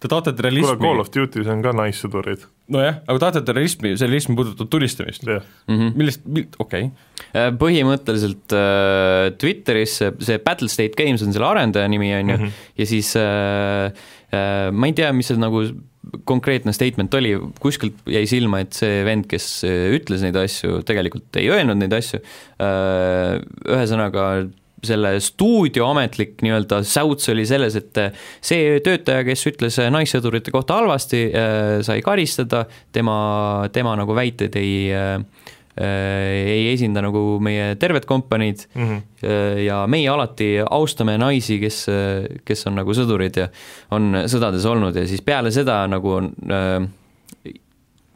Speaker 2: Te taotlete
Speaker 3: kuule , Call
Speaker 2: realismi ,
Speaker 3: of Duty's on ka naissõdurid ,
Speaker 2: nojah , aga taotlete realismi , see realism puudutab tulistamist .
Speaker 3: jah .
Speaker 2: millest , okei ,
Speaker 1: Äh, põhimõtteliselt äh, Twitteris see, see Battle State Games on selle arendaja nimi , on ju , ja siis äh, äh, ma ei tea , mis see nagu konkreetne statement oli , kuskilt jäi silma , et see vend , kes äh, ütles neid asju , tegelikult ei öelnud neid asju äh, , ühesõnaga selle stuudio ametlik nii-öelda säuts oli selles , et eh, see töötaja , kes ütles eh, naissõdurite kohta halvasti , sai karistada , tema , tema nagu väited ei äh, äh, ei esinda nagu meie terved kompaniid mm -hmm. ja meie alati austame naisi , kes , kes on nagu sõdurid ja on sõdades olnud ja siis peale seda nagu on äh,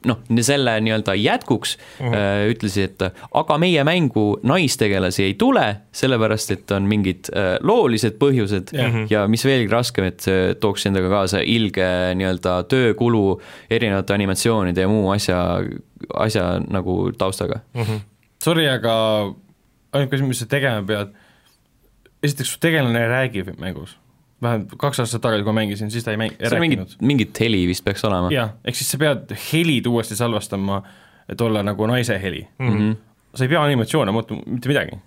Speaker 1: noh , selle nii-öelda jätkuks
Speaker 2: Mhm.
Speaker 1: mm -hmm. ütlesid , et aga meie mängu naistegelasi ei tule , sellepärast et on mingid äh, loolised põhjused mm
Speaker 2: Mhm.
Speaker 1: -hmm. ja mis veelgi raskem , et see tooks endaga kaasa ilge nii-öelda töökulu erinevate animatsioonide ja muu asja , asja nagu taustaga mm . -hmm.
Speaker 2: sorry , aga ainuke asi , mis sa tegema pead , esiteks su tegelane ei räägi mängus . vähemalt kaks aastat tagasi , kui ma mängisin , siis ta ei mäng- , ei
Speaker 1: seal
Speaker 2: rääkinud
Speaker 1: mingit , mingit heli vist peaks olema .
Speaker 2: jah , ehk siis sa pead helid uuesti salvestama , et olla nagu naise heli mm . -hmm. sa ei pea animatsioone muutma , mitte midagi .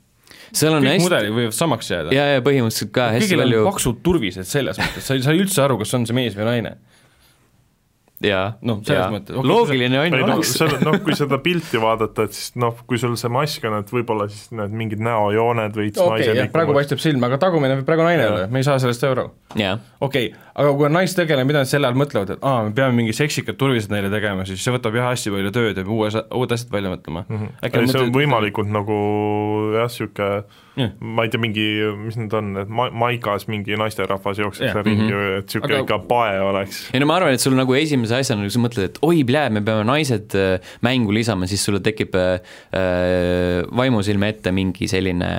Speaker 1: seal on
Speaker 2: kõik hästi...
Speaker 1: hästi ,
Speaker 2: mudelid võivad samaks jääda .
Speaker 1: ja , ja põhimõtteliselt ka hästi
Speaker 2: kõigil palju...
Speaker 1: palju
Speaker 2: on , paksud turvised selles mõttes , sa ei saa üldse aru , kas on see mees või naine .
Speaker 1: jaa ,
Speaker 2: noh, selles
Speaker 1: jaa
Speaker 2: mõttes- , okei,
Speaker 1: loogiline on
Speaker 3: ei
Speaker 1: ju
Speaker 3: no
Speaker 1: oleks .
Speaker 3: selle , noh , kui seda pilti vaadata , et siis noh , kui sul see mask on , et võib-olla siis need mingid näojooned veits naiselikumad ,
Speaker 2: paistab silma , aga tagumine võib praegu naine olla , me ei saa sellest aru
Speaker 1: jah ,
Speaker 2: okei okay, , aga kui on naistegelane , mida nad selle all mõtlevad , et aa , me peame mingi seksikad turvised neile tegema , siis see võtab jah hästi palju tööd ja peab uue , uued asjad välja mõtlema mm . -hmm. äkki
Speaker 3: ei
Speaker 2: nad
Speaker 3: Mhm. see on
Speaker 2: mõtlevad ,
Speaker 3: võimalikult nagu jah , niisugune
Speaker 2: Jah.
Speaker 3: ma ei tea , mingi , mis need on , et ma- , maigas mingi naisterahvas jookseks
Speaker 2: Jah. Mhm.
Speaker 3: yeah. ringi või et niisugune
Speaker 2: Aga-
Speaker 3: aga... ikka pae oleks .
Speaker 1: ei no ma arvan , et sul nagu esimese asjana , kui sa mõtled , et oi , plee , me peame naised äh, mängu lisama , siis sulle tekib äh, äh, vaimusilme ette mingi selline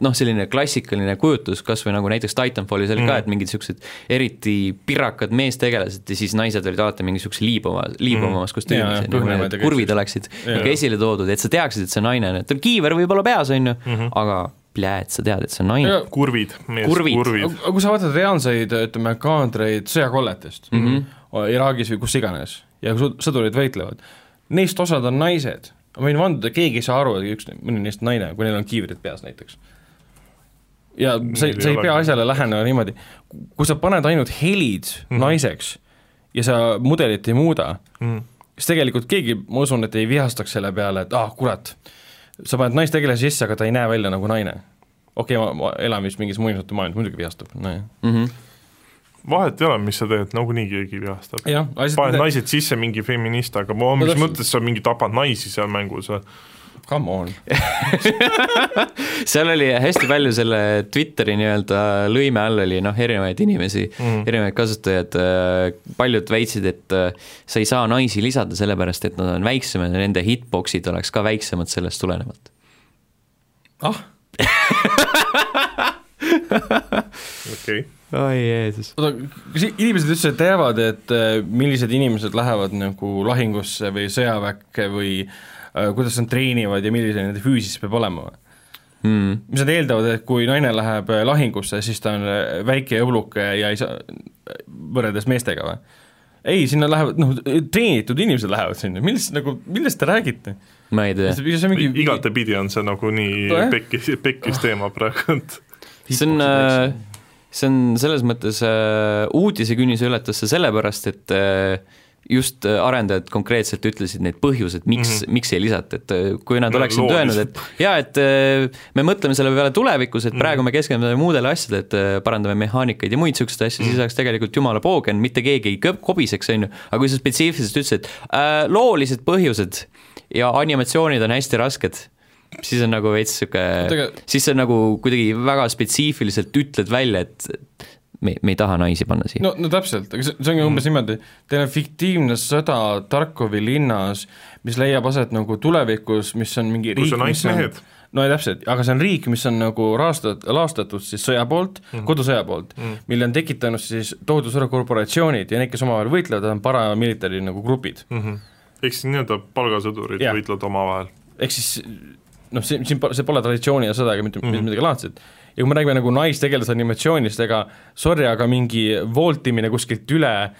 Speaker 1: noh , selline klassikaline kujutus , kas või nagu näiteks Titanfallis oli
Speaker 2: Mm.
Speaker 1: ka , et mingid niisugused eriti pirakad meestegelased ja siis naised olid alati mingi niisuguse liibuva , liibuvamas
Speaker 2: Mm. Jaa, jah,
Speaker 1: kostüümis , nagu
Speaker 2: põhjamaad
Speaker 1: need
Speaker 2: ja kõik
Speaker 1: kurvid oleksid nagu esile toodud , et sa teaksid , et see on naine , et tal kiiver võib olla peas , on
Speaker 2: Mhm.
Speaker 1: ju , aga plee , et sa tead , et see on naine .
Speaker 2: Aga-
Speaker 3: kurvid , mees ,
Speaker 1: Kurvid.
Speaker 3: kurvid, kurvid. .
Speaker 2: aga kui sa vaatad reaalseid , ütleme , kaadreid sõjakolletest mm ,
Speaker 3: Mhm.
Speaker 2: -hmm. Iraagis või kus iganes , ja kus sõdurid võitlevad , neist osad on naised , ma võin vanduda , keegi ei saa aru , et üks , mõni neist on naine , kui neil on kiivrid peas näiteks . ja sa ei ,
Speaker 3: Neil ei
Speaker 2: sa ei
Speaker 3: ole
Speaker 2: pea
Speaker 3: ka.
Speaker 2: asjale lähenema niimoodi , kui sa paned ainult helid mm
Speaker 3: Mhm.
Speaker 2: -hmm. naiseks ja sa mudelit ei muuda mm ,
Speaker 3: Mhm.
Speaker 2: -hmm. siis tegelikult keegi , ma usun , et ei vihastaks selle peale , et ah , kurat , sa paned naistegelase sisse , aga ta ei näe välja nagu naine . okei okay, , ma elan vist mingis muinasjutu maailmas , muidugi vihastab , nojah .
Speaker 1: Mhm.
Speaker 3: vahet ei ole , mis sa teed , nagunii keegi vihastab .
Speaker 2: jah ,
Speaker 3: paned
Speaker 2: asjad ,
Speaker 3: naised sisse mingi feminist , aga ma- mis
Speaker 2: täpselt.
Speaker 3: mõttes sa mingi tapad naisi seal mängus või ?
Speaker 2: come on .
Speaker 1: seal oli hästi palju selle Twitteri nii-öelda lõime all oli noh , erinevaid inimesi mm. , erinevaid kasutajaid , paljud väitsid , et äh, sa ei saa naisi lisada sellepärast , et nad on väiksemad ja nende hitbox'id oleks ka väiksemad sellest tulenevalt .
Speaker 2: ah ,
Speaker 3: okei okay. ,
Speaker 1: oi Jeesus .
Speaker 2: oota , kas i- inimesed üldse teavad , et äh, millised inimesed lähevad nagu lahingusse või sõjaväkke või äh, kuidas nad treenivad ja millise nende füüsis peab olema või ?
Speaker 1: Hmm.
Speaker 2: mis nad eeldavad , et kui naine läheb äh, lahingusse , siis ta on äh, väike ja õbluke ja ei saa , võrreldes äh, meestega või ? ei , sinna lähevad , noh , treenitud inimesed lähevad sinna , millest nagu , millest te räägite ?
Speaker 1: ma ei tea ,
Speaker 2: see on mingi
Speaker 3: igatepidi on see nagunii
Speaker 2: Nojah.
Speaker 3: pekkis , pekkis teema praegu , et
Speaker 1: see on , äh, see on selles mõttes äh, uudisekünnise ületas see sellepärast , et äh, just äh, arendajad konkreetselt ütlesid neid põhjuseid , miks mm ,
Speaker 2: Mhm.
Speaker 1: -hmm. miks ei lisata , et äh, kui nad
Speaker 3: No,
Speaker 1: oleksid
Speaker 3: loo
Speaker 1: öelnud , et jaa , et äh, me mõtleme selle peale tulevikus ,
Speaker 2: Mhm.
Speaker 1: et praegu me keskendume muudele asjadele , et äh, parandame mehaanikaid ja muid niisuguseid asju ,
Speaker 2: Mhm.
Speaker 1: siis oleks tegelikult jumala poogen , mitte keegi ei kõ- kobiseks , on ju , aga kui sa spetsiifiliselt ütlesid , äh, loolised põhjused ja animatsioonid on hästi rasked , siis on nagu veits niisugune
Speaker 2: Oota, aga-
Speaker 1: siis sa nagu kuidagi väga spetsiifiliselt ütled välja , et me , me ei taha naisi panna siia no. .
Speaker 2: no , no täpselt , aga see , see ongi umbes niimoodi , teil on fiktiivne sõda Tarkovi linnas , mis leiab aset nagu tulevikus , mis on mingi
Speaker 3: Kus
Speaker 2: riik ,
Speaker 3: on
Speaker 2: mis on
Speaker 3: naismehed.
Speaker 2: no ei, täpselt , aga see on riik , mis on nagu raastat- , laastatud siis sõja poolt mm. , kodusõja poolt mm. , mille on tekitanud siis tohutu suure korporatsioonid ja need , kes omavahel võitlevad , on paramilitari nagu grupid .
Speaker 3: Mhm. eks nii-öelda palgasõdurid
Speaker 2: Jah.
Speaker 3: võitlevad omavahel .
Speaker 2: ehk siis noh , see , siin pole , see pole traditsiooni ja sõda ega mitte
Speaker 3: Mhm.
Speaker 2: mm -hmm. midagi laadset . ja kui me räägime nagu naistegelase animatsioonist , ega sorry , aga mingi voltimine kuskilt üle ,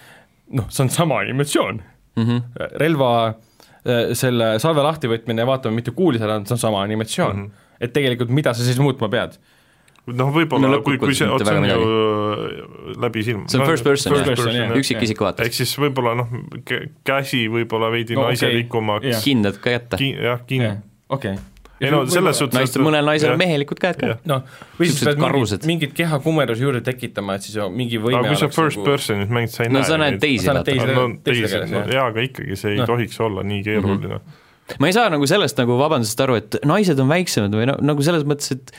Speaker 2: noh , see on sama animatsioon mm .
Speaker 3: Mhm.
Speaker 2: -hmm. relva äh, selle salve lahtivõtmine ja vaatame , mitte kuulis ära , see on sama animatsioon
Speaker 3: Mhm.
Speaker 2: mm . -hmm. et tegelikult , mida sa siis muutma pead ?
Speaker 3: noh , võib-olla
Speaker 1: No
Speaker 3: no, kui , kui
Speaker 1: lõppkokkuvõttes
Speaker 3: see ,
Speaker 1: mitte
Speaker 3: see on
Speaker 1: väga
Speaker 3: ju läbi silma . Noh,
Speaker 1: see on first person,
Speaker 2: jah. jah.
Speaker 1: üksikisiku vaates.
Speaker 3: ehk siis võib-olla noh , käsi võib-olla veidi
Speaker 2: No
Speaker 3: no,
Speaker 2: okei.
Speaker 3: naiselikumaks
Speaker 2: Jah.
Speaker 3: okay. ,
Speaker 1: kindad ka jätta ,
Speaker 3: jah , kinni .
Speaker 2: okei .
Speaker 3: ei no selles suhtes
Speaker 1: naistel , mõnel naisel on mehelikud käed ka
Speaker 3: Jah. .
Speaker 2: noh , või siis
Speaker 1: Siuksed
Speaker 2: pead mingit,
Speaker 1: karused.
Speaker 2: mingit kehakummerdusi juurde tekitama , et siis ju mingi võime
Speaker 3: aga kui sa
Speaker 2: oleks
Speaker 3: first
Speaker 2: nagu-
Speaker 3: person'it mängid , sa ei
Speaker 1: no
Speaker 3: näe
Speaker 1: sa
Speaker 3: ju
Speaker 1: näed
Speaker 3: neid-
Speaker 1: teisi
Speaker 2: Sa näed
Speaker 1: vaata .
Speaker 2: teisi.
Speaker 3: no
Speaker 2: teise
Speaker 3: teisi ,
Speaker 2: tegelasi,
Speaker 3: no
Speaker 2: jah.
Speaker 3: jaa , aga ikkagi see ei
Speaker 2: Noh. Mhm.
Speaker 3: no. tohiks olla nii keeruline mm . -hmm.
Speaker 1: ma ei saa nagu sellest nagu vabandust aru , et naised on väiksemad või no nagu selles mõttes , et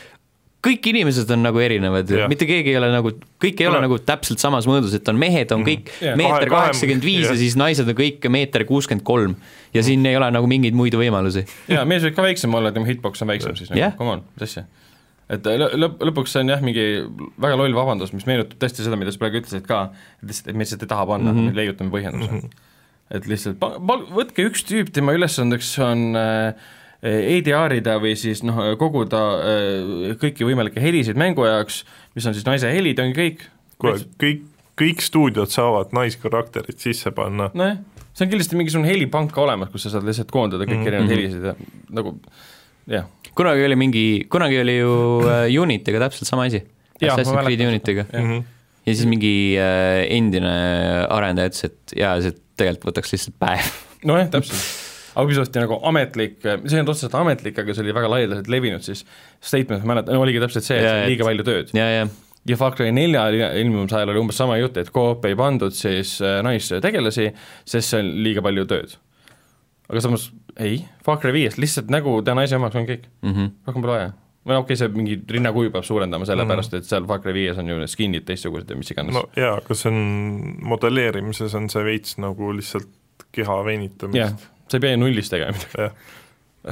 Speaker 1: kõik inimesed on nagu erinevad
Speaker 3: Jah.
Speaker 1: yeah. , mitte keegi ei ole nagu , kõik ei ole
Speaker 3: Jah.
Speaker 1: nagu täpselt samas mõõdus , et on mehed on kõik
Speaker 2: Jah.
Speaker 1: meeter
Speaker 3: Mhm. Kahe- kahe-
Speaker 1: kaheksakümmend viis ja
Speaker 3: jah. Mhm.
Speaker 1: siis naised on kõik meeter kuuskümmend kolm ja siin ei ole nagu mingeid muid võimalusi .
Speaker 2: jaa , mees võib ka väiksem olla , tema hitbox on väiksem siis nagu
Speaker 1: Jah. ,
Speaker 2: come on , mis asja . et äh, lõ- lõp- , lõpuks see on jah , mingi väga loll vabandus , mis meenutab tõesti seda , mida sa praegu ütlesid ka , et lihtsalt , et me lihtsalt ei taha panna mm , -hmm. me leiutame põhjenduse mm . -hmm. et lihtsalt pa- , pal- , võtke üks tüüp , tema ülesandeks on äh, EDR-ida või siis noh , koguda äh, kõiki võimalikke helisid mängu jaoks , mis on siis naise helid , ongi kõik .
Speaker 3: kuule , kõik , kõik stuudiod saavad naiskarakterid sisse panna
Speaker 2: nojah , see on kindlasti mingisugune helipank ka olemas , kus sa saad lihtsalt koondada kõik mm -hmm. erinevad helisid ja nagu jah
Speaker 1: kunagi oli mingi , kunagi oli ju äh, Unitiga täpselt sama asi .
Speaker 2: Jaa, ma
Speaker 1: Assassin's Creed
Speaker 2: mäletan
Speaker 1: Unitiga .
Speaker 2: Jah. Mhm.
Speaker 3: mm . -hmm.
Speaker 1: ja siis mingi äh, endine arendaja ütles , et jaa , see tegelikult võtaks lihtsalt päev .
Speaker 2: nojah , täpselt . aga Ubisofti nagu ametlik , see ei olnud otseselt ametlik , aga see oli väga laialdaselt levinud siis statement , ma mäletan , oligi täpselt see , et
Speaker 1: Jaa,
Speaker 2: see on liiga
Speaker 1: et-
Speaker 2: palju tööd .
Speaker 1: ja , ja
Speaker 2: ja Far Cry nelja ilmumise ajal oli umbes sama jutt , et co-op ei pandud siis äh, naistegelasi , sest see on liiga palju tööd . aga samas ei , Far Cry viiest lihtsalt nägu teha naise omaks on kõik ,
Speaker 1: mm . -hmm.
Speaker 2: rohkem pole vaja või no okei okay, , see mingi rinnakuju peab suurendama , sellepärast et seal Far Cry viies on ju need skin'id teistsugused ja mis iganes
Speaker 3: no jaa , aga see on , modelleerimises on see veits nagu lihtsalt keha
Speaker 2: jah
Speaker 3: venitamist ,
Speaker 2: sa ei pea ju nullist tegema midagi .
Speaker 3: jah ,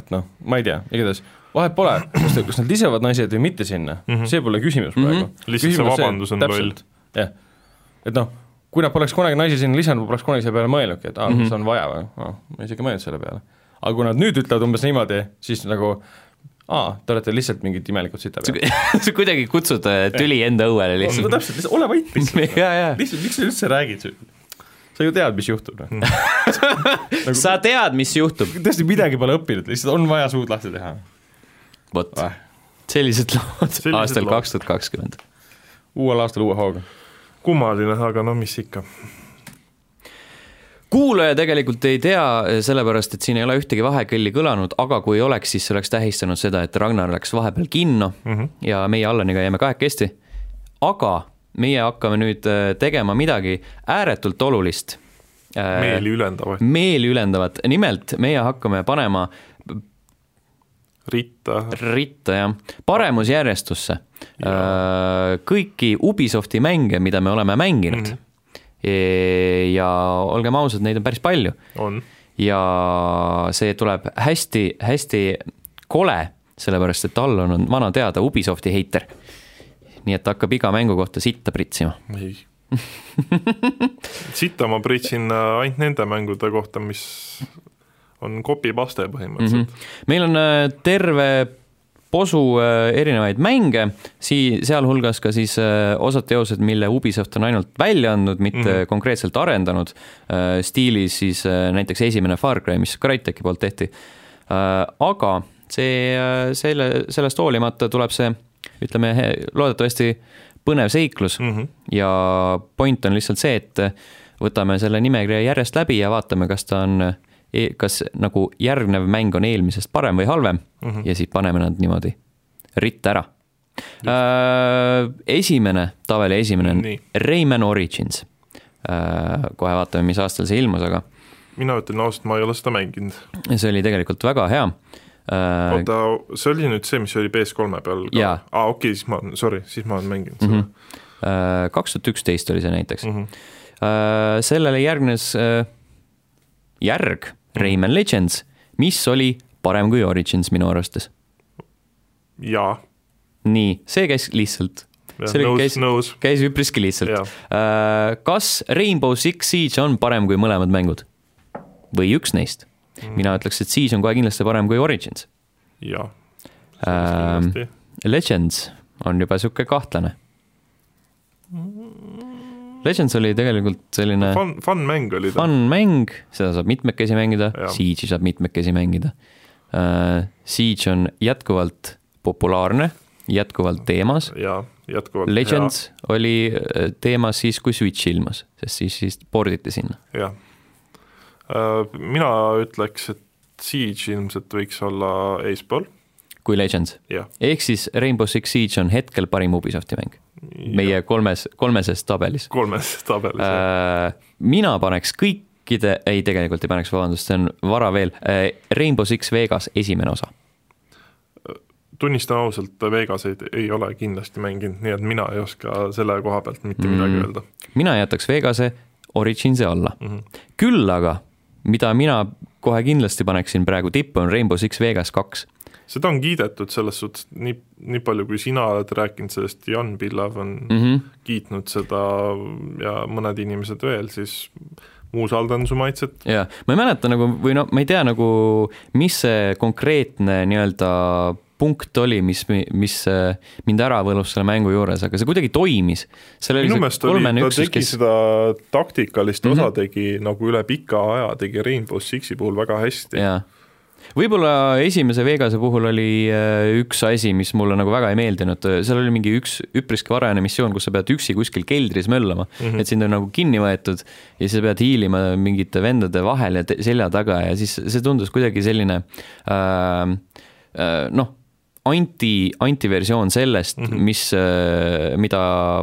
Speaker 2: et noh , ma ei tea , igatahes vahet pole , kas , kas nad lisevad naised või mitte sinna mm , -hmm. see pole küsimus praegu mm . -hmm.
Speaker 3: Lihtsalt see vabandus on loll. .
Speaker 2: jah , et noh , kui nad poleks kunagi naisi sinna lisanud , ma poleks kunagi selle peale mõelnudki , et aa mm -hmm. , see on vaja või , aa , ma isegi ei mõelnud selle peale . aga kui nad nüüd ütlevad umbes niimoodi , siis nagu aa , te olete lihtsalt mingid imelikud sita peal .
Speaker 1: sa kuidagi kutsud äh, tüli enda õuele
Speaker 2: no
Speaker 1: lihtsalt .
Speaker 2: täpselt , lihtsalt ole vait lihtsalt ,
Speaker 1: ja , ja ,
Speaker 2: lihtsalt miks sa üldse räägid , sa ju tead , mis juhtub noh. Nagu
Speaker 1: sa tead , mis juhtub .
Speaker 2: tõesti midagi pole õppinud , lihtsalt on vaja suud lahti teha
Speaker 1: vot ,
Speaker 2: Väh.
Speaker 1: sellised lood
Speaker 3: Sellised
Speaker 1: aastal
Speaker 3: lood.
Speaker 1: kaks tuhat kakskümmend .
Speaker 2: uuel aastal uue hooga .
Speaker 3: kummaline , aga no mis ikka .
Speaker 1: kuulaja tegelikult ei tea , sellepärast et siin ei ole ühtegi vahekõlli kõlanud , aga kui oleks , siis see oleks tähistanud seda , et Ragnar läks vahepeal kinno mm -hmm. ja meie Allaniga jääme kahekesti . aga meie hakkame nüüd äh, tegema midagi ääretult olulist . Äh.
Speaker 3: meeli ülendavaid ,
Speaker 1: meeli ülendavat , nimelt meie hakkame panema
Speaker 3: ritta ,
Speaker 1: ritta jah , paremusjärjestusse äh, kõiki Ubisofti mänge , mida me oleme mänginud mm . -hmm. ja olgem ausad , neid on päris palju
Speaker 3: on .
Speaker 1: ja see tuleb hästi-hästi kole , sellepärast et Allan on vana teada Ubisofti heiter . nii et hakkab iga mängu kohta sitta pritsima .
Speaker 3: ei . sitta ma pritsin äh, ainult nende mängude kohta ,
Speaker 1: Mhm.
Speaker 3: mis on copy-paste põhimõtteliselt mm .
Speaker 1: meil on äh, terve posu äh, erinevaid mänge , sii- , sealhulgas ka siis äh, osad teosed , mille Ubisoft on ainult välja andnud , mitte mm
Speaker 3: Mhm.
Speaker 1: -hmm. konkreetselt arendanud äh, , stiilis siis äh, näiteks esimene Far Cry , mis Crytek'i poolt tehti . aga see , selle , sellest hoolimata tuleb see , ütleme , loodetavasti põnev seiklus
Speaker 3: mm . -hmm.
Speaker 1: ja point on lihtsalt see , et võtame selle nimekirja järjest läbi ja vaatame , kas ta on , kas nagu järgnev mäng on eelmisest parem või halvem mm
Speaker 3: Mhm.
Speaker 1: -hmm. ja siis paneme nad niimoodi ritta ära . Esimene , tabeli esimene on
Speaker 3: Nii.
Speaker 1: Rayman Origins . Kohe vaatame , mis aastal see ilmus , aga
Speaker 3: mina ütlen ausalt , ma ei ole seda mänginud .
Speaker 1: see oli tegelikult väga hea . Äh,
Speaker 3: oota , see oli nüüd see , mis oli PS3-e peal ka
Speaker 1: Jaa.
Speaker 3: aa , okei , siis ma , sorry , siis ma olen mänginud seda mm .
Speaker 1: mhm. Äh, kaks tuhat üksteist oli see näiteks mm .
Speaker 3: -hmm.
Speaker 1: Äh, sellele järgnes äh, järg Rayman Legends , mis oli parem kui Origins minu arvates .
Speaker 3: jaa ,
Speaker 1: nii , see käis lihtsalt , See oli
Speaker 3: nõus
Speaker 1: käis- ,
Speaker 3: nõus ,
Speaker 1: käis üpriski lihtsalt Äh,
Speaker 3: jaa ..
Speaker 1: kas Rainbow Six Siege on parem kui mõlemad mängud või üks neist ?
Speaker 3: Mm.
Speaker 1: mina ütleks , et Siege on kohe kindlasti parem kui Origins .
Speaker 3: jaa .
Speaker 1: Ähm, Legends on juba sihuke kahtlane . Legends oli tegelikult selline
Speaker 3: Fun , fun mäng oli ta .
Speaker 1: fun mäng , seda saab mitmekesi mängida
Speaker 3: Jah. ,
Speaker 1: Siege'i saab mitmekesi mängida uh, . Siege on jätkuvalt populaarne , jätkuvalt teemas .
Speaker 3: jaa , jätkuvalt .
Speaker 1: Legends ja. oli äh, teemas siis , kui Switch ilmus , sest siis , siis porditi sinna .
Speaker 3: jah . mina ütleks , et Siege ilmselt võiks olla eespool ,
Speaker 1: kui Legends ,
Speaker 3: jah .
Speaker 1: ehk siis Rainbow Six Siege on hetkel parim Ubisofti mäng meie kolmes , kolmeses tabelis
Speaker 3: kolmes tabelis äh, ,
Speaker 1: uh, . mina paneks kõikide , ei , tegelikult ei paneks , vabandust , see on vara veel uh, , Rainbow Six Vegas esimene osa .
Speaker 3: tunnistan ausalt , Vegaseid ei ole kindlasti mänginud , nii et mina ei oska selle koha pealt mitte mm. midagi öelda .
Speaker 1: mina jätaks Vegase Originsi alla mm . -hmm. küll aga , mida mina kohe kindlasti paneksin praegu tippu , on Rainbow Six Vegas kaks .
Speaker 3: seda on kiidetud selles suhtes , nii , nii palju kui sina oled rääkinud sellest , Jan Pillav on mm.
Speaker 1: Mm -hmm.
Speaker 3: kiitnud seda ja mõned inimesed veel , siis ma usaldan su maitset ,
Speaker 1: jaa , ma ei mäleta nagu või no ma ei tea nagu , mis see konkreetne nii-öelda punkt oli , mis , mis äh, mind ära võlus selle mängu juures , aga see kuidagi toimis . seal oli
Speaker 3: minu
Speaker 1: see
Speaker 3: meelest oli ,
Speaker 1: kolmene
Speaker 3: ta
Speaker 1: üksus ,
Speaker 3: tegi
Speaker 1: kes
Speaker 3: kes... seda taktikalist mm
Speaker 1: Mhm.
Speaker 3: -hmm. osa tegi nagu üle pika aja , tegi Rainbow Sixi puhul väga hästi .
Speaker 1: jaa . võib-olla esimese Vegase puhul oli äh, üks asi , mis mulle nagu väga ei meeldinud , seal oli mingi üks üpriski varajane missioon , kus sa pead üksi kuskil keldris möllama mm , -hmm. et sind on nagu kinni võetud ja siis sa pead hiilima mingite vendade vahel ja te- selja taga ja siis see tundus kuidagi selline äh, äh, noh , anti , antiversioon sellest mm , -hmm. mis äh, , mida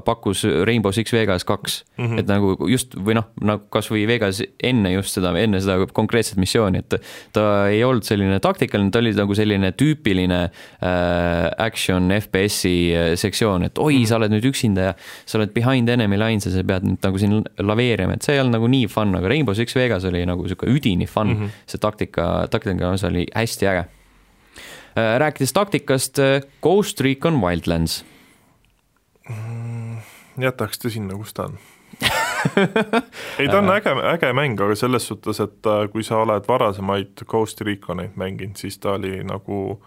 Speaker 1: pakkus Rainbow Six Vegas kaks mm , -hmm. et nagu just või noh , nagu kasvõi Vegas enne just seda , enne seda konkreetset missiooni , et ta ei olnud selline taktikaline , ta oli nagu selline tüüpiline äh, action FPS-i äh, sektsioon , et oi mm , -hmm. sa oled nüüd üksinda ja sa oled behind enemy lines ja sa pead nüüd nagu siin laveerima , et see ei olnud nagu nii fun , aga Rainbow Six Vegas oli nagu sihuke üdini fun mm , -hmm. see taktika , taktika osa oli hästi äge Äh, rääkides taktikast , Ghost Recon Wildlands .
Speaker 3: jätaks ta sinna , kus ta on . ei , ta on äge , äge mäng , aga selles suhtes , et äh, kui sa oled varasemaid Ghost Reconeid mänginud , siis ta oli nagu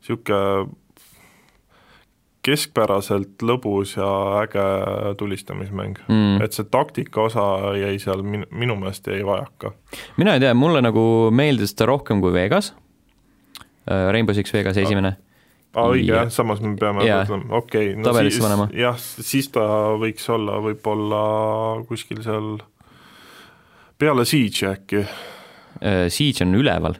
Speaker 3: niisugune keskpäraselt lõbus ja äge tulistamismäng mm. .
Speaker 1: Mhm.
Speaker 3: et see taktika osa jäi seal min- , minu meelest jäi vajaka .
Speaker 1: mina ei tea , mulle nagu meeldis ta rohkem kui Vegas . Rainbow Six Vegas
Speaker 3: Ah.
Speaker 1: esimene .
Speaker 3: aa , õige
Speaker 1: Ja-
Speaker 3: jah , samas me peame
Speaker 1: Jaa.
Speaker 3: mõtlema , okei no
Speaker 1: Tabelisse
Speaker 3: siis-
Speaker 1: panema.
Speaker 3: jah , siis ta võiks olla võib-olla kuskil seal peale Siege'i äkki
Speaker 1: Äh, Siege on üleval .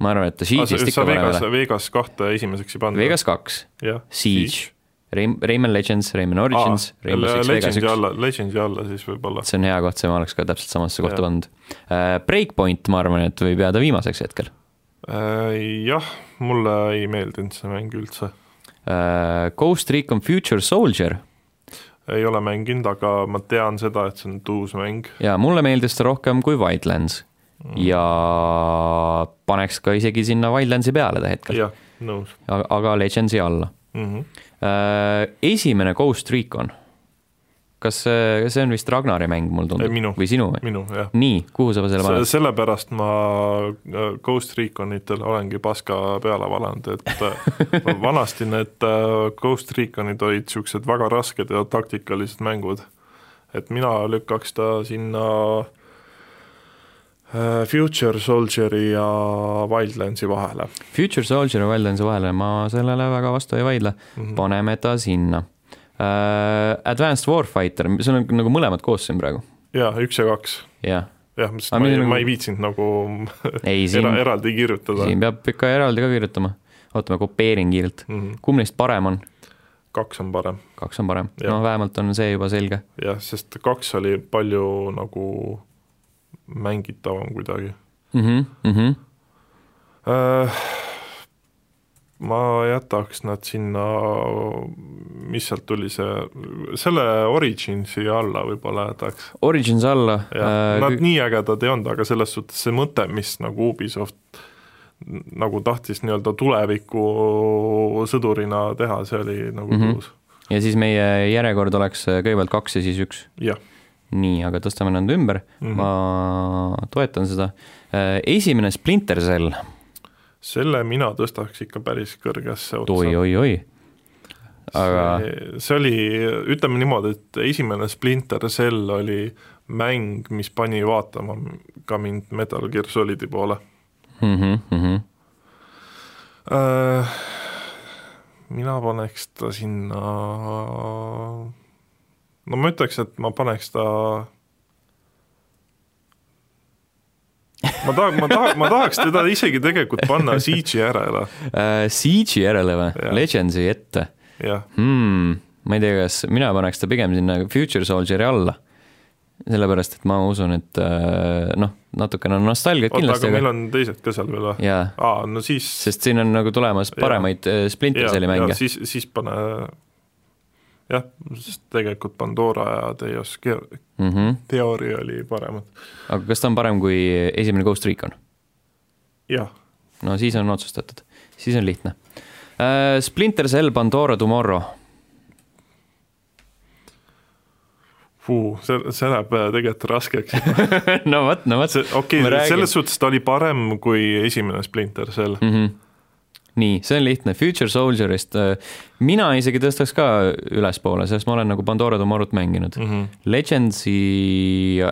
Speaker 1: ma arvan , et ta Siege'ist
Speaker 3: sa
Speaker 1: ikka parem
Speaker 3: Ah, Vegas
Speaker 1: ei , ole .
Speaker 3: Vegas kahte esimeseks ei pannud ?
Speaker 1: Vegas kaks ,
Speaker 3: jah .
Speaker 1: Siege ,. Rain- , Rayman Legends , Rayman
Speaker 3: Ah,
Speaker 1: Origins , Rainbow Six Vegas
Speaker 3: Legendi
Speaker 1: üks .
Speaker 3: alla , Legendi alla siis võib-olla .
Speaker 1: see on hea koht , see ma oleks ka täpselt samasse kohta
Speaker 3: Jah.
Speaker 1: pannud . Breakpoint , ma arvan , et võib jääda viimaseks hetkel .
Speaker 3: Äh, Jah , mulle ei meeldinud see mäng üldse .
Speaker 1: Äh, Ghost Recon Future Soldier
Speaker 3: ei ole mänginud , aga ma tean seda , et see on uus mäng .
Speaker 1: ja mulle meeldis ta rohkem kui Wildlands
Speaker 3: Mm.
Speaker 1: ja paneks ka isegi sinna Wildlandsi peale ta hetkel ,
Speaker 3: jah , nõus Mhm.
Speaker 1: aga Legendsi alla . Äh,
Speaker 3: mm . -hmm.
Speaker 1: Esimene Ghost Recon kas äh, see on vist Ragnari mäng , mulle
Speaker 3: Ei,
Speaker 1: tundub
Speaker 3: minu. ,
Speaker 1: või sinu või ?
Speaker 3: minu jah .
Speaker 1: nii , kuhu sa selle paned ?
Speaker 3: sellepärast ma äh, Ghost Reconitel olengi paska peale valanud , et äh, vanasti need äh, Ghost Reconid olid niisugused väga rasked ja taktikalised mängud . et mina lükkaks ta sinna äh, Future Soldieri ja Wildlandsi vahele
Speaker 1: Future Soldier ja Wildlands vahele ma sellele väga vastu ei vaidle ,
Speaker 3: mm . -hmm.
Speaker 1: paneme ta sinna . Advanced Warfighter , see on nagu mõlemad koos siin praegu ,
Speaker 3: jaa , üks ja kaks ,
Speaker 1: jah .
Speaker 3: jah , sest
Speaker 1: Aga
Speaker 3: ma ei
Speaker 1: milline- ,
Speaker 3: ma ei viitsinud nagu
Speaker 1: ei , siin
Speaker 3: era, , eraldi kirjutada
Speaker 1: siin peab ikka eraldi ka kirjutama . oota , ma kopeerin kiirelt .
Speaker 3: mm . -hmm.
Speaker 1: kumb neist parem on ?
Speaker 3: kaks on parem
Speaker 1: kaks on parem ,
Speaker 3: Jah.
Speaker 1: no vähemalt on see juba selge .
Speaker 3: jah , sest kaks oli palju nagu mängitavam kuidagi
Speaker 1: Mhm,
Speaker 3: äh, . ma jätaks nad sinna , mis sealt tuli , see , selle Origin siia alla võib-olla jätaks .
Speaker 1: Origins alla . äh,
Speaker 3: jah , nad nii ägedad ei olnud , aga selles suhtes see mõte , mis nagu Ubisoft n- nagu tahtis nii-öelda tuleviku sõdurina teha , see oli nagu
Speaker 1: Mhm.
Speaker 3: tõus mm -hmm. .
Speaker 1: ja siis meie järjekord oleks äh, kõigepealt kaks ja siis üks .
Speaker 3: jah
Speaker 1: nii , aga tõstame nad ümber mm ,
Speaker 3: Mhm.
Speaker 1: -hmm. ma toetan seda . Äh, esimene Splinter Cell ,
Speaker 3: selle mina tõstaks ikka päris kõrgesse otsa .
Speaker 1: oi-oi-oi . aga
Speaker 3: see, see oli , ütleme niimoodi , et esimene Splinter Cell oli mäng , mis pani vaatama ka mind Metal Gear Solidi poole
Speaker 1: mm -hmm, mm -hmm.
Speaker 3: äh, . mina paneks ta sinna , no ma ütleks , et ma paneks ta ma tahan , ma tahan , ma tahaks teda isegi tegelikult panna Siege'i järele ,
Speaker 1: Äh, Siege'i järele või
Speaker 3: Jah. ,
Speaker 1: Legendsi ette
Speaker 3: jah ,
Speaker 1: hmm, ? ma ei tea , kas mina paneks ta pigem sinna Future Soldieri alla , sellepärast et ma usun , et äh, noh , natukene on nostalgiat
Speaker 3: oota ,
Speaker 1: kindlasti ,
Speaker 3: aga meil
Speaker 1: aga
Speaker 3: on teised ka seal veel või ?
Speaker 1: jaa ,
Speaker 3: aa , no siis
Speaker 1: sest siin on nagu tulemas
Speaker 3: Jah.
Speaker 1: paremaid äh, Splinter
Speaker 3: Jaa,
Speaker 1: Celli
Speaker 3: jaa,
Speaker 1: mänge .
Speaker 3: siis , siis pane jah , sest tegelikult Pandora ja Deus Ge-
Speaker 1: Mm -hmm.
Speaker 3: Theory oli paremad .
Speaker 1: aga kas ta on parem kui esimene Ghost Recon ?
Speaker 3: jah ,
Speaker 1: no siis on otsustatud , siis on lihtne uh, . Splinter Cell Pandora Tomorrow ,
Speaker 3: see , see läheb äh, tegelikult raskeks .
Speaker 1: no vot , no vot
Speaker 3: see , okei
Speaker 1: Ma
Speaker 3: okay, ,
Speaker 1: räägin.
Speaker 3: selles suhtes ta oli parem kui esimene Splinter Cell
Speaker 1: mm . -hmm. nii , see on lihtne , Future Soldierist uh, , mina isegi tõstaks ka ülespoole , sest ma olen nagu Pandora Tomorrow't mänginud .
Speaker 3: mm . -hmm.
Speaker 1: Legendsi ,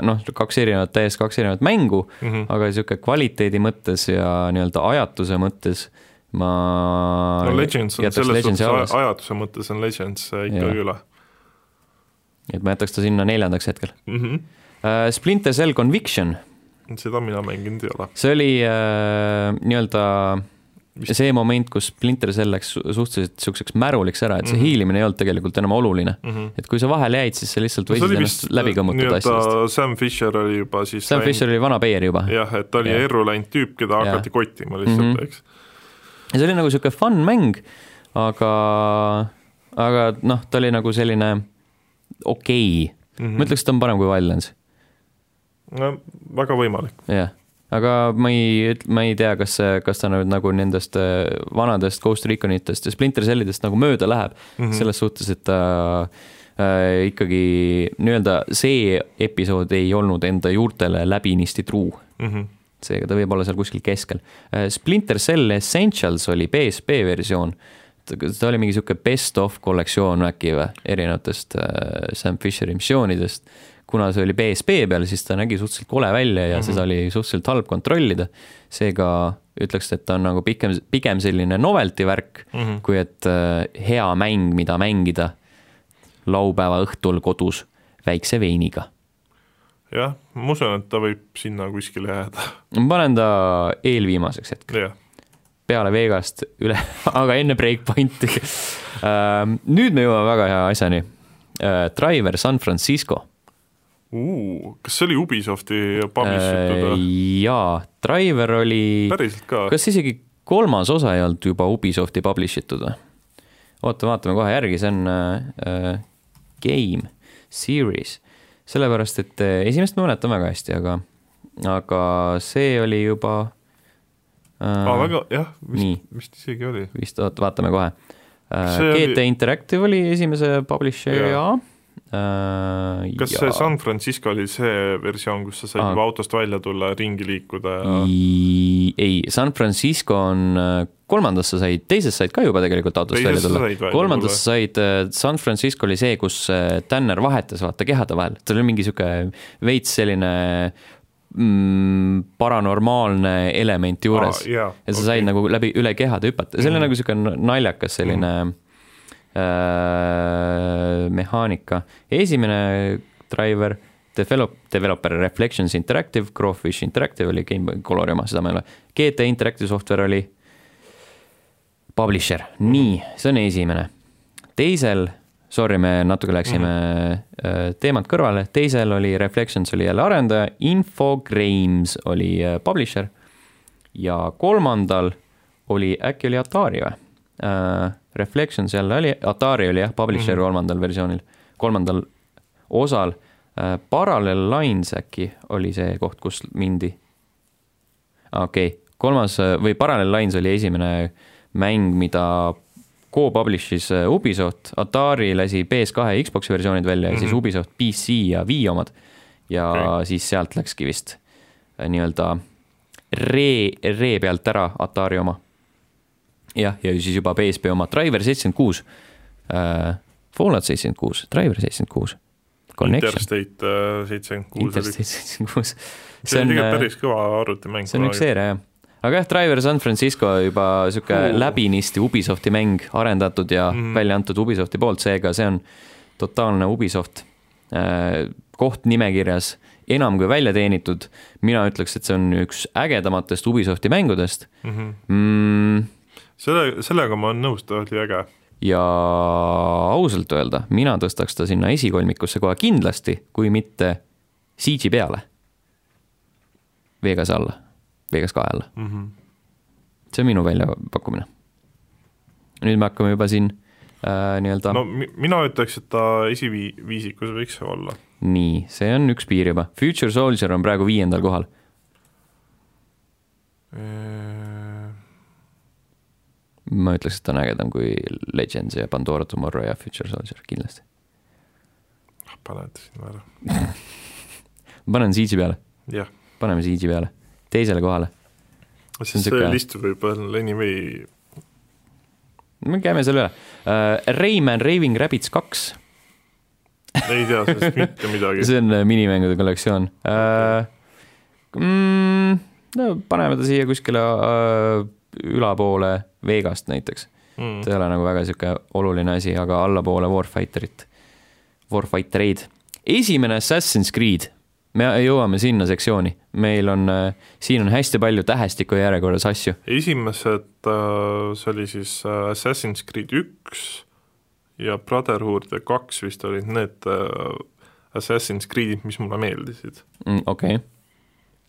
Speaker 1: noh , kaks erinevat , täiesti kaks erinevat mängu ,
Speaker 3: Mm -hmm.
Speaker 1: aga niisugune kvaliteedi mõttes ja nii-öelda ajatuse mõttes ma
Speaker 3: no Legends on
Speaker 1: jätaks
Speaker 3: selles
Speaker 1: Legendsi
Speaker 3: suhtes
Speaker 1: alles.
Speaker 3: aj- ajatuse mõttes on Legends äh, ikkagi
Speaker 1: Jaa.
Speaker 3: üle
Speaker 1: et ma jätaks ta sinna neljandaks hetkel
Speaker 3: mm . -hmm.
Speaker 1: uh, . Splinter Cell Conviction ,
Speaker 3: seda mina mänginud ei ole .
Speaker 1: see oli uh, nii-öelda see moment , kus Splinter Cell läks su- suhteliselt niisuguseks märuliks ära , et see mm
Speaker 3: Mhm.
Speaker 1: -hmm. hiilimine ei olnud tegelikult enam oluline .
Speaker 3: Mm -hmm.
Speaker 1: et kui sa vahele jäid , siis sa lihtsalt võisid ennast läbi kõmmutada asjadest .
Speaker 3: äh, Sam Fisher oli juba siis
Speaker 1: Sam Fisher oli vana PR juba ja
Speaker 3: jah , et ta oli
Speaker 1: Jah.
Speaker 3: erru läinud tüüp , keda
Speaker 1: Jah.
Speaker 3: hakati kottima lihtsalt mm ,
Speaker 1: Mhm.
Speaker 3: -hmm. eks .
Speaker 1: see oli nagu niisugune fun mäng , aga , aga noh , ta oli nagu selline okei okay. mm
Speaker 3: Mhm.
Speaker 1: -hmm. , ma ütleks , et ta on parem kui Wildlands ,
Speaker 3: no väga võimalik ,
Speaker 1: jah aga ma ei , ma ei tea , kas , kas ta nüüd nagu nendest äh, vanadest Ghost Reconitest ja Splinter Cellidest nagu mööda läheb mm -hmm. selles suhtes , et ta äh, ikkagi nii-öelda see episood ei olnud enda juurtele läbinisti truu .
Speaker 3: mm . -hmm.
Speaker 1: seega ta võib olla seal kuskil keskel . Splinter Cell Essentials oli PSP versioon , ta oli mingi niisugune best-of kollektsioon äkki või , erinevatest äh, Sam Fisheri missioonidest , kuna see oli PSP peal , siis ta nägi suhteliselt kole välja ja mm -hmm. seda oli suhteliselt halb kontrollida , seega ütleks , et ta on nagu pikem , pigem selline novelty värk ,
Speaker 3: Mm -hmm.
Speaker 1: kui et äh, hea mäng , mida mängida laupäeva õhtul kodus väikse veiniga
Speaker 3: jah , ma usun , et ta võib sinna kuskile jääda ,
Speaker 1: ma panen ta eelviimaseks hetkeks .
Speaker 3: jah .
Speaker 1: peale Vegast üle , aga enne Breakpointi . nüüd me jõuame väga hea asjani . Driver San Francisco .
Speaker 3: kas see oli Ubisofti publish itud või ?
Speaker 1: Äh, jaa , Driver oli ,
Speaker 3: päriselt ka ?
Speaker 1: kas isegi kolmas osa ei olnud juba Ubisofti publish itud või ? oota , vaatame kohe järgi , see on äh, game series , sellepärast et äh, esimest ma mäletan väga hästi , aga , aga see oli juba äh,
Speaker 3: aa , väga , jah ,
Speaker 1: nii.
Speaker 3: vist , vist isegi oli .
Speaker 1: vist oot- vaatame kohe . Äh,
Speaker 3: See oli-
Speaker 1: GT Interactive oli esimese publisher Äh, ja,
Speaker 3: Jaa. kas ja. see San Francisco oli see versioon , kus sa said
Speaker 1: Aa.
Speaker 3: juba autost välja tulla , ringi liikuda ja
Speaker 1: I... ei , San Francisco on , kolmandas sa said , teises said ka juba tegelikult autost välja
Speaker 3: Teises sa
Speaker 1: tulla
Speaker 3: said välja . tulla.
Speaker 1: kolmandas sa said , San Francisco oli see , kus äh, Tanner vahetas vaata kehade vahel , tal oli mingi sihuke veits selline mm, paranormaalne element juures
Speaker 3: Aa, jaa,
Speaker 1: ja sa said okay. nagu läbi , üle kehade hüpata , see oli mm. nagu sihuke naljakas selline mm. äh, mehaanika . esimene driver , develop , developer Reflections Interactive , Crawfish Interactive oli Game Boy Colori oma , seda ma ei ole , GT Interactive Software oli publisher , nii , see on esimene . teisel , sorry , me natuke läksime mm -hmm. teemat kõrvale , teisel oli Reflections oli jälle arendaja , Infogrames oli äh, publisher ja kolmandal oli , äkki oli Atari või äh, ? Reflections jälle oli , Atari oli jah , publisher mm -hmm. kolmandal versioonil , kolmandal osal äh, . Parallel Lines äkki oli see koht , kus mindi . okei okay. , kolmas äh, või Parallel Lines oli esimene mäng , mida co-publish'is äh, Ubisoft , Atari lasi PS2 ja Xbox'i versioonid välja ja mm -hmm. siis Ubisoft PC ja Wii omad . ja okay.
Speaker 3: Mhm. Okei.
Speaker 1: siis sealt läkski vist äh, nii-öelda ree , ree pealt ära Atari oma . jah , ja siis juba PSP oma Driver seitsekümmend kuus , Fallout seitsekümmend kuus , Driver seitsekümmend kuus , Connection ,
Speaker 3: Interstate äh, seitsekümmend kuus oli ,
Speaker 1: Interstate seitsekümmend kuus .
Speaker 3: see
Speaker 1: see on ,
Speaker 3: oli
Speaker 1: äh,
Speaker 3: tegelikult päris kõva arvutimäng .
Speaker 1: see on üks seeria jah . aga jah , Driver San Francisco juba sihuke
Speaker 3: Oo.
Speaker 1: läbinisti Ubisofti mäng , arendatud ja mm.
Speaker 3: Mhm.
Speaker 1: välja antud Ubisofti poolt , seega see on totaalne Ubisoft äh, koht nimekirjas , enam kui välja teenitud . mina ütleks , et see on üks ägedamatest Ubisofti mängudest
Speaker 3: mm . -hmm.
Speaker 1: mm, .
Speaker 3: selle , sellega ma olen nõus , ta oli äge .
Speaker 1: ja ausalt öelda , mina tõstaks ta sinna esikolmikusse kohe kindlasti , kui mitte CG peale . Vegase alla , Vegas kahe alla ,
Speaker 3: Mm -hmm.
Speaker 1: see on minu väljapakkumine . nüüd me hakkame juba siin äh, nii-öelda no. ,
Speaker 3: no mi- mina ütleks , et ta esiviisikus võiks see olla .
Speaker 1: nii , see on üks piir juba , Future Soldier on praegu viiendal kohal .
Speaker 3: Äh,
Speaker 1: ma ütleks , et ta on ägedam kui Legends ja Pandora Tomorrow ja Future Soldier kindlasti .
Speaker 3: paned sinna ära ,
Speaker 1: panen CG peale ,
Speaker 3: jah .
Speaker 1: paneme CG peale , teisele kohale . See on
Speaker 3: sest see
Speaker 1: sihuke-
Speaker 3: list võib olla anyway ,
Speaker 1: me käime selle üle uh, . Rayman Raving Rabbits kaks ,
Speaker 3: ei tea sellest mitte midagi .
Speaker 1: see on äh, minimängude kollektsioon uh, . Mm, no paneme ta siia kuskile uh, ülapoole Vegast näiteks ,
Speaker 3: Mm.
Speaker 1: ta ei ole nagu väga sihuke oluline asi , aga allapoole Warfighterit , Warfightereid . esimene Assassin's Creed , me jõuame sinna sektsiooni , meil on uh, , siin on hästi palju tähestiku järjekorras asju ,
Speaker 3: esimesed , see oli siis äh, Assassin's Creed üks ja Brotherhood ja kaks vist olid need äh, Assassin's Creedid , mis mulle meeldisid .
Speaker 1: mm, okei okay. ,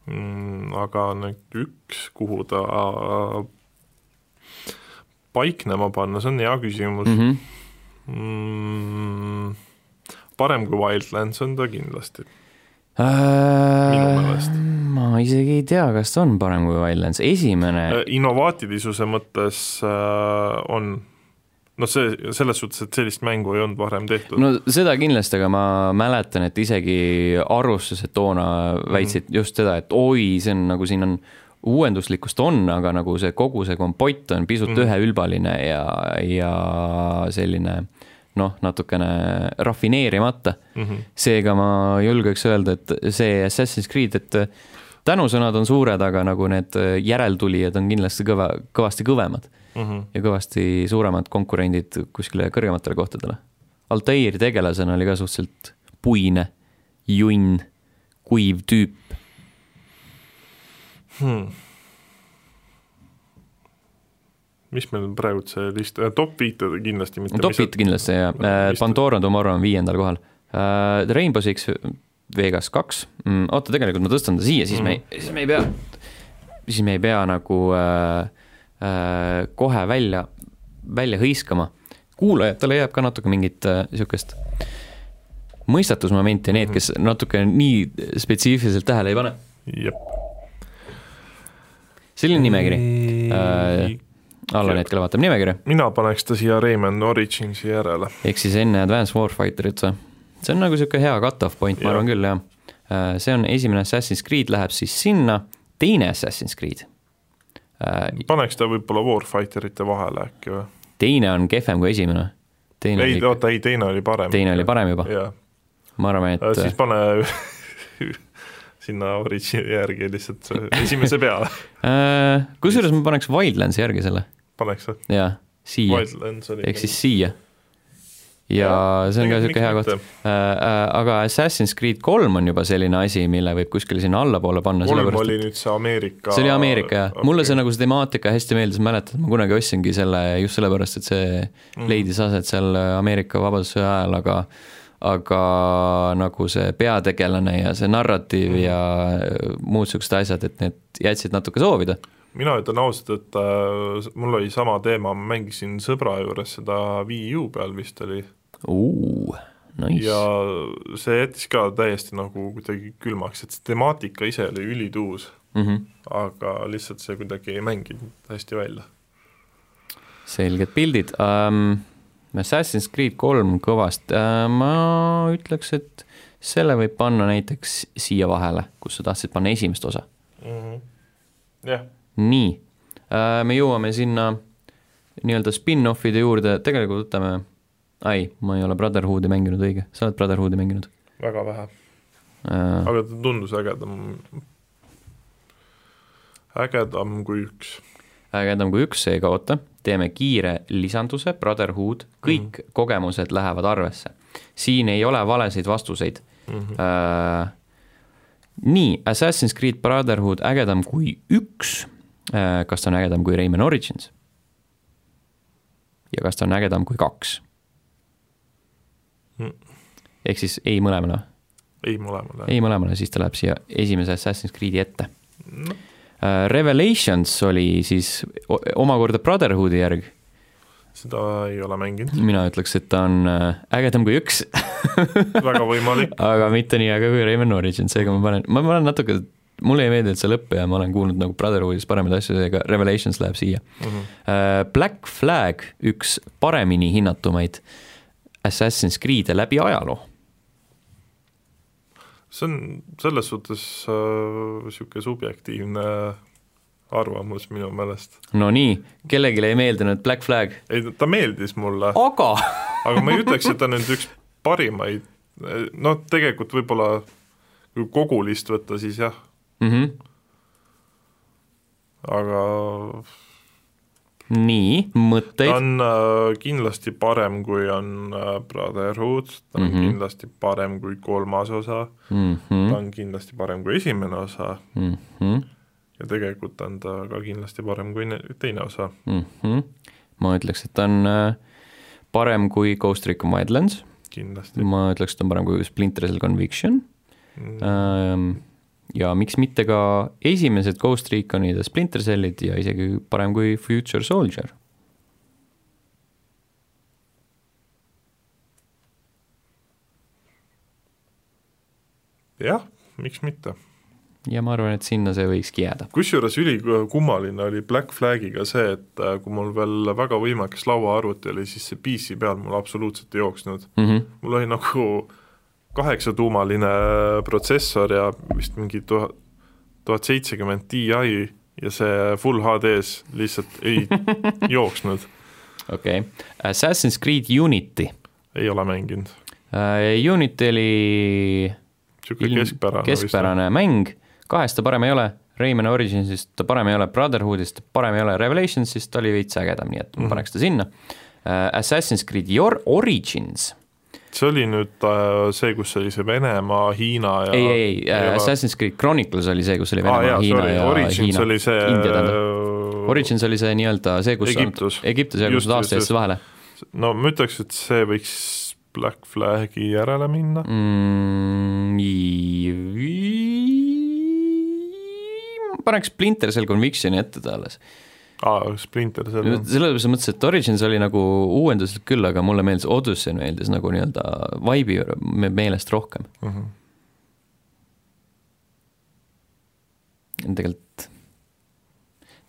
Speaker 3: Mm, aga nüüd üks , kuhu ta äh, paiknema panna , see on hea küsimus
Speaker 1: mm . -hmm.
Speaker 3: mm, . parem kui Wildlands on ta kindlasti .
Speaker 1: minu
Speaker 3: meelest.
Speaker 1: Äh, ma isegi ei tea , kas ta on parem kui Wildlands , esimene äh, ,
Speaker 3: innovaatilisuse mõttes äh, on , noh , see , selles suhtes , et sellist mängu ei olnud varem tehtud
Speaker 1: no seda kindlasti , aga ma mäletan , et isegi arvustused toona väitsid
Speaker 3: Mhm.
Speaker 1: mm. just seda , et oi , see on nagu siin on , uuenduslikkust on , aga nagu see kogu see kompott on pisut mm.
Speaker 3: Mhm.
Speaker 1: üheülbaline ja , ja selline noh , natukene rafineerimata .
Speaker 3: mm . -hmm.
Speaker 1: seega ma julgeks öelda , et see Assassin's Creed , et äh, tänusõnad on suured , aga nagu need järeltulijad on kindlasti kõva , kõvasti kõvemad
Speaker 3: Mm -hmm.
Speaker 1: ja kõvasti suuremad konkurendid kuskile kõrgematele kohtadele . Altair tegelasena oli ka suhteliselt puine , junn , kuiv tüüp .
Speaker 3: Hmm. mis meil praegu see list , top viite kindlasti mitte .
Speaker 1: topid kindlasti ja äh,
Speaker 3: mis-
Speaker 1: Pandora Tomorrow on viiendal kohal äh, . Rainbow Six Vegas kaks mm, , oota tegelikult ma tõstan ta siia , siis me , siis me ei pea , siis me ei pea nagu äh, äh, kohe välja , välja hõiskama . kuulajatele jääb ka natuke mingit äh, niisugust mõistatusmomenti , need , kes natuke nii spetsiifiliselt tähele ei pane .
Speaker 3: jah .
Speaker 1: selline nimekiri ,
Speaker 3: Mm. Äh,
Speaker 1: Allan hetkel vaatab nimekirja ,
Speaker 3: mina paneks ta siia Rayman Originsi järele .
Speaker 1: ehk siis enne Advanced Warfighterit või ? see on nagu niisugune hea cut-off point , ma
Speaker 3: Jah.
Speaker 1: arvan küll , jah . see on esimene Assassin's Creed läheb siis sinna , teine Assassin's Creed . Äh,
Speaker 3: paneks ta võib-olla Warfighterite vahele äkki või ?
Speaker 1: teine on kehvem kui esimene . teine
Speaker 3: ei ,
Speaker 1: oli ,
Speaker 3: oota , ei teine oli parem .
Speaker 1: teine oli parem juba ,
Speaker 3: jah ,
Speaker 1: ma arvan ,
Speaker 3: Äh, siis
Speaker 1: et
Speaker 3: pane sinna origini järgi lihtsalt see esimese peale
Speaker 1: äh, kusjuures ma paneks Wildlandsi järgi selle ,
Speaker 3: paneks või ?
Speaker 1: jaa , siia ,
Speaker 3: Wildlands oli
Speaker 1: ehk siis siia . ja see on ka niisugune hea koht . aga Assassin's Creed kolm on juba selline asi , mille võib kuskile sinna allapoole panna ,
Speaker 3: kolm
Speaker 1: sellepärast
Speaker 3: oli nüüd see Ameerika
Speaker 1: see oli Ameerika jah okay. , mulle see nagu see temaatika hästi meeldis , mäletad , ma kunagi ostsingi selle just sellepärast , et see mm. leidis aset seal äh, Ameerika Vabadussõja ajal , aga aga nagu see peategelane ja see narratiiv mm. ja muud niisugused asjad , et need jätsid natuke soovida .
Speaker 3: mina ütlen ausalt , et äh, mul oli sama teema , ma mängisin sõbra juures seda Wii U peal vist oli
Speaker 1: Nice
Speaker 3: ja . see jättis ka täiesti nagu kuidagi külmaks , et see temaatika ise oli ülituus ,
Speaker 1: Mm -hmm.
Speaker 3: aga lihtsalt see kuidagi ei mänginud hästi välja .
Speaker 1: selged pildid um, . Assassin's Creed kolm kõvasti uh, , ma ütleks , et selle võib panna näiteks siia vahele , kus sa tahtsid panna esimest osa .
Speaker 3: Mhm. jah ,
Speaker 1: nii , me jõuame sinna nii-öelda spin-offide juurde , tegelikult võtame , ai , ma ei ole Brotherhoodi mänginud õige , sa oled Brotherhoodi mänginud
Speaker 3: väga vähe ,
Speaker 1: äh, .
Speaker 3: aga ta tundus ägedam , ägedam kui üks .
Speaker 1: ägedam kui üks , seega oota , teeme kiire lisanduse , Brotherhood , kõik mm. kogemused lähevad arvesse . siin ei ole valesid vastuseid mm . -hmm. Äh, nii , Assassin's Creed Brotherhood ägedam kui üks äh, , kas ta on ägedam kui Rayman Origins ? ja kas ta on ägedam kui kaks
Speaker 3: Mm.
Speaker 1: mm. ? ehk siis ei mõlemale ,
Speaker 3: ei mõlemale ,
Speaker 1: ei mõlemale , siis ta läheb siia esimese Assassin's Creed'i ette
Speaker 3: Noh.
Speaker 1: äh, . Revelations oli siis o- omakorda Brotherhoodi järg ,
Speaker 3: seda ei ole mänginud ,
Speaker 1: mina ütleks , et ta on äh, ägedam kui üks ,
Speaker 3: väga võimalik ,
Speaker 1: aga mitte nii äge kui Rayman Origins , seega ma panen , ma panen natuke , mulle ei meeldi , et see lõpp ja ma olen kuulnud nagu Brotherhoodis paremaid asju , seega Revelations läheb siia mm . -hmm. Black Flag , üks paremini hinnatumaid Assassin's Creed'e läbi ajaloo .
Speaker 3: see on selles suhtes niisugune subjektiivne arvamus minu meelest .
Speaker 1: Nonii , kellelegi ei meeldinud Black Flag ,
Speaker 3: ei , ta meeldis mulle ,
Speaker 1: aga
Speaker 3: aga ma ei ütleks , et ta nüüd üks parimaid , noh tegelikult võib-olla kui kogu list võtta , siis jah ,
Speaker 1: mm . -hmm.
Speaker 3: aga
Speaker 1: nii ,
Speaker 3: ta
Speaker 1: mõtteid ?
Speaker 3: on äh, kindlasti parem , kui on äh, Brotherhood , ta on mm
Speaker 1: Mhm.
Speaker 3: -hmm. kindlasti parem kui kolmas osa , ta
Speaker 1: Mhm,
Speaker 3: on kindlasti parem kui esimene osa ja tegelikult on ta ka kindlasti parem kui ne- teine osa .
Speaker 1: mhm. ma ütleks , et ta on äh, parem kui Ghost Recon Wildlands ,
Speaker 3: kindlasti
Speaker 1: ma ütleks , et ta on parem kui Splinter Cell Conviction
Speaker 3: mm. .
Speaker 1: Ähm, ja miks mitte ka esimesed Ghost Reconid ja Splinter Cellid ja isegi parem kui Future Soldier .
Speaker 3: jah , miks mitte .
Speaker 1: ja ma arvan , et sinna see võikski jääda .
Speaker 3: kusjuures ülikummaline oli Black Flagiga see , et äh, kui mul veel väga võimekas lauaarvuti oli , siis see PC peal mul absoluutselt ei jooksnud .
Speaker 1: Mm -hmm.
Speaker 3: mul oli nagu kaheksatuumaline äh, protsessor ja vist mingi tuhat , tuhat seitsekümmend Ti ja see full HD-s lihtsalt ei jooksnud ,
Speaker 1: okei okay. , Assassin's Creed Unity
Speaker 3: ei ole mänginud .
Speaker 1: äh, . Unity oli
Speaker 3: niisugune keskpärane,
Speaker 1: keskpärane mäng , kahest ta parem ei ole , Rayman Originsist ta parem ei ole , Brotherhoodist ta parem ei ole , Revelationsist ta oli veits ägedam , nii et
Speaker 3: Mhm.
Speaker 1: ma paneks ta sinna äh, . Assassin's Creed Your Origins
Speaker 3: vist . see oli nüüd äh, see , kus oli see Venemaa , Hiina ja
Speaker 1: ei , ei , äh, ei , Assassin's Creed Chronicles oli see , kus oli
Speaker 3: Aa,
Speaker 1: Venemaa
Speaker 3: jaa,
Speaker 1: ah, , Hiina
Speaker 3: sorry,
Speaker 1: ja
Speaker 3: Origins
Speaker 1: Hiina ,
Speaker 3: oli see äh,
Speaker 1: India tähendab . Origins oli see nii-öelda see , kus
Speaker 3: Egiptus.
Speaker 1: Egiptus ja kus
Speaker 3: Just,
Speaker 1: nad
Speaker 3: just,
Speaker 1: aasta
Speaker 3: just.
Speaker 1: eest vahele
Speaker 3: no ma ütleks , et see võiks Black Flagi järele minna mm. ,
Speaker 1: mm, . i- ma paneks Splinter seal Convictioni ette ta alles .
Speaker 3: aa , Splinter seal on ,
Speaker 1: selles mõttes , et Origins oli nagu uuenduslik küll , aga mulle meeldis , Odyssey meeldis nagu nii-öelda vibe'i me- meelest rohkem mm . -hmm. tegelikult ,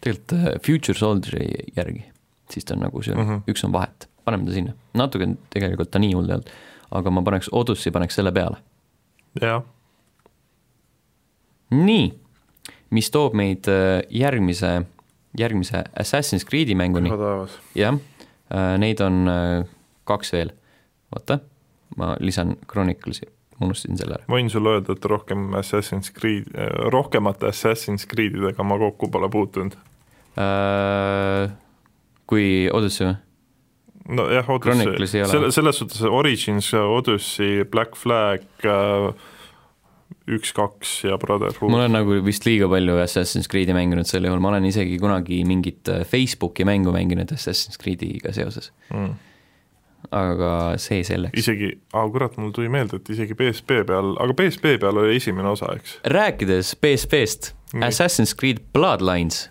Speaker 1: tegelikult äh, Future Soldieri järgi , siis ta on nagu see mm , -hmm. üks on vahet , paneme ta sinna , natuke on- tegelikult ta nii hull ei olnud . aga ma paneks Odussi , paneks selle peale .
Speaker 3: jah ,
Speaker 1: nii , mis toob meid äh, järgmise , järgmise Assassin's Creed'i mänguni
Speaker 3: püha , taevas .
Speaker 1: jah , neid on äh, kaks veel . oota , ma lisan Chronicles'i , unustasin selle ära .
Speaker 3: võin sulle öelda , et rohkem Assassin's Creed , rohkemate Assassin's Creedidega ma kokku pole puutunud .
Speaker 1: Äh, kui Odyssey või ?
Speaker 3: nojah , Odyssey ,
Speaker 1: Chronicles ei ole.
Speaker 3: selle , selles suhtes Origins , Odyssey , Black Flag , üks , kaks ja
Speaker 1: ma
Speaker 3: Brotherhood .
Speaker 1: olen nagu vist liiga palju Assassin's Creed'i mänginud sel juhul , ma olen isegi kunagi mingit äh, Facebooki mängu mänginud Assassin's Creed'iga seoses ,
Speaker 3: Mm.
Speaker 1: aga see selleks .
Speaker 3: isegi , aa kurat , mul tuli meelde , et isegi PSP peal , aga PSP peal oli esimene osa , eks ?
Speaker 1: rääkides PSP-st ,
Speaker 3: Nii.
Speaker 1: Assassin's Creed Bloodlines ,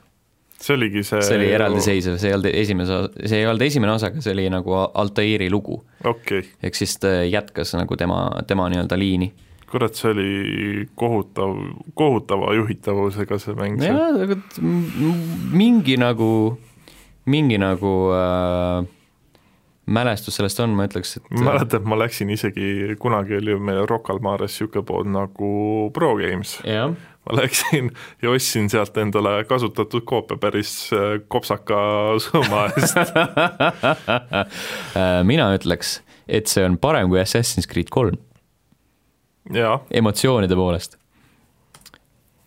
Speaker 3: see oligi see
Speaker 1: see oli eraldiseisev , see ei olnud esimese , see ei olnud esimene osa , aga see oli nagu Altairi lugu .
Speaker 3: okei okay. ,
Speaker 1: ehk siis ta jätkas nagu tema , tema nii-öelda liini .
Speaker 3: kurat , see oli kohutav , kohutava juhitavusega see mäng .
Speaker 1: jah , aga nagu t- m- m- mingi nagu , mingi nagu äh, mälestus sellest on , ma ütleks , et
Speaker 3: ma mäletan , ma läksin isegi , kunagi oli ju meil Rock al Mares niisugune pood nagu Pro Games .
Speaker 1: jah ,
Speaker 3: ma läksin ja ostsin sealt endale kasutatud koopia päris äh, kopsaka summa eest .
Speaker 1: Äh, mina ütleks , et see on parem kui Assassin's Creed kolm ,
Speaker 3: jaa ,
Speaker 1: emotsioonide poolest .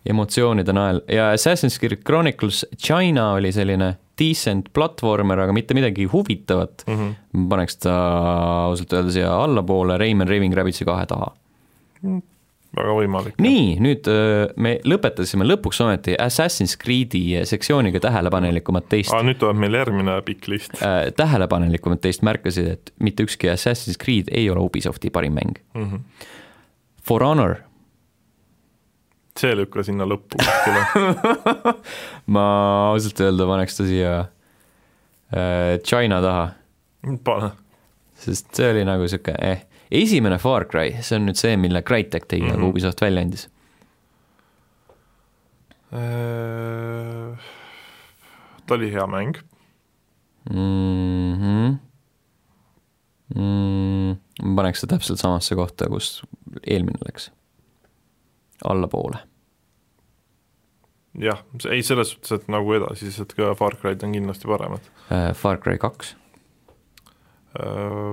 Speaker 1: emotsioonide najal ja Assassin's Creed Chronicles China oli selline decent platvormer , aga mitte midagi huvitavat mm . -hmm. ma paneks ta ausalt öeldes siia allapoole Rayman Raving Rabbitsi kahe taha
Speaker 3: väga võimalik .
Speaker 1: nii , nüüd öö, me lõpetasime lõpuks ometi Assassin's Creed'i sektsiooniga tähelepanelikumat teist
Speaker 3: aga , nüüd tuleb meil järgmine pikk list
Speaker 1: tähelepanelikumat äh, teist märkasid , et mitte ükski Assassin's Creed ei ole Ubisofti parim mäng .
Speaker 3: mm . -hmm.
Speaker 1: For Honor ,
Speaker 3: see lükka sinna lõppu kuskile .
Speaker 1: ma ausalt öelda paneks ta siia öö, China taha ,
Speaker 3: pane ,
Speaker 1: sest see oli nagu sihuke eh. esimene Far Cry , see on nüüd see , mille Crytek tegi mm , -hmm.
Speaker 3: Mhm.
Speaker 1: nagu Ubisoft välja andis .
Speaker 3: ta Äh, oli hea mäng ,
Speaker 1: mm . -hmm. Mm, ma paneks ta täpselt samasse kohta , kus eelmine läks , allapoole .
Speaker 3: jah , ei selles suhtes , et nagu edasised ka Far Cry'd on kindlasti paremad .
Speaker 1: Äh, Far Cry kaks ,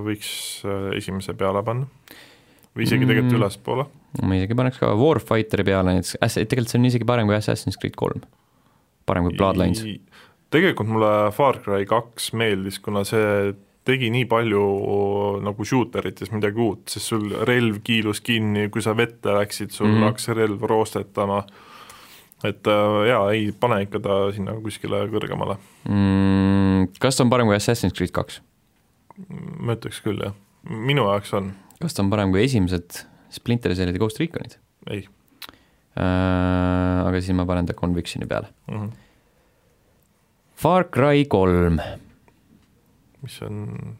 Speaker 3: Võiks äh, esimese peale panna või isegi tegelikult
Speaker 1: Mm.
Speaker 3: ülespoole ,
Speaker 1: ma isegi paneks ka Warfighteri peale näiteks , tegelikult see on isegi parem kui Assassin's Creed kolm . parem kui Bloodlines ,
Speaker 3: I- tegelikult mulle Far Cry kaks meeldis , kuna see tegi nii palju nagu shooterites midagi uut , sest sul relv kiilus kinni , kui sa vette läksid , sul
Speaker 1: Mhm.
Speaker 3: mm. hakkas relv roostetama , et äh, jaa , ei pane ikka ta sinna kuskile kõrgemale ,
Speaker 1: mm, . kas ta on parem kui Assassin's Creed kaks ?
Speaker 3: ma ütleks küll , jah . minu jaoks on ,
Speaker 1: kas ta on parem kui esimesed Splinter Cellid ja Ghost Reconid
Speaker 3: ei
Speaker 1: äh, ? aga siis ma panen ta Convictioni peale .
Speaker 3: mm . -hmm.
Speaker 1: Far Cry kolm ,
Speaker 3: mis on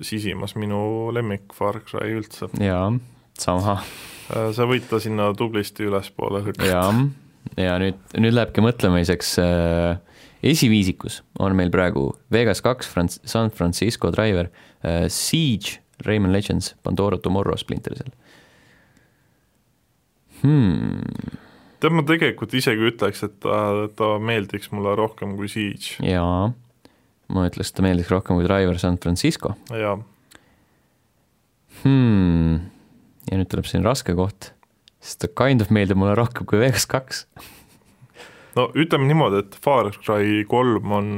Speaker 3: sisimas minu lemmik Far Cry üldse .
Speaker 1: jaa , sama ,
Speaker 3: sa võid ta sinna tublisti ülespoole hüppata .
Speaker 1: jaa . ja nüüd , nüüd lähebki mõtlemiseks äh, esiviisikus on meil praegu Vegas kaks , San Francisco Driver äh, , Siege , Rayman Legends , Pandora Tomorrow , Splinter Cell hmm, .
Speaker 3: tead , ma tegelikult isegi ütleks , et ta , ta meeldiks mulle rohkem kui Siege
Speaker 1: jaa , ma ütleks , et ta meeldiks rohkem kui Driver San Francisco
Speaker 3: ja
Speaker 1: hmm. . ja nüüd tuleb siin raske koht , sest ta kind of meeldib mulle rohkem kui Vegas kaks .
Speaker 3: no ütleme niimoodi , et Far Cry kolm on ,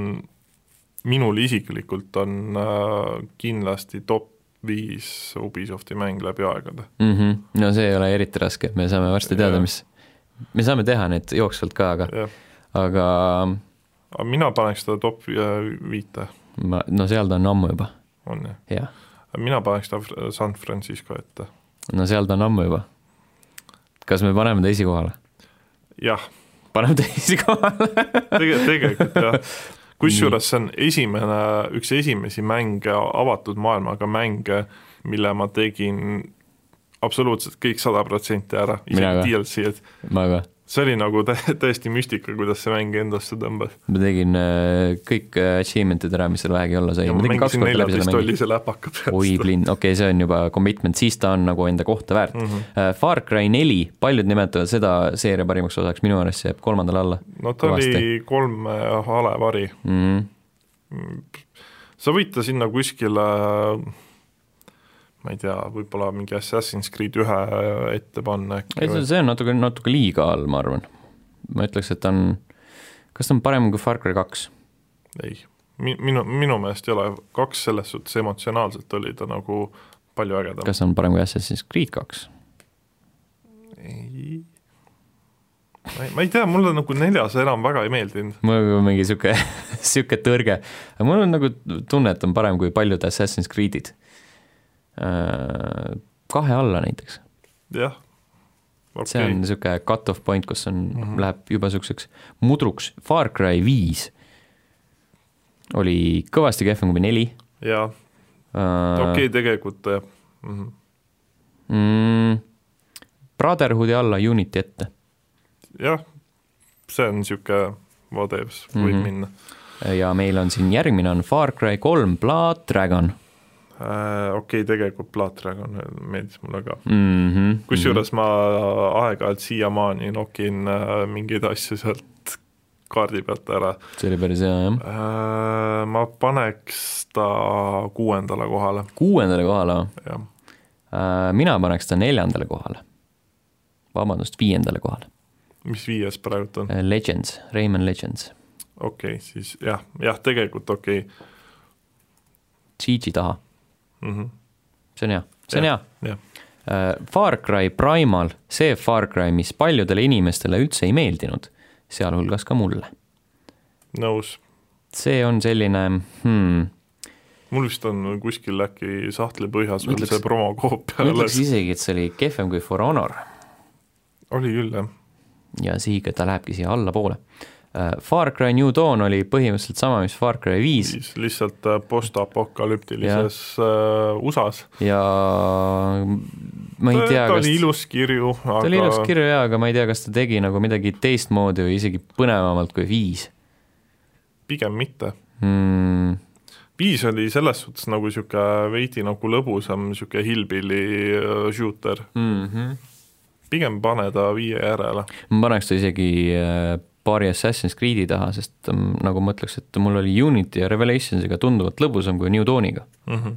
Speaker 3: minul isiklikult on äh, kindlasti top viis Ubisofti mäng läbi aegade .
Speaker 1: mm . -hmm. no see ei ole eriti raske , me saame varsti teada ,
Speaker 3: Jah.
Speaker 1: mis , me saame teha need jooksvalt ka , aga ,
Speaker 3: jah ,
Speaker 1: aga
Speaker 3: aga mina paneks ta top äh, viite ,
Speaker 1: ma , no seal ta on ammu juba ,
Speaker 3: on ju .
Speaker 1: jah .
Speaker 3: mina paneks ta Fr- San Francisco ette .
Speaker 1: no seal ta on ammu juba . kas me paneme ta esikohale ?
Speaker 3: jah ,
Speaker 1: paneme ta esikohale .
Speaker 3: tege- , tegelikult jah . kusjuures see on esimene , üks esimesi mänge , avatud maailmaga mänge , mille ma tegin absoluutselt kõik sada protsenti ära ,
Speaker 1: Mina
Speaker 3: isegi
Speaker 1: ka.
Speaker 3: DLC-d ,
Speaker 1: ma ka ,
Speaker 3: see oli nagu tä- täiesti müstika , kuidas see mäng endasse tõmbas .
Speaker 1: ma tegin äh, kõik äh, achievement'id ära , mis seal vähegi olla sai ,
Speaker 3: ja
Speaker 1: ma
Speaker 3: ma
Speaker 1: tegin kaks
Speaker 3: mängisin
Speaker 1: korda läbi selle mängu .
Speaker 3: neljateisttollise läpaka peast .
Speaker 1: oi blind , okei okay, , see on juba commitment , siis ta on nagu enda kohta väärt mm .
Speaker 3: Mhm.
Speaker 1: -hmm. Far Cry neli , paljud nimetavad seda seeria parimaks osaks , minu arust see jääb kolmandale alla
Speaker 3: no ta Kõvasti. oli kolme halevari ,
Speaker 1: mm . -hmm.
Speaker 3: sa võid ta sinna kuskile ma ei tea , võib-olla mingi Assassin's Creed ühe ette panna
Speaker 1: ei ,
Speaker 3: äkki
Speaker 1: see
Speaker 3: või
Speaker 1: see on natuke , natuke liiga all , ma arvan . ma ütleks , et ta on , kas ta on parem kui Far Cry kaks ?
Speaker 3: ei , minu , minu meelest ei ole , kaks selles suhtes emotsionaalselt oli ta nagu palju ägedam .
Speaker 1: kas ta on parem kui Assassin's Creed kaks ?
Speaker 3: ei , ma ei tea , mulle nagu neljas enam väga ei meeldinud .
Speaker 1: mul on nagu mingi sihuke , sihuke tõrge , aga mul on nagu tunne , et on parem kui paljud Assassin's Creed'id . kahe alla näiteks ,
Speaker 3: jah ,
Speaker 1: see
Speaker 3: okei Mhm.
Speaker 1: on
Speaker 3: okay. ,
Speaker 1: niisugune cut-off point , kus on mm , -hmm. läheb juba niisuguseks mudruks , Far Cry viis oli kõvasti kehvem kui neli .
Speaker 3: jaa ,
Speaker 1: Äh.
Speaker 3: okei okay, , tegelikult jah mm -hmm. ,
Speaker 1: mm, Brotherhoodi alla , Unity ette .
Speaker 3: jah , see on niisugune what ifs , võib mm
Speaker 1: Mhm.
Speaker 3: -hmm. minna
Speaker 1: ja meil on siin järgmine on Far Cry kolm , Blood Dragon
Speaker 3: äh, . okei okay, , tegelikult Blood Dragon meeldis mulle ka .
Speaker 1: mm . -hmm.
Speaker 3: kusjuures ma aeg-ajalt siiamaani nokin äh, mingeid asju sealt kaardi pealt ära
Speaker 1: mm -hmm. see oli päris hea jah .
Speaker 3: äh, . ma paneks ta kuuendale kohale ,
Speaker 1: kuuendale kohale
Speaker 3: jah .
Speaker 1: Äh, mina paneks ta neljandale kohale . vabandust , viiendale kohale .
Speaker 3: mis viies praegult on ?
Speaker 1: Legends , Rayman Legends ,
Speaker 3: okei okay, , siis jah , jah , tegelikult okei okay.
Speaker 1: Siege'i taha ,
Speaker 3: mm . -hmm.
Speaker 1: see on hea , see on hea .
Speaker 3: jah ,
Speaker 1: Far Cry Primal , see Far Cry , mis paljudele inimestele üldse ei meeldinud , sealhulgas ka mulle .
Speaker 3: nõus .
Speaker 1: see on selline hmm, ,
Speaker 3: mul vist on kuskil äkki sahtli põhjas veel
Speaker 1: Ütleks-
Speaker 3: see promokoopia
Speaker 1: ma ütleks
Speaker 3: alles ,
Speaker 1: isegi , et see oli kehvem kui For Honor
Speaker 3: oli küll jah ,
Speaker 1: ja siia ta lähebki siia allapoole . Far Cry New Dawn oli põhimõtteliselt sama , mis Far Cry viis
Speaker 3: siis lihtsalt äh, postapokalüptilises äh, USA-s .
Speaker 1: ja ma ei tea ,
Speaker 3: Äh, ta
Speaker 1: kas
Speaker 3: oli ilus kirju ,
Speaker 1: ta oli ilus
Speaker 3: aga
Speaker 1: kirju jaa , aga ma ei tea , kas ta tegi nagu midagi teistmoodi või isegi põnevamalt kui viis
Speaker 3: pigem mitte .
Speaker 1: mm, .
Speaker 3: viis oli selles suhtes nagu niisugune veidi nagu lõbusam niisugune hillbilly äh, shooter ,
Speaker 1: Mm
Speaker 3: Mhm.
Speaker 1: -hmm.
Speaker 3: pigem pane ta viie järele .
Speaker 1: ma paneks ta isegi äh, paari Assassin's Creed'i taha , sest ta on- nagu ma ütleks , et mul oli Unity ja Revelationsiga tunduvalt lõbusam kui New Dawniga
Speaker 3: Mhm.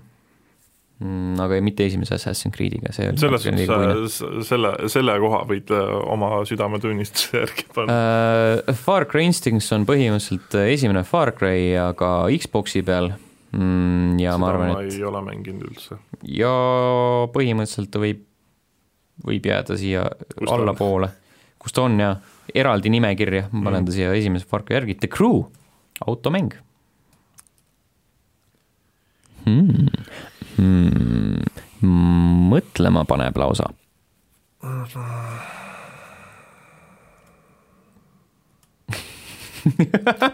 Speaker 1: mm, . aga ei- mitte esimese Assassin's Creed'iga , see oli
Speaker 3: selles
Speaker 1: natukene liiga puine.
Speaker 3: suhtes äh, selle , selle koha võid äh, oma südametunnistuse järgi panna .
Speaker 1: Äh, Far Cry Instincts on põhimõtteliselt äh, esimene Far Cry , aga Xbox'i peal mm, ja ma arvan , et
Speaker 3: ma ei ole mänginud üldse .
Speaker 1: ja põhimõtteliselt ta võib , võib jääda siia
Speaker 3: Kus ta on?
Speaker 1: allapoole , kus ta on ja eraldi nimekirja , ma
Speaker 3: Mm.
Speaker 1: panen ta siia esimese parka järgi , The Crew , automäng hmm. . Hmm. mõtlema paneb lausa .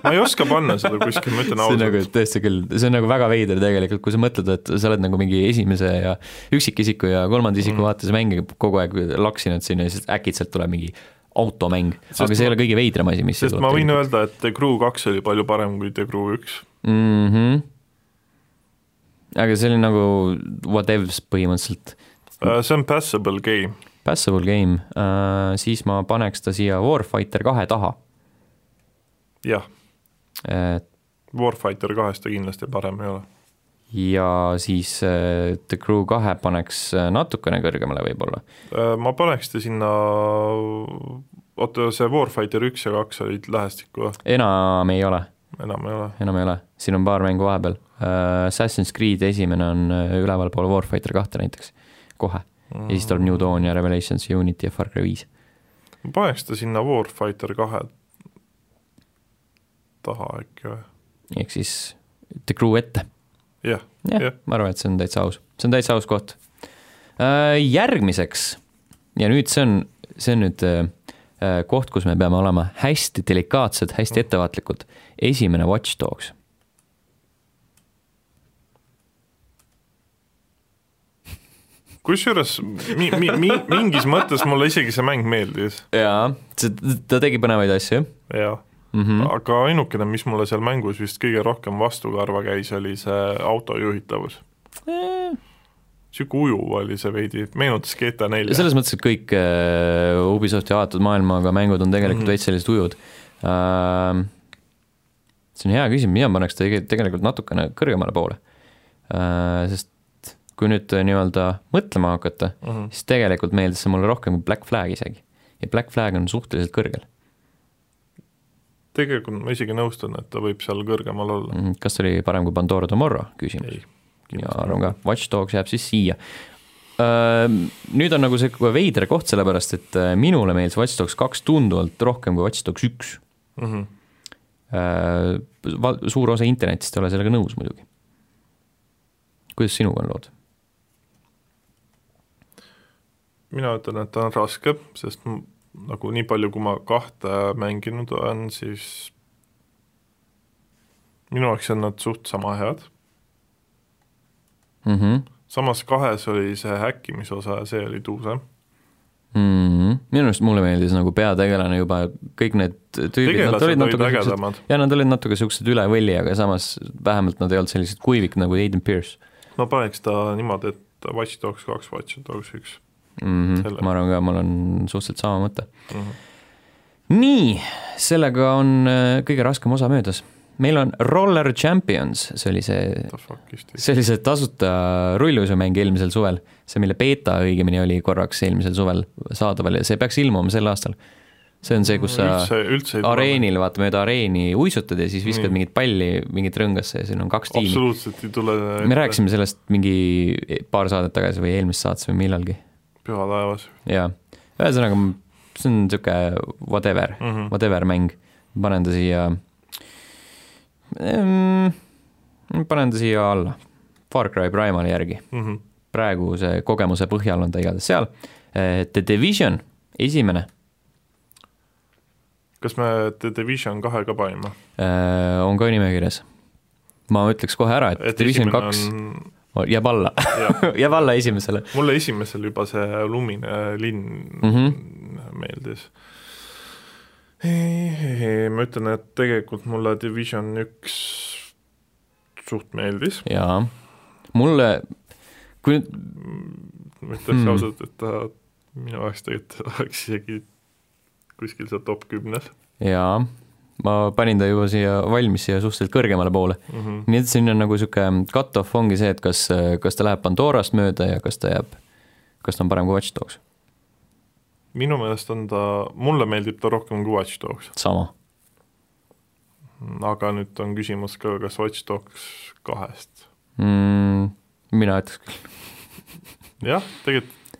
Speaker 3: ma ei oska panna seda kuskil , ma ütlen
Speaker 1: see on nagu
Speaker 3: ausalt .
Speaker 1: tõesti küll , see on nagu väga veider tegelikult , kui sa mõtled , et sa oled nagu mingi esimese ja üksikisiku ja kolmanda
Speaker 3: Mhm.
Speaker 1: isiku mm. vaates mänge kogu aeg laksinud sinna ja siis äkitselt tuleb mingi automäng ,
Speaker 3: Sest
Speaker 1: aga see ei
Speaker 3: ma-
Speaker 1: ole kõige veidram asi , mis
Speaker 3: sest ma võin öelda , et The Crew kaks oli palju parem kui The Crew üks .
Speaker 1: mm . -hmm. aga see oli nagu whatevs põhimõtteliselt ,
Speaker 3: Äh,
Speaker 1: Mm.
Speaker 3: see on passable game ,
Speaker 1: passable game uh, , siis ma paneks ta siia Warfighter kahe taha
Speaker 3: jah .
Speaker 1: uh,
Speaker 3: Warfighter kahest ta kindlasti parem ei ole .
Speaker 1: ja siis uh, The Crew kahe paneks äh, natukene kõrgemale võib-olla .
Speaker 3: Äh, ma paneks ta sinna , oota , see Warfighter üks ja kaks olid lähestikku või ?
Speaker 1: enam ei ole
Speaker 3: enam ei ole .
Speaker 1: enam ei ole , siin on paar mängu vahepeal uh, . Assassin's Creed esimene on uh, ülevalpool Warfighter kahte näiteks , kohe .
Speaker 3: Mhm.
Speaker 1: ja siis tuleb New Dawn ja Revelations ja Unity ja Far Cry viis .
Speaker 3: ma paneks ta sinna Warfighter kahe taha äkki või ?
Speaker 1: ehk siis The Crew ette .
Speaker 3: jah ,
Speaker 1: jah
Speaker 3: Jah.
Speaker 1: yeah. , ma arvan , et see on täitsa aus , see on täitsa aus koht uh, . järgmiseks , ja nüüd see on , see on nüüd uh, uh, koht , kus me peame olema hästi delikaatsed , hästi ettevaatlikud . esimene Watch Dogs .
Speaker 3: kusjuures mi- , mi- , mi- , mingis mõttes mulle isegi see mäng meeldis ,
Speaker 1: jaa , ta tegi põnevaid asju
Speaker 3: jah
Speaker 1: mm .
Speaker 3: mm. ,
Speaker 1: -hmm.
Speaker 3: aga ainukene , mis mulle seal mängus vist kõige rohkem vastukarva käis , oli see auto juhitavus . niisugune ujuv oli see veidi , meenutas GTA nelja .
Speaker 1: selles mõttes , et kõik äh, Ubisofti avatud maailmaga mängud on tegelikult
Speaker 3: Mhm.
Speaker 1: veits sellised ujud äh, . see on hea küsimus , mina paneks ta tege- tegelikult natukene kõrgemale poole äh, , sest kui nüüd äh, nii-öelda mõtlema hakata ,
Speaker 3: mm -hmm.
Speaker 1: siis tegelikult meeldis see mulle rohkem kui Black Flag isegi . ja Black Flag on suhteliselt kõrgel ,
Speaker 3: tegelikult ma isegi nõustun , et ta võib seal kõrgemal olla mm. .
Speaker 1: kas see oli parem kui Pandora Tomorrow , küsimus .
Speaker 3: ei ,
Speaker 1: mina arvan ka , Watch Dogs jääb siis siia . Nüüd on nagu see kohe veider koht , sellepärast et äh, minule meeldis Watch Dogs kaks tunduvalt rohkem kui Watch Dogs üks .
Speaker 3: mm . -hmm.
Speaker 1: Suur osa internetist ei ole sellega nõus muidugi . kuidas sinuga on lood ?
Speaker 3: mina ütlen , et ta on raske , sest m- nagu nii palju , kui ma kahte mänginud olen , siis minu jaoks on nad suht sama head ,
Speaker 1: Mhm.
Speaker 3: samas kahes oli see häkkimise osa ja see oli tuusem .
Speaker 1: Mhm. minu arust mulle meeldis nagu peategelane juba , kõik need tüübid , nad olid
Speaker 3: tegelased olid
Speaker 1: natuke siuksed ,
Speaker 3: ägedamad ,
Speaker 1: ja nad olid natuke siuksed üle võlli , aga samas vähemalt nad ei olnud sellised kuivik nagu Aiden Pierce
Speaker 3: ma paneks ta niimoodi , et Watch Dogs kaks , Watch Dogs üks
Speaker 1: mm .
Speaker 3: Selle-
Speaker 1: -hmm. ma arvan ka , mul on suhteliselt sama mõte .
Speaker 3: mm . -hmm.
Speaker 1: nii , sellega on äh, kõige raskem osa möödas . meil on Roller Champions , see oli see ,
Speaker 3: The fuck is this ?
Speaker 1: see oli see tasuta rulluisumäng eelmisel suvel , see mille beeta õigemini oli korraks eelmisel suvel saadaval ja see peaks ilmuma sel aastal . see on see , kus sa
Speaker 3: üldse , üldse ei
Speaker 1: areenil , vaata , mööda areeni uisutad ja siis viskad
Speaker 3: Nii.
Speaker 1: mingit palli mingit rõngasse ja siin on kaks
Speaker 3: tule ,
Speaker 1: tiimi .
Speaker 3: absoluutselt ei tule
Speaker 1: me rääkisime sellest mingi paar saadet tagasi või eelmises saates või millalgi
Speaker 3: püha taevas
Speaker 1: jaa , ühesõnaga m- see on niisugune whatever
Speaker 3: mm . -hmm.
Speaker 1: whatever mäng , panen ta siia mm, , panen ta siia alla , Far Cry Primali järgi ,
Speaker 3: Mm -hmm.
Speaker 1: praeguse kogemuse põhjal on ta igatahes seal , The Division , esimene ,
Speaker 3: kas me The Division kahe ka panime ?
Speaker 1: eh, on ka nimekirjas . ma ütleks kohe ära , et Division kaks on... jääb alla ,
Speaker 3: jah ,
Speaker 1: jääb alla esimesele .
Speaker 3: mulle esimesel juba see lumine linn mm -hmm. meeldis . ma ütlen , et tegelikult mulle Division üks suht meeldis ,
Speaker 1: jaa , mulle , kui nüüd
Speaker 3: ma ütleks
Speaker 1: Hmm.
Speaker 3: mm. ausalt , et ta minu jaoks tegelikult oleks isegi kuskil seal top kümnes
Speaker 1: jaa , ma panin ta juba siia valmis , siia suhteliselt kõrgemale poole .
Speaker 3: mm . -hmm.
Speaker 1: nii et siin on nagu niisugune cut-off ongi see , et kas , kas ta läheb Pandorast mööda ja kas ta jääb , kas ta on parem kui Watch Dogs ,
Speaker 3: minu meelest on ta , mulle meeldib ta rohkem kui Watch Dogs ,
Speaker 1: sama .
Speaker 3: aga nüüd on küsimus ka , kas Watch Dogs kahest
Speaker 1: Mm, mina ütleks küll ,
Speaker 3: jah , tegelikult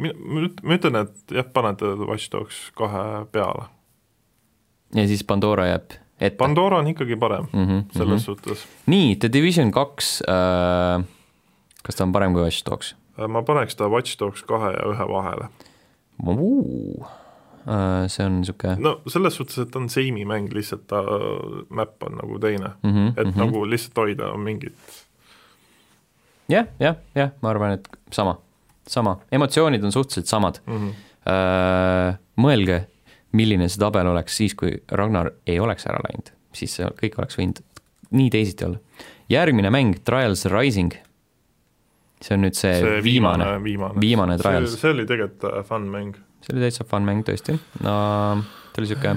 Speaker 3: mi- ma üt- ma ütlen , et jah , panete Watch Dogs kahe peale .
Speaker 1: ja siis Pandora jääb ette .
Speaker 3: Pandora on ikkagi parem
Speaker 1: mm -hmm,
Speaker 3: selles mm -hmm.
Speaker 1: mm
Speaker 3: suhtes .
Speaker 1: -hmm. nii , The Division kaks äh, , kas ta on parem kui Watch Dogs ?
Speaker 3: Äh, ma paneks ta Watch Dogs kahe ja ühe vahele .
Speaker 1: Äh, see on niisugune
Speaker 3: no selles suhtes , et ta on seimi mäng , lihtsalt ta äh, map on nagu teine .
Speaker 1: mm -hmm,
Speaker 3: et mm
Speaker 1: mm
Speaker 3: -hmm.
Speaker 1: -hmm.
Speaker 3: nagu lihtsalt hoida mingit
Speaker 1: jah , jah , jah , ma arvan , et sama , sama , emotsioonid on suhteliselt samad .
Speaker 3: mm . -hmm.
Speaker 1: Äh, mõelge , milline see tabel oleks siis , kui Ragnar ei oleks ära läinud , siis see kõik oleks võinud nii teisiti olla . järgmine mäng , Trials Rising . see on nüüd see, see viimane,
Speaker 3: viimane,
Speaker 1: viimane
Speaker 3: see,
Speaker 1: Trials ,
Speaker 3: see oli tegelikult äh, fun mäng .
Speaker 1: see oli täitsa fun mäng tõesti no, . ta oli sihuke ,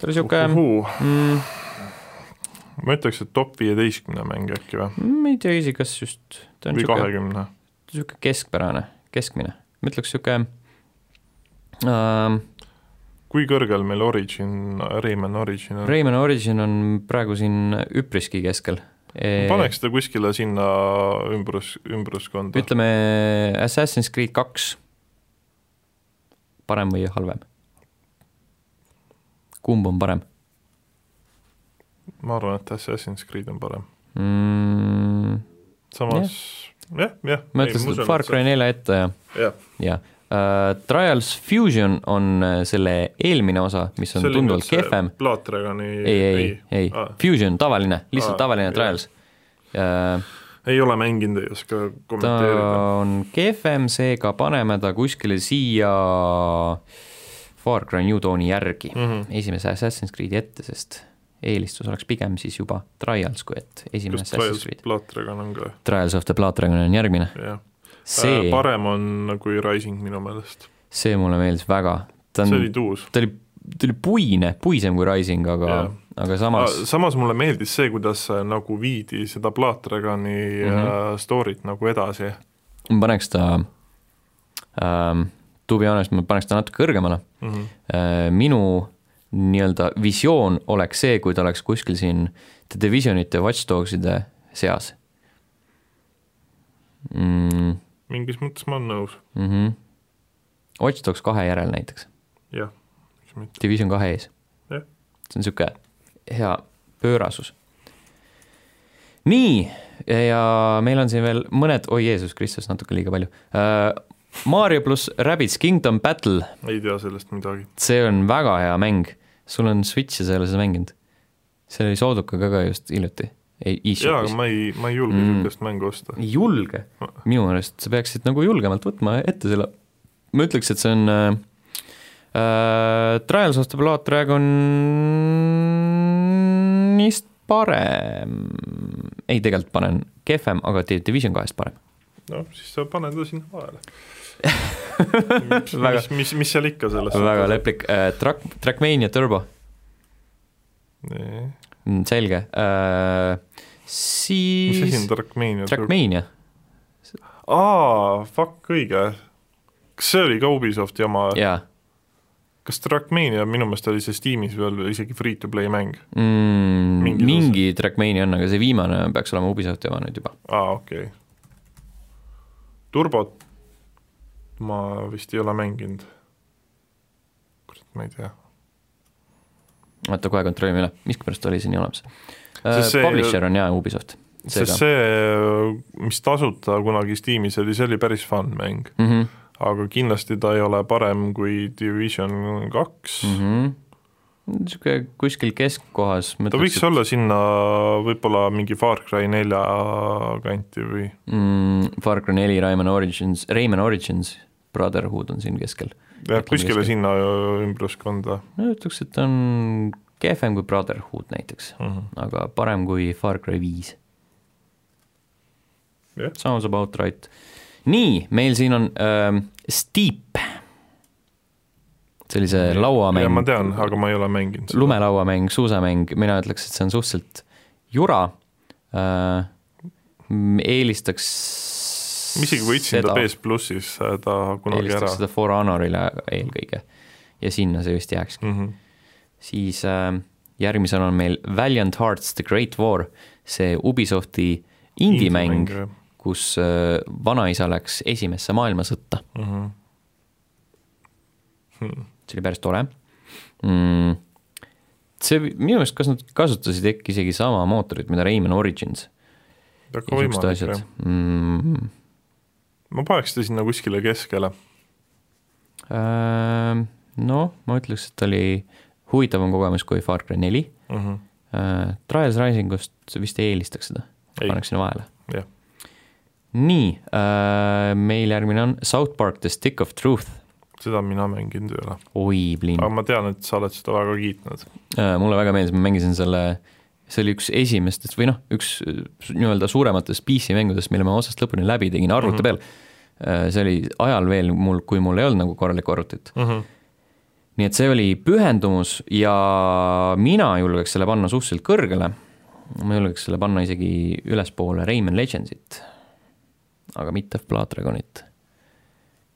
Speaker 1: ta oli sihuke mm, ,
Speaker 3: ma ütleks , et top viieteistkümne mäng äkki või ,
Speaker 1: ma ei tea isegi , kas just , ta on
Speaker 3: või
Speaker 1: sihuke ,
Speaker 3: kahekümne .
Speaker 1: sihuke keskpärane , keskmine , ma ütleks sihuke äh,
Speaker 3: kui kõrgel meil Origin , Rayman Origin on ?
Speaker 1: Rayman Origin on praegu siin üpriski keskel . Eh,
Speaker 3: paneks ta kuskile sinna ümbrus , ümbruskonda .
Speaker 1: E, ütleme Assassin's Creed kaks , parem või halvem ? kumb on parem
Speaker 3: ma arvan , et Assassin's Creed on parem .
Speaker 1: mm, ?
Speaker 3: samas jah , jah .
Speaker 1: ma ütleks Far Cry . nelja ette ja ,
Speaker 3: jah ,
Speaker 1: ja uh, Trials Fusion on äh, selle eelmine osa , mis on tunduvalt kehvem .
Speaker 3: Blood Dragoni Ah,
Speaker 1: ei , Ah. ei , ei
Speaker 3: Aa. ,
Speaker 1: Fusion , tavaline , lihtsalt
Speaker 3: Aa,
Speaker 1: tavaline
Speaker 3: jah.
Speaker 1: Trials uh, .
Speaker 3: ei ole mänginud , ei oska
Speaker 1: ta
Speaker 3: kommenteerida .
Speaker 1: on kehvem , seega paneme ta kuskile siia Far Cry New Dawni järgi mm. ,
Speaker 3: Mhm.
Speaker 1: esimese Assassin's Creed'i ette , sest eelistus oleks pigem siis juba Trials , kui et esimene
Speaker 3: just
Speaker 1: Assassin's
Speaker 3: Trials
Speaker 1: Creed .
Speaker 3: Platragon on ka ,
Speaker 1: Trials of the Blood Dragon on järgmine ,
Speaker 3: jah .
Speaker 1: see ,
Speaker 3: parem on kui Rising minu meelest ,
Speaker 1: see mulle meeldis väga , ta
Speaker 3: see
Speaker 1: on
Speaker 3: oli , tuus .
Speaker 1: ta oli , ta oli puine , puisem kui Rising , aga
Speaker 3: Jah. , Ah,
Speaker 1: aga samas
Speaker 3: samas mulle meeldis see , kuidas äh, nagu viidi seda Platragoni
Speaker 1: Mhm.
Speaker 3: mm -hmm. story't nagu edasi .
Speaker 1: ma paneks ta ähm, , to be honest , ma paneks ta natuke kõrgemale
Speaker 3: Mm -hmm.
Speaker 1: Äh, minu nii-öelda visioon oleks see , kui ta oleks kuskil siin The Divisionite ja Watch Dogside seas mm, .
Speaker 3: mingis mõttes ma olen nõus ,
Speaker 1: Mm -hmm. Watch Dogs kahe järel näiteks ,
Speaker 3: jah , miks mitte ,
Speaker 1: Division kahe ees .
Speaker 3: Jah.
Speaker 1: see on niisugune hea pöörasus . nii , ja meil on siin veel mõned , oi Jeesus Kristus , natuke liiga palju äh, . Mario pluss Rabbids Kingdom Battle
Speaker 3: ei tea sellest midagi .
Speaker 1: see on väga hea mäng , sul on Switch ja sa ei ole seda mänginud . see oli soodukaga ka just hiljuti e ,
Speaker 3: jaa , aga
Speaker 1: e-shopis .
Speaker 3: ma ei , ma ei julge
Speaker 1: Mm.
Speaker 3: niisugust mm. mängu osta .
Speaker 1: ei julge , minu meelest sa peaksid nagu julgemalt võtma ette selle , ma ütleks , et see on äh, äh, Trials of the Blood Dragonist parem , ei tegelikult panen kehvem , aga The Division kahest parem ..
Speaker 3: noh , siis sa pane ta sinna vahele
Speaker 1: Väga-
Speaker 3: mis , mis , mis seal ikka sellest
Speaker 1: väga leplik äh, , Track , Trackmania Turbo
Speaker 3: Nee.
Speaker 1: Mm, selge äh, ,
Speaker 3: mis asi
Speaker 1: siis
Speaker 3: on Trackmania ?
Speaker 1: Trackmania ,
Speaker 3: aa , fuck , õige . kas see oli ka Ubisofti jama ?
Speaker 1: jaa
Speaker 3: kas Trackmania minu meelest oli see Steamis veel isegi free-to-play mäng ?
Speaker 1: mm, .
Speaker 3: Mingis
Speaker 1: mingi Trackmania on , aga see viimane peaks olema Ubisofti oma nüüd juba .
Speaker 3: aa , okei okay. . turbot ma vist ei ole mänginud . kurat , ma ei tea .
Speaker 1: oota , kohe kontrollime üle , miskipärast oli see nii olemas .
Speaker 3: Sest see-
Speaker 1: Publisher on jaa Ubisoft , seega
Speaker 3: sest . see , mis tasuta kunagi Steamis oli , see oli päris fun mäng ,
Speaker 1: Mm -hmm.
Speaker 3: aga kindlasti ta ei ole parem kui Division kaks mm .
Speaker 1: mm
Speaker 3: -hmm.
Speaker 1: -hmm. niisugune kuskil keskkohas , ma
Speaker 3: ta võiks
Speaker 1: ütleks , et
Speaker 3: olla sinna võib-olla mingi Far Cry nelja kanti või
Speaker 1: mm, Far Cry neli , Rayman Origins , Rayman Origins , Brotherhood on siin keskel .
Speaker 3: jah ,
Speaker 1: Äkki
Speaker 3: kuskile
Speaker 1: midagi.
Speaker 3: sinna ümbruskonda
Speaker 1: ma ütleks , et on kehvem kui Brotherhood näiteks ,
Speaker 3: mm . -hmm.
Speaker 1: aga parem kui Far Cry viis
Speaker 3: Jah.
Speaker 1: Sounds about right . nii , meil siin on ähm, Steep . see oli see
Speaker 3: ja ma
Speaker 1: lauamäng ,
Speaker 3: tean , aga ma ei ole mänginud seda .
Speaker 1: lumelauamäng , suusamäng , mina ütleks , et see on suhteliselt jura äh, . eelistaks
Speaker 3: ma isegi võitsin
Speaker 1: seda-
Speaker 3: ta PS plussis äh, ta kunagi ära
Speaker 1: eelistaks seda For Honorile eelkõige ja sinna see vist jääks .
Speaker 3: mm . -hmm.
Speaker 1: siis äh, järgmisel on meil Valiant Hearts The Great War , see Ubisofti indie-mäng , kus äh, vanaisa läks esimesse maailmasõtta ,
Speaker 3: mm . -hmm.
Speaker 1: see oli päris tore mm. . see minu meelest , kas nad kasutasid äkki isegi sama mootorit , mida Rayman Origins
Speaker 3: väga
Speaker 1: ja siuksed
Speaker 3: võimalik ,
Speaker 1: asjad
Speaker 3: jah .
Speaker 1: mm. .
Speaker 3: ma paneks ta sinna kuskile keskele .
Speaker 1: Äh, noh , ma ütleks , et oli huvitavam kogemus kui Far Cry neli
Speaker 3: Mm -hmm.
Speaker 1: äh, . Trials Risingust vist ei eelistaks seda ,
Speaker 3: Ei.
Speaker 1: paneks sinna vahele .
Speaker 3: Jah.
Speaker 1: nii äh, , meil järgmine on South Park The Stick of Truth .
Speaker 3: seda mina mänginud ei ole ,
Speaker 1: oi , Blin
Speaker 3: aga ma tean , et sa oled seda väga kiitnud .
Speaker 1: äh, . mulle väga meeldis , ma mängisin selle , see oli üks esimestest või noh , üks äh, su- nii-öelda suurematest PC mängudest , mille ma otsast lõpuni läbi tegin arvuti
Speaker 3: Mhm.
Speaker 1: mm -hmm. peal äh, . see oli ajal veel mul , kui mul ei olnud nagu korralikku arvutit .
Speaker 3: Mm -hmm.
Speaker 1: nii et see oli pühendumus ja mina julgeks selle panna suhteliselt kõrgele . ma julgeks selle panna isegi ülespoole Rayman Legendsit , aga mitte Platragonit .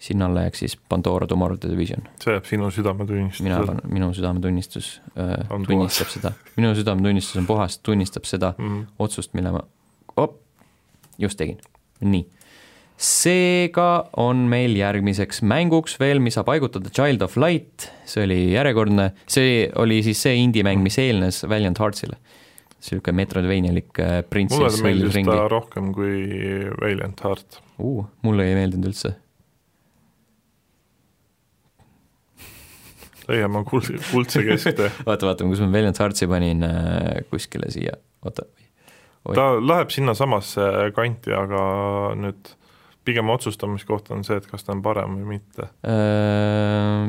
Speaker 1: sinna alla jääks siis Pandora Tomorrow The Division .
Speaker 3: see jääb sinu
Speaker 1: mina
Speaker 3: südametunnistusele .
Speaker 1: arvan , minu südametunnistus äh,
Speaker 3: On
Speaker 1: tunnistab seda , minu südametunnistus on puhas , tunnistab seda
Speaker 3: Mm -hmm.
Speaker 1: otsust , mille ma op, just tegin , nii . seega on meil järgmiseks mänguks veel , mis saab paigutada Child of Light , see oli järjekordne , see oli siis see indie-mäng , mis eelnes Valiant Heartsile . niisugune metroidvanialik äh,
Speaker 3: mulle
Speaker 1: printsess
Speaker 3: ta
Speaker 1: sõidus
Speaker 3: meeldis
Speaker 1: ringi
Speaker 3: ta rohkem kui Valiant Heart .
Speaker 1: uh, , mulle ei meeldinud üldse .
Speaker 3: leiame kuld , kuldse kesktee .
Speaker 1: vaata , vaata , kus ma Valiant Heartsi panin äh, kuskile siia , oota , Oi.
Speaker 3: ta läheb sinnasamasse kanti , aga nüüd pigem otsustamiskoht on see , et kas ta on parem või mitte .
Speaker 1: Äh,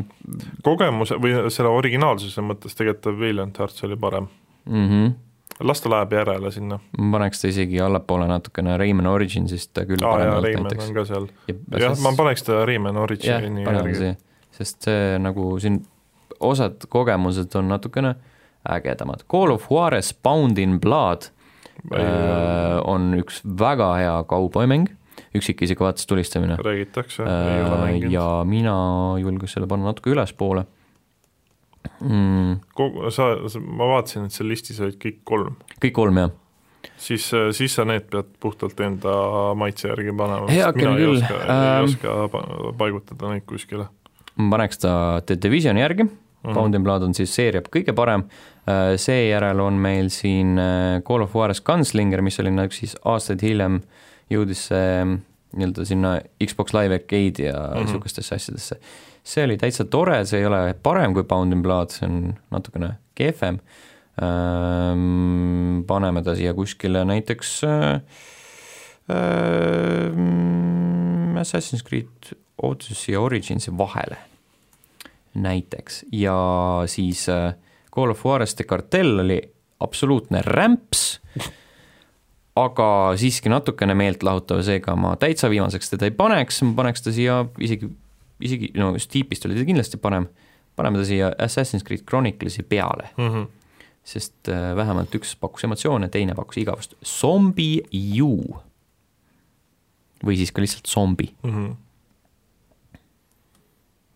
Speaker 3: kogemuse või selle originaalsuse mõttes tegelikult ta Valiant Hearts oli parem ,
Speaker 1: mhmh ,
Speaker 3: las ta läheb järele sinna .
Speaker 1: Mhm. ma paneks ta isegi allapoole natukene Rayman Originsist ta küll
Speaker 3: aa Ah, jaa ,
Speaker 1: parem
Speaker 3: Reimann on ka seal .
Speaker 1: näiteks .
Speaker 3: jah , ma paneks ta Reimann
Speaker 1: jah ,
Speaker 3: Origini
Speaker 1: paneme
Speaker 3: järgi .
Speaker 1: siia , sest see nagu siin osad kogemused on natukene ägedamad . Call of Juarez Bound in Blood äh, on üks väga hea kauboimäng , üksikisiku vaates tulistamine .
Speaker 3: räägitakse , ei ole
Speaker 1: Äh,
Speaker 3: mänginud .
Speaker 1: ja mina julgeks selle panna natuke ülespoole mm, .
Speaker 3: kogu , sa , ma vaatasin , et seal listis olid kõik kolm ,
Speaker 1: kõik kolm jah ,
Speaker 3: siis , siis sa need pead puhtalt enda maitse järgi panema ,
Speaker 1: Heakene
Speaker 3: mina ei
Speaker 1: küll,
Speaker 3: oska ,
Speaker 1: ähm.
Speaker 3: ei oska pa- paigutada neid kuskile .
Speaker 1: ma paneks ta The Divisioni järgi Mm. Bound in Blood on siis seeria kõige parem , seejärel on meil siin äh, Call of Juarez Gunslinger , mis oli nagu siis aastaid hiljem jõudis see mm, nii-öelda sinna Xbox Live Arcade'i ja
Speaker 3: Mhm.
Speaker 1: niisugustesse mm -hmm. asjadesse . see oli täitsa tore , see ei ole parem kui Bound in Blood , see on natukene kehvem . paneme ta siia kuskile näiteks äh, äh, mm, Assassin's Creed Odyssey ja Originsi vahele näiteks ja siis äh, Call of Juarez The Cartel oli absoluutne rämps , aga siiski natukene meeltlahutav , seega ma täitsa viimaseks teda ei paneks , ma paneks ta siia isegi , isegi no Steepist oli ta kindlasti parem , paneme ta siia Assassin's Creed Chronicles'i peale , sest äh, vähemalt üks pakkus emotsioone , teine pakkus igavust , zombi ju . või siis ka lihtsalt zombi
Speaker 3: no Mhm.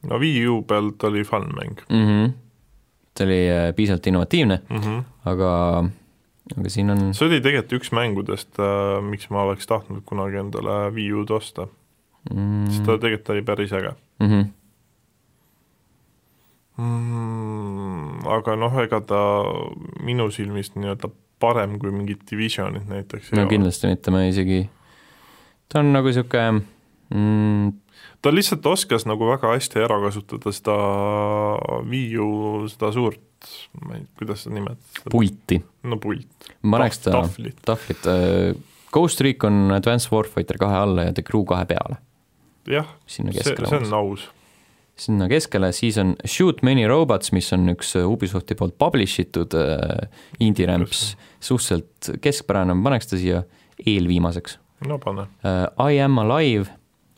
Speaker 3: Wii U pealt oli fun mäng
Speaker 1: mm . -hmm. see oli äh, piisavalt innovatiivne ,
Speaker 3: mm . -hmm.
Speaker 1: aga , aga siin on
Speaker 3: see oli tegelikult üks mängudest , miks ma oleks tahtnud kunagi endale Wii U-d osta , sest ta
Speaker 1: mm, .
Speaker 3: tegelikult oli päris äge
Speaker 1: Mm -hmm.
Speaker 3: mm, . aga noh , ega ta minu silmis nii-öelda parem kui mingid Divisionid näiteks
Speaker 1: no . kindlasti mitte , ma isegi , ta on nagu sihuke mm, ,
Speaker 3: ta lihtsalt oskas nagu väga hästi ära kasutada seda Wii U , seda suurt , ma ei , kuidas seda nimetada ,
Speaker 1: pulti ,
Speaker 3: no pult ,
Speaker 1: ma paneks ta
Speaker 3: tahvlit ,
Speaker 1: tahvlit , Ghost Recon Advanced Warfighter kahe alla ja The Crew kahe peale ,
Speaker 3: jah ,
Speaker 1: sinna
Speaker 3: see ,
Speaker 1: keskele
Speaker 3: see on
Speaker 1: umbes ,
Speaker 3: aus .
Speaker 1: sinna keskele , siis on Shoot Many Robots , mis on üks äh, Ubisofti poolt publish itud äh, indie rämps , suhteliselt keskpärane , ma paneks ta siia eelviimaseks .
Speaker 3: no pane ,
Speaker 1: äh, I am alive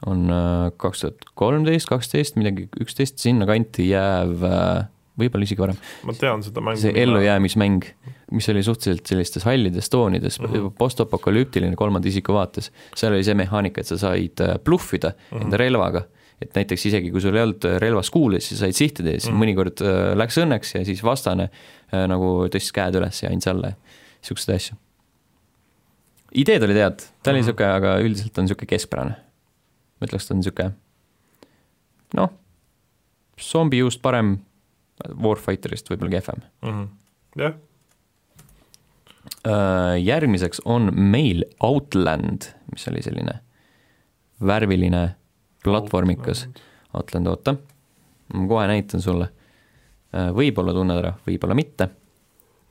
Speaker 1: on äh, kaks tuhat kolmteist , kaksteist , midagi üksteist sinnakanti jääv äh, võib-olla isegi varem ,
Speaker 3: ma tean seda mängu .
Speaker 1: see ellujäämismäng , mis oli suhteliselt sellistes hallides toonides mm -hmm. , postapokalüptiline kolmanda isiku vaates , seal oli see mehaanika , et sa said äh, bluffida mm -hmm. enda relvaga , et näiteks isegi kui sul ei olnud äh, relvas kuulis , sa said sihtida ja siis mm -hmm. mõnikord äh, läks õnneks ja siis vastane äh, nagu tõstis käed üles ja andis alla ja niisuguseid asju . ideed olid head , ta oli
Speaker 3: Mhm.
Speaker 1: niisugune , aga üldiselt on niisugune keskpärane . ma ütleks , ta on niisugune noh , zombi juust parem , Warfighterist võib-olla kehvem .
Speaker 3: Mhm. jah ,
Speaker 1: Äh, järgmiseks on meil Outland , mis oli selline värviline platvormikas . Outland , oota , ma kohe näitan sulle . Äh, võib-olla tunned ära , võib-olla mitte .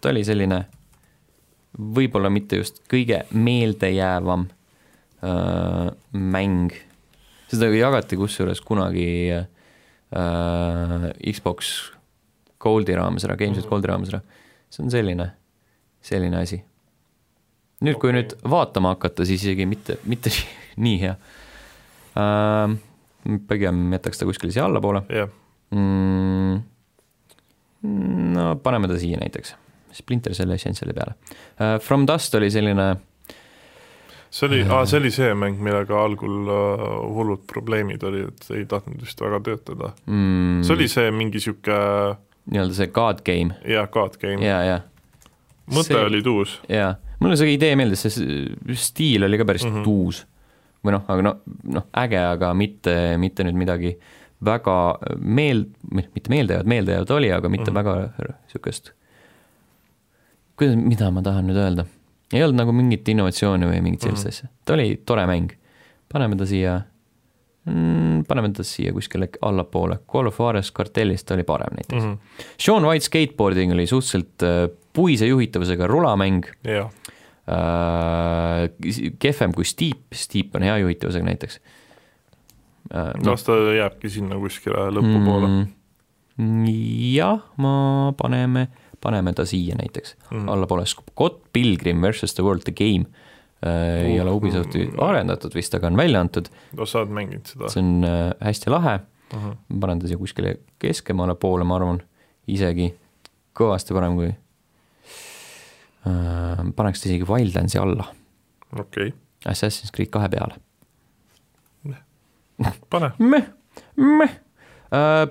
Speaker 1: ta oli selline võib-olla mitte just kõige meeldejäävam äh, mäng . seda jagati kusjuures kunagi äh, Xbox Goldi raames ära , Games with Goldi raames ära . see on selline , selline asi . nüüd , kui
Speaker 3: Okei.
Speaker 1: nüüd vaatama hakata , siis isegi mitte , mitte nii hea äh, . pigem jätaks ta kuskile siia allapoole
Speaker 3: jah ,
Speaker 1: mm, . no paneme ta siia näiteks , Splinter selle Essential'i peale uh, . From Dust oli selline
Speaker 3: see oli , aa , see oli see mäng , millega algul äh, hullud probleemid olid , ei tahtnud vist väga töötada .
Speaker 1: mm, ,
Speaker 3: see oli see mingi niisugune
Speaker 1: nii-öelda see god game
Speaker 3: jah , card game ,
Speaker 1: ja , ja ,
Speaker 3: mõte
Speaker 1: see-
Speaker 3: oli tuus ,
Speaker 1: ja mulle see idee meeldis , see s- stiil oli ka päris mm
Speaker 3: Mhm.
Speaker 1: -hmm. tuus või noh , aga no , noh , äge , aga mitte , mitte nüüd midagi väga meel- , mitte meeldejäävat , meeldejäävat oli , aga mitte mm
Speaker 3: Mhm.
Speaker 1: -hmm. väga niisugust , kuidas , mida ma tahan nüüd öelda , ei olnud nagu mingit innovatsiooni või mingit sellist mm
Speaker 3: Mhm.
Speaker 1: -hmm. asja , ta oli tore mäng , paneme ta siia mm, , paneme ta siia kuskile allapoole , Call of Juarez kartellist oli parem näiteks mm .
Speaker 3: Mhm.
Speaker 1: -hmm. Sean White skateboarding oli suhteliselt äh, puise juhitavusega rulamäng
Speaker 3: jah ,
Speaker 1: äh, kehvem kui Steep , Steep on hea juhitavusega näiteks äh, .
Speaker 3: las ta jääbki sinna kuskile lõpupoole mm. .
Speaker 1: jah , ma paneme , paneme ta siia näiteks mm. , allapoole , Scott Pilgrim versus the world the game äh, ei
Speaker 3: Uh,
Speaker 1: ole Ubisofti
Speaker 3: mm.
Speaker 1: arendatud vist , aga on välja antud ,
Speaker 3: no sa oled mänginud seda
Speaker 1: see on äh, hästi lahe ,
Speaker 3: uh ? -huh.
Speaker 1: ma panen ta siia kuskile keskemale poole , ma arvan , isegi kõvasti parem kui äh, , paneks ta isegi Wildlandsi alla ,
Speaker 3: okei
Speaker 1: Assassin's Creed kahe peale .
Speaker 3: okay. , pane .
Speaker 1: meh , meh .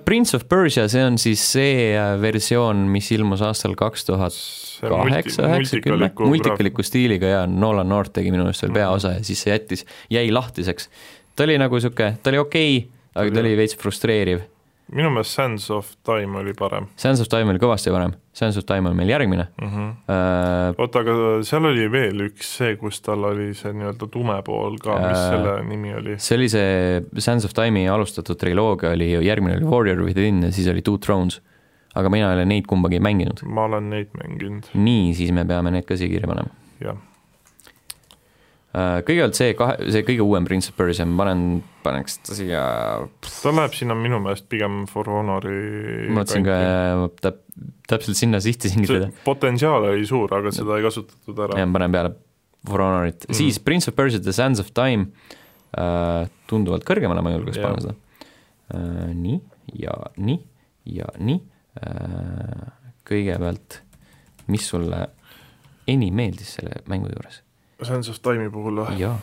Speaker 1: Prince of Persia , see on siis see äh, versioon , mis ilmus aastal kaks tuhat kaheksa , üheksakümmend , multikaliku stiiliga ja Nolan North tegi minu meelest seal peaosa ja siis see jättis , jäi lahtiseks . ta oli nagu niisugune , ta oli okei okay, , aga ta oli veits frustreeriv .
Speaker 3: minu meelest Sands of Time oli parem
Speaker 1: Sands of Time oli kõvasti parem , Sands of Time on meil järgmine
Speaker 3: mm . -hmm.
Speaker 1: uh, .
Speaker 3: oota , aga seal oli veel üks see , kus tal oli see nii-öelda tume pool ka , mis
Speaker 1: Äh.
Speaker 3: selle nimi oli ?
Speaker 1: see oli see Sands of Time'i alustatud triloogia oli , järgmine oli Warrior Within ja siis oli Two Thrones . aga mina ei ole neid kumbagi mänginud .
Speaker 3: ma olen neid mänginud ,
Speaker 1: nii , siis me peame need ka siia kirja panema .
Speaker 3: jah .
Speaker 1: Uh, kõigepealt see kahe , see kõige uuem Prince of Persia , ma panen , paneks ta siia ,
Speaker 3: ta läheb sinna minu meelest pigem For Honori
Speaker 1: ma mõtlesin ka äh, täp- , täpselt sinna sihtisingi
Speaker 3: see
Speaker 1: teda .
Speaker 3: potentsiaal oli suur , aga seda ei kasutatud ära Mhm.
Speaker 1: ja . ma panen peale For Honorit mm. , siis Prince of Persia The Sands of Time uh, , tunduvalt kõrgemale ma julgeks
Speaker 3: Jah.
Speaker 1: panna seda uh, . nii ja nii ja nii uh, , kõigepealt , mis sulle enim meeldis selle mängu juures ?
Speaker 3: Sands of Time'i puhul või ?
Speaker 1: jaa ,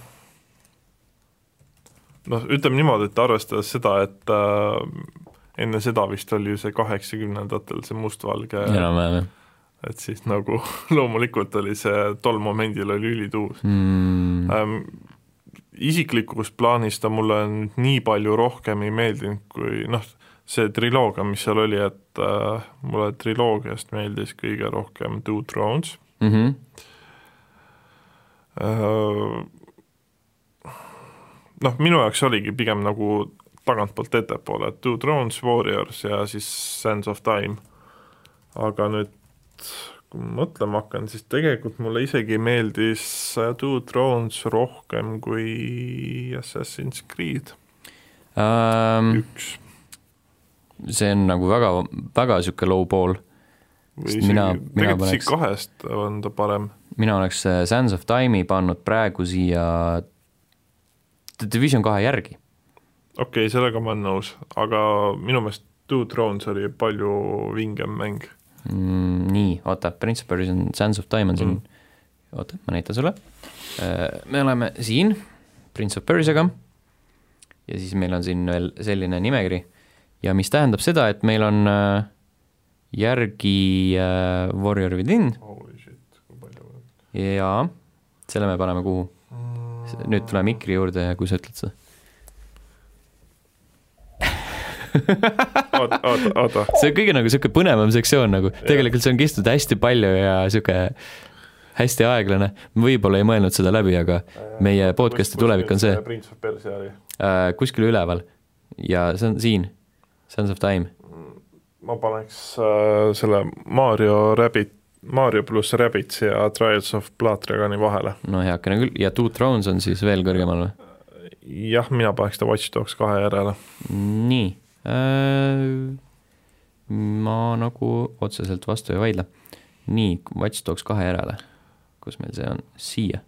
Speaker 3: noh , ütleme niimoodi , et arvestades seda , et äh, enne seda vist oli ju see kaheksakümnendatel see mustvalge ,
Speaker 1: enam-vähem jah
Speaker 3: et siis nagu loomulikult oli see , tol momendil oli ülituus
Speaker 1: mm, .
Speaker 3: ähm, . isiklikus plaanis ta mulle nüüd nii palju rohkem ei meeldinud , kui noh , see triloogia , mis seal oli , et äh, mulle triloogiast meeldis kõige rohkem Two Thrones
Speaker 1: Mm -hmm.
Speaker 3: Öö, Äh, noh , minu jaoks oligi pigem nagu tagantpoolt ettepoole , et Two Thrones , Warriors ja siis Sands of Time . aga nüüd , kui ma mõtlema hakkan , siis tegelikult mulle isegi meeldis äh, Two Thrones rohkem kui Assassin's Creed
Speaker 1: Um,
Speaker 3: üks .
Speaker 1: see on nagu väga , väga niisugune low ball ,
Speaker 3: või
Speaker 1: Sest
Speaker 3: isegi ,
Speaker 1: mina- mina
Speaker 3: tegelikult
Speaker 1: paneks-
Speaker 3: isegi kahest on ta parem ,
Speaker 1: mina oleks äh, Sands of Time'i pannud praegu siia The Division kahe järgi .
Speaker 3: okei okay, , sellega ma olen nõus , aga minu meelest Two Thrones oli palju vingem mäng .
Speaker 1: mm, . nii , oota , Prince of Persia on Sands of Time on siin mm. , oota , ma näitan sulle . me oleme siin Prince of Persiaga ja siis meil on siin veel selline nimekiri ja mis tähendab seda , et meil on äh, järgi äh, Warrior Within
Speaker 3: Holy shit , kui palju
Speaker 1: jaa , selle me paneme kuhu ?
Speaker 3: Mm.
Speaker 1: nüüd tuleme Mikri juurde ja kui sa ütled seda .
Speaker 3: oota , oota , oota ,
Speaker 1: see on kõige nagu niisugune põnevam sektsioon nagu , tegelikult see on kistud hästi palju ja niisugune hästi aeglane , võib-olla ei mõelnud seda läbi , aga
Speaker 3: Äh,
Speaker 1: meie podcast'i tulevik on see
Speaker 3: Prince of Persia oli ,
Speaker 1: äh, kuskil üleval ja see on siin , Sons of Time .
Speaker 3: ma paneks äh, selle Mario Rabbit , Mario pluss Rabbits ja Trials of Platragoni vahele .
Speaker 1: no heakene küll , ja Two Thrones on siis veel kõrgemal või ?
Speaker 3: jah , mina paneks ta Watch Dogs kahe järele .
Speaker 1: nii äh, , ma nagu otseselt vastu ei vaidle . nii , Watch Dogs kahe järele , kus meil see on , siia .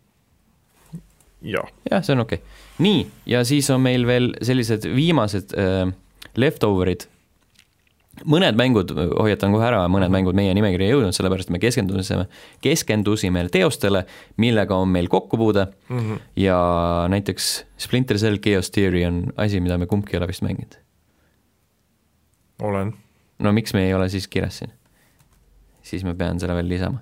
Speaker 3: jah ,
Speaker 1: jah , see on okei okay. . nii , ja siis on meil veel sellised viimased äh, leftover'id . mõned mängud , hoiatan kohe ära , mõned mängud meie nimekirja ei jõudnud , sellepärast me keskendusime , keskendusime teostele , millega on meil kokkupuude mm -hmm. ja näiteks Splinter Cell Chaos Theory on asi , mida me kumbki ei ole vist mänginud .
Speaker 3: olen .
Speaker 1: no miks me ei ole siis kirjas siin ? siis ma pean selle veel lisama .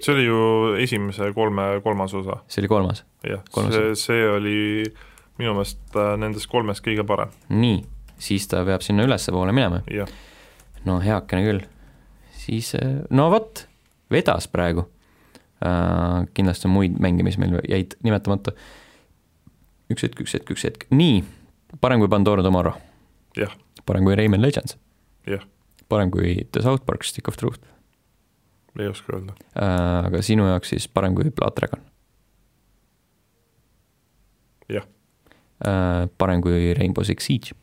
Speaker 3: see oli ju esimese kolme , kolmas osa ,
Speaker 1: see oli kolmas .
Speaker 3: jah ,
Speaker 1: Kolmas
Speaker 3: see , see oli minu meelest äh, nendest kolmest kõige parem ,
Speaker 1: nii , siis ta peab sinna ülespoole minema
Speaker 3: jah .
Speaker 1: no heakene küll , siis eh, no vot , vedas praegu uh, . kindlasti on muid mänge , mis meil jäid nimetamata . üks hetk , üks hetk , üks hetk , nii , parem kui Pandora Tomorrow .
Speaker 3: Jah. .
Speaker 1: parem kui Rayman Legends .
Speaker 3: Jah. .
Speaker 1: parem kui The South Park Stick of Truth Äh,
Speaker 3: ei oska öelda ,
Speaker 1: uh, , aga sinu jaoks siis parem kui Blood Dragon
Speaker 3: jah ,
Speaker 1: äh, parem kui Rainbow Six Siege ,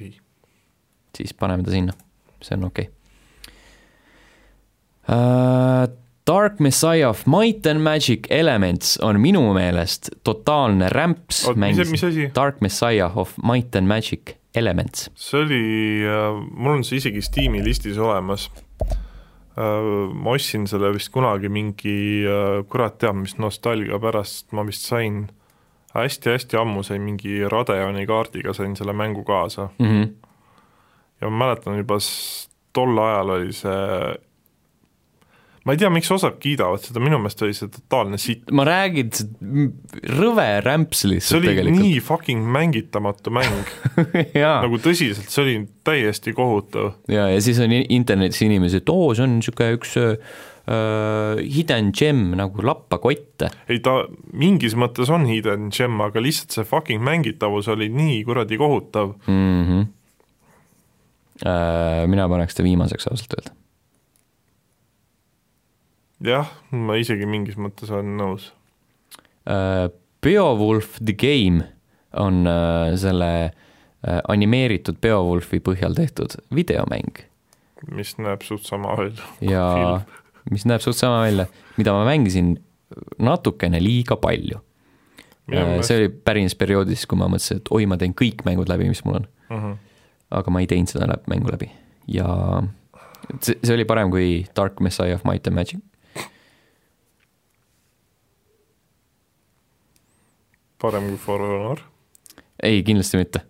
Speaker 3: ei .
Speaker 1: siis paneme ta sinna , see on okei okay. . Äh, Dark Messiah of Might and Magic Elements on minu meelest totaalne rämps mäng
Speaker 3: mis , mis asi ?
Speaker 1: Dark Messiah of Might and Magic Elements .
Speaker 3: see oli , mul on see isegi Steam'i listis olemas . ma ostsin selle vist kunagi mingi , kurat teab mis nostalgia pärast , ma vist sain hästi-hästi ammu sain mingi Radeoni kaardiga sain selle mängu kaasa
Speaker 1: mm . -hmm.
Speaker 3: ja ma mäletan juba s- tol ajal oli see , ma ei tea , miks osad kiidavad seda , minu meelest oli see totaalne sitt ,
Speaker 1: ma räägin , rõve rämps
Speaker 3: see
Speaker 1: lihtsalt
Speaker 3: oli tegelikult.
Speaker 1: tegelikult . Ah.
Speaker 3: nii fucking mängitamatu mäng
Speaker 1: jaa ,
Speaker 3: nagu tõsiselt , see oli täiesti kohutav .
Speaker 1: ja , ja siis on i- internetis inimesi , et oo , see on niisugune üks öö, öö, hidden gem nagu lappakott .
Speaker 3: ei ta mingis mõttes on hidden gem , aga lihtsalt see fucking mängitavus oli nii kuradi kohutav .
Speaker 1: mm . -hmm. Äh, Mina paneks ta viimaseks ausalt öelda .
Speaker 3: jah , ma isegi mingis mõttes olen nõus .
Speaker 1: Äh, Beowulf the game on öö, selle öö, animeeritud Beowulfi põhjal tehtud videomäng
Speaker 3: mis näeb suht sama välja .
Speaker 1: ja mis näeb suht sama välja , mida ma mängisin natukene liiga palju . see oli päris perioodis , kui ma mõtlesin , et oi , ma teen kõik mängud läbi , mis mul on . aga ma ei teinud seda läb, mängu läbi ja et see , see oli parem kui Dark Messiah of Might and Magic .
Speaker 3: parem kui For Honor ,
Speaker 1: ei , kindlasti mitte .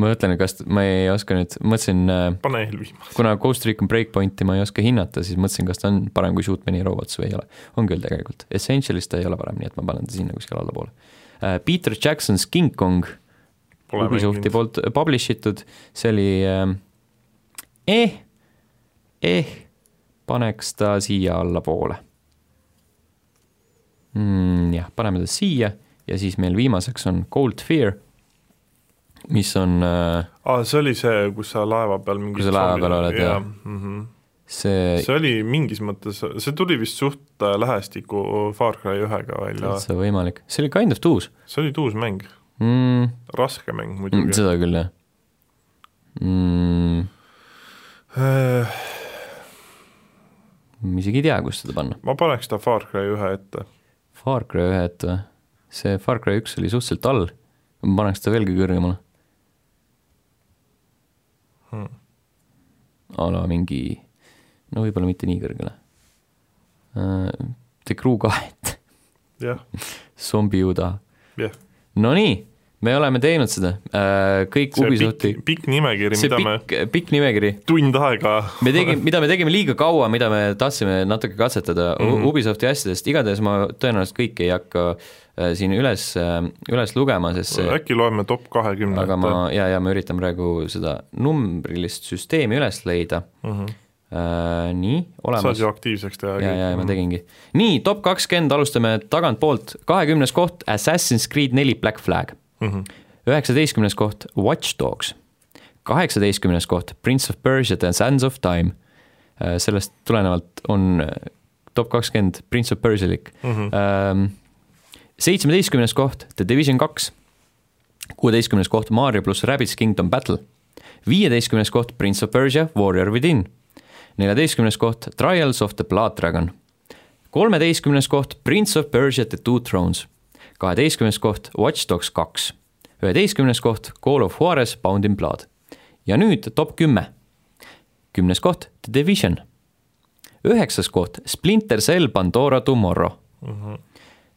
Speaker 1: ma mõtlen , kas ma ei oska nüüd , mõtlesin ,
Speaker 3: pane eelviimane .
Speaker 1: kuna Ghost Recon Breakpointi ma ei oska hinnata , siis mõtlesin , kas ta on parem kui Shoot Many Robots või ei ole . on küll tegelikult , Essentialis ta ei ole parem , nii et ma panen ta sinna kuskile allapoole . Peter Jackson's King Kong , Ubisofti poolt publish itud , see oli äh, eh , eh , paneks ta siia allapoole mm, . jah , paneme ta siia ja siis meil viimaseks on Cold Fear , mis on äh,
Speaker 3: aa , see oli see , kus sa laeva peal mingi
Speaker 1: Kus sa laeva peal oled, jah.
Speaker 3: jah .
Speaker 1: see
Speaker 3: see oli mingis mõttes , see tuli vist suht äh, lähestikku Far Cry ühega välja ,
Speaker 1: täitsa võimalik , see oli kind of uus
Speaker 3: see oli uus mäng ,
Speaker 1: mm, .
Speaker 3: raske mäng
Speaker 1: Mm,
Speaker 3: muidugi .
Speaker 1: seda küll , jah mm, . ma isegi ei tea , kus seda panna .
Speaker 3: ma paneks ta Far Cry ühe ette ,
Speaker 1: Far Cry ühe ette või ? see Far Cry üks oli suhteliselt all , ma paneks ta veelgi kõrgemale hmm. . a la mingi , no võib-olla mitte nii kõrgele uh, . The Crew kahet ,
Speaker 3: jah ,
Speaker 1: Zombi Uda .
Speaker 3: jah .
Speaker 1: Nonii , me oleme teinud seda uh, , kõik
Speaker 3: see
Speaker 1: Ubisofti ,
Speaker 3: pikk , pikk nimekiri ,
Speaker 1: see
Speaker 3: mida me
Speaker 1: pikk , pikk nimekiri
Speaker 3: tund aega
Speaker 1: me tegime , mida me tegime liiga kaua , mida me tahtsime natuke katsetada mm
Speaker 3: Mhm.
Speaker 1: -hmm. Ubisofti asjadest , igatahes ma tõenäoliselt kõike ei hakka äh, siin üles , üles lugema , sest see
Speaker 3: äkki loeme top kahekümne
Speaker 1: aga
Speaker 3: ette
Speaker 1: ma , ja , ja ma üritan praegu seda numbrilist süsteemi üles leida
Speaker 3: mm . -hmm.
Speaker 1: äh, . nii ,
Speaker 3: saad Mhm.
Speaker 1: olemas
Speaker 3: ju . aktiivseks teha .
Speaker 1: ja , ja ma tegingi . nii , top kakskümmend , alustame tagantpoolt , kahekümnes koht Assassin's Creed neli Black Flag ,
Speaker 3: tegin .
Speaker 1: üheksateistkümnes koht Watch Dogs , kaheksateistkümnes koht Prince of Persia The Sands of Time . sellest tulenevalt on äh, top kakskümmend Prince of Persialik . seitsmeteistkümnes koht The Division kaks , kuueteistkümnes koht Mario pluss Rabbids Kingdom Battle , viieteistkümnes koht Prince of Persia Warrior Within , neljateistkümnes koht Trials of the Blood Dragon , kolmeteistkümnes koht Prince of Persia The Two Thrones , kaheteistkümnes koht Watch Dogs kaks , üheteistkümnes koht Call of Juarez Bound in Blood ja nüüd top kümme . kümnes koht The Division , üheksas koht Splinter Cell Pandora Tomorrow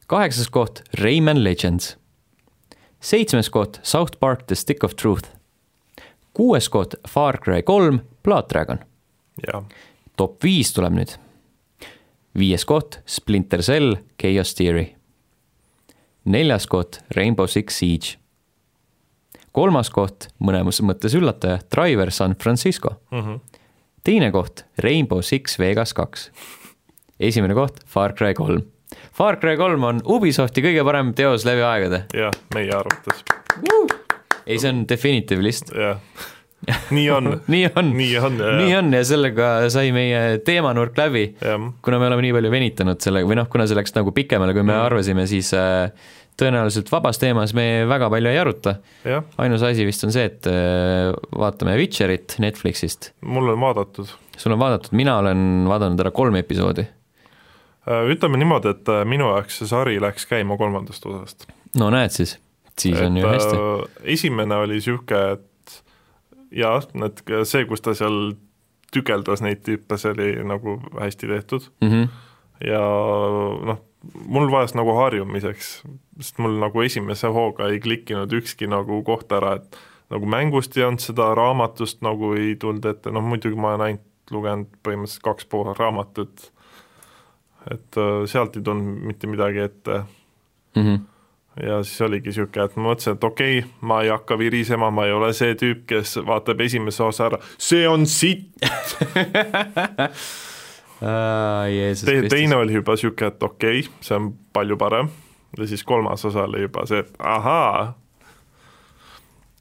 Speaker 1: kaheksas koht Rayman Legends , seitsmes koht South Park The Stick of Truth , kuues koht Far Cry kolm Blood Dragon ,
Speaker 3: jah ,
Speaker 1: top viis tuleb nüüd . viies koht Splinter Cell Chaos Theory , neljas koht Rainbow Six Siege , kolmas koht mõnes mõttes üllataja Driver San Francisco mm , -hmm. teine koht Rainbow Six Vegas kaks esimene koht Far Cry kolm . Far Cry kolm on Ubisofti kõige parem teos läbi aegade .
Speaker 3: jah , meie arvates ,
Speaker 1: ei , see on definitive list ,
Speaker 3: jah . nii on
Speaker 1: nii on ,
Speaker 3: nii on ,
Speaker 1: nii on ja sellega sai meie teemanurk läbi
Speaker 3: jah .
Speaker 1: kuna me oleme nii palju venitanud sellega või noh , kuna see läks nagu pikemale , kui me
Speaker 3: Mm.
Speaker 1: arvasime , siis äh, tõenäoliselt vabas teemas me väga palju ei aruta .
Speaker 3: jah ,
Speaker 1: ainus asi vist on see , et äh, vaatame Witcherit Netflixist .
Speaker 3: mul on vaadatud .
Speaker 1: sul on vaadatud , mina olen vaadanud ära kolm episoodi .
Speaker 3: ütleme niimoodi , et äh, minu jaoks see sari läks käima kolmandast osast .
Speaker 1: no näed siis , siis on ju hästi .
Speaker 3: esimene oli niisugune , et jah , et see , kus ta seal tükeldas neid tüüpe , see oli nagu hästi tehtud
Speaker 1: Mm -hmm.
Speaker 3: ja noh , mul vajas nagu harjumiseks , sest mul nagu esimese hooga ei klikkinud ükski nagu koht ära , et nagu mängust ei olnud seda , raamatust nagu ei tulnud ette , noh muidugi ma olen ainult lugenud põhimõtteliselt kaks pool raamatut , et äh, sealt ei tulnud mitte midagi ette
Speaker 1: Mm -hmm.
Speaker 3: ja siis oligi niisugune , et ma mõtlesin , et okei okay, , ma ei hakka virisema , ma ei ole see tüüp , kes vaatab esimese osa ära , see on sitt ,
Speaker 1: Jeesus
Speaker 3: Te, teine
Speaker 1: Kristus .
Speaker 3: oli juba niisugune , et okei okay, , see on palju parem ja siis kolmas osa oli juba see , et ahaa .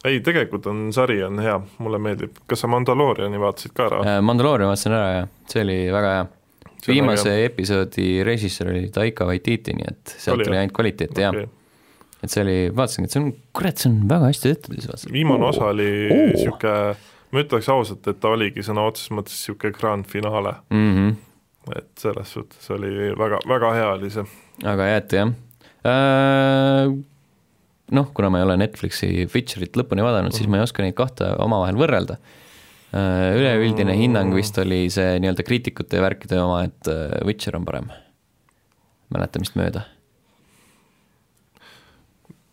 Speaker 3: ei , tegelikult on sari on hea , mulle meeldib , kas sa Mandalooriani vaatasid ka ära ?
Speaker 1: Mandalooria Äh, vaatasin ära ja see oli väga hea . viimase episoodi režissöör oli Taika Waititi , nii et sealt
Speaker 3: Oli,
Speaker 1: oli, oli
Speaker 3: jah?
Speaker 1: ainult kvaliteeti okay. ja et see oli , vaatasingi , et see on , kurat , see on väga hästi tehtud siis vaatasin .
Speaker 3: viimane osa oli
Speaker 1: oo.
Speaker 3: niisugune , ma ütleks ausalt , et ta oligi sõna otseses mõttes niisugune grand finaale ,
Speaker 1: mm . -hmm.
Speaker 3: et selles suhtes oli väga , väga hea oli see .
Speaker 1: aga jääte jah äh, . noh , kuna ma ei ole Netflixi feature'it lõpuni vaadanud , siis ma ei oska neid kahte omavahel võrrelda äh, . üleüldine hinnang vist oli see nii-öelda kriitikute ja värkide oma , et äh, Witcher on parem . mäletamist mööda .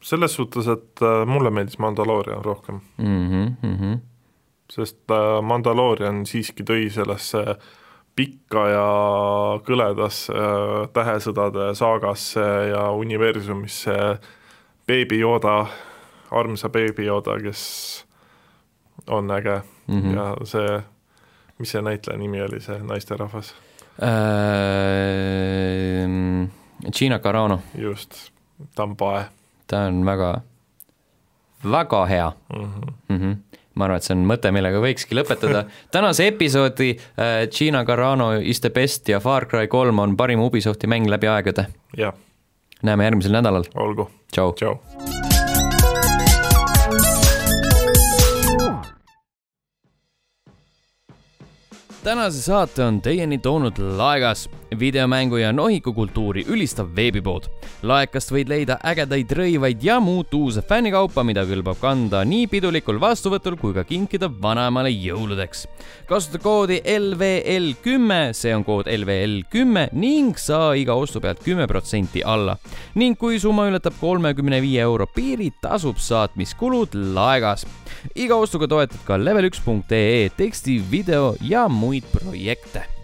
Speaker 3: selles suhtes , et äh, mulle meeldis Mandaloorian rohkem ,
Speaker 1: Mhm,
Speaker 3: sest äh, Mandaloorian siiski tõi sellesse pikka ja kõledasse äh, tähesõdade saagasse ja universumisse beebi Yoda , armsa beebi Yoda , kes on äge
Speaker 1: mhm.
Speaker 3: mm -hmm. ja see , mis see näitleja nimi oli , see naisterahvas ,
Speaker 1: Äh, Gina Carano ,
Speaker 3: just , ta on pae
Speaker 1: ta on väga , väga hea
Speaker 3: mm . -hmm.
Speaker 1: mm . -hmm. ma arvan , et see on mõte , millega võikski lõpetada tänase episoodi äh, Gina Carano is the best ja Far Cry kolm on parim Ubisofti mäng läbi aegade .
Speaker 3: jah ,
Speaker 1: näeme järgmisel nädalal ,
Speaker 3: olgu ,
Speaker 1: tšau .
Speaker 3: tšau .
Speaker 1: tänase saate on teieni toonud Laegas , videomängu ja nohikukultuuri ülistav veebipood . laekast võid leida ägedaid rõivaid ja muud uuse fännikaupa , mida kõlbab kanda nii pidulikul vastuvõtul kui ka kinkida vanaemale jõuludeks . kasuta koodi LVL kümme , see on kood LVL kümme ning saa iga ostu pealt kümme protsenti alla . ning kui summa ületab kolmekümne viie euro piiri , tasub saatmiskulud Laegas . iga ostuga toetad ka level1.ee teksti , video ja muid projekte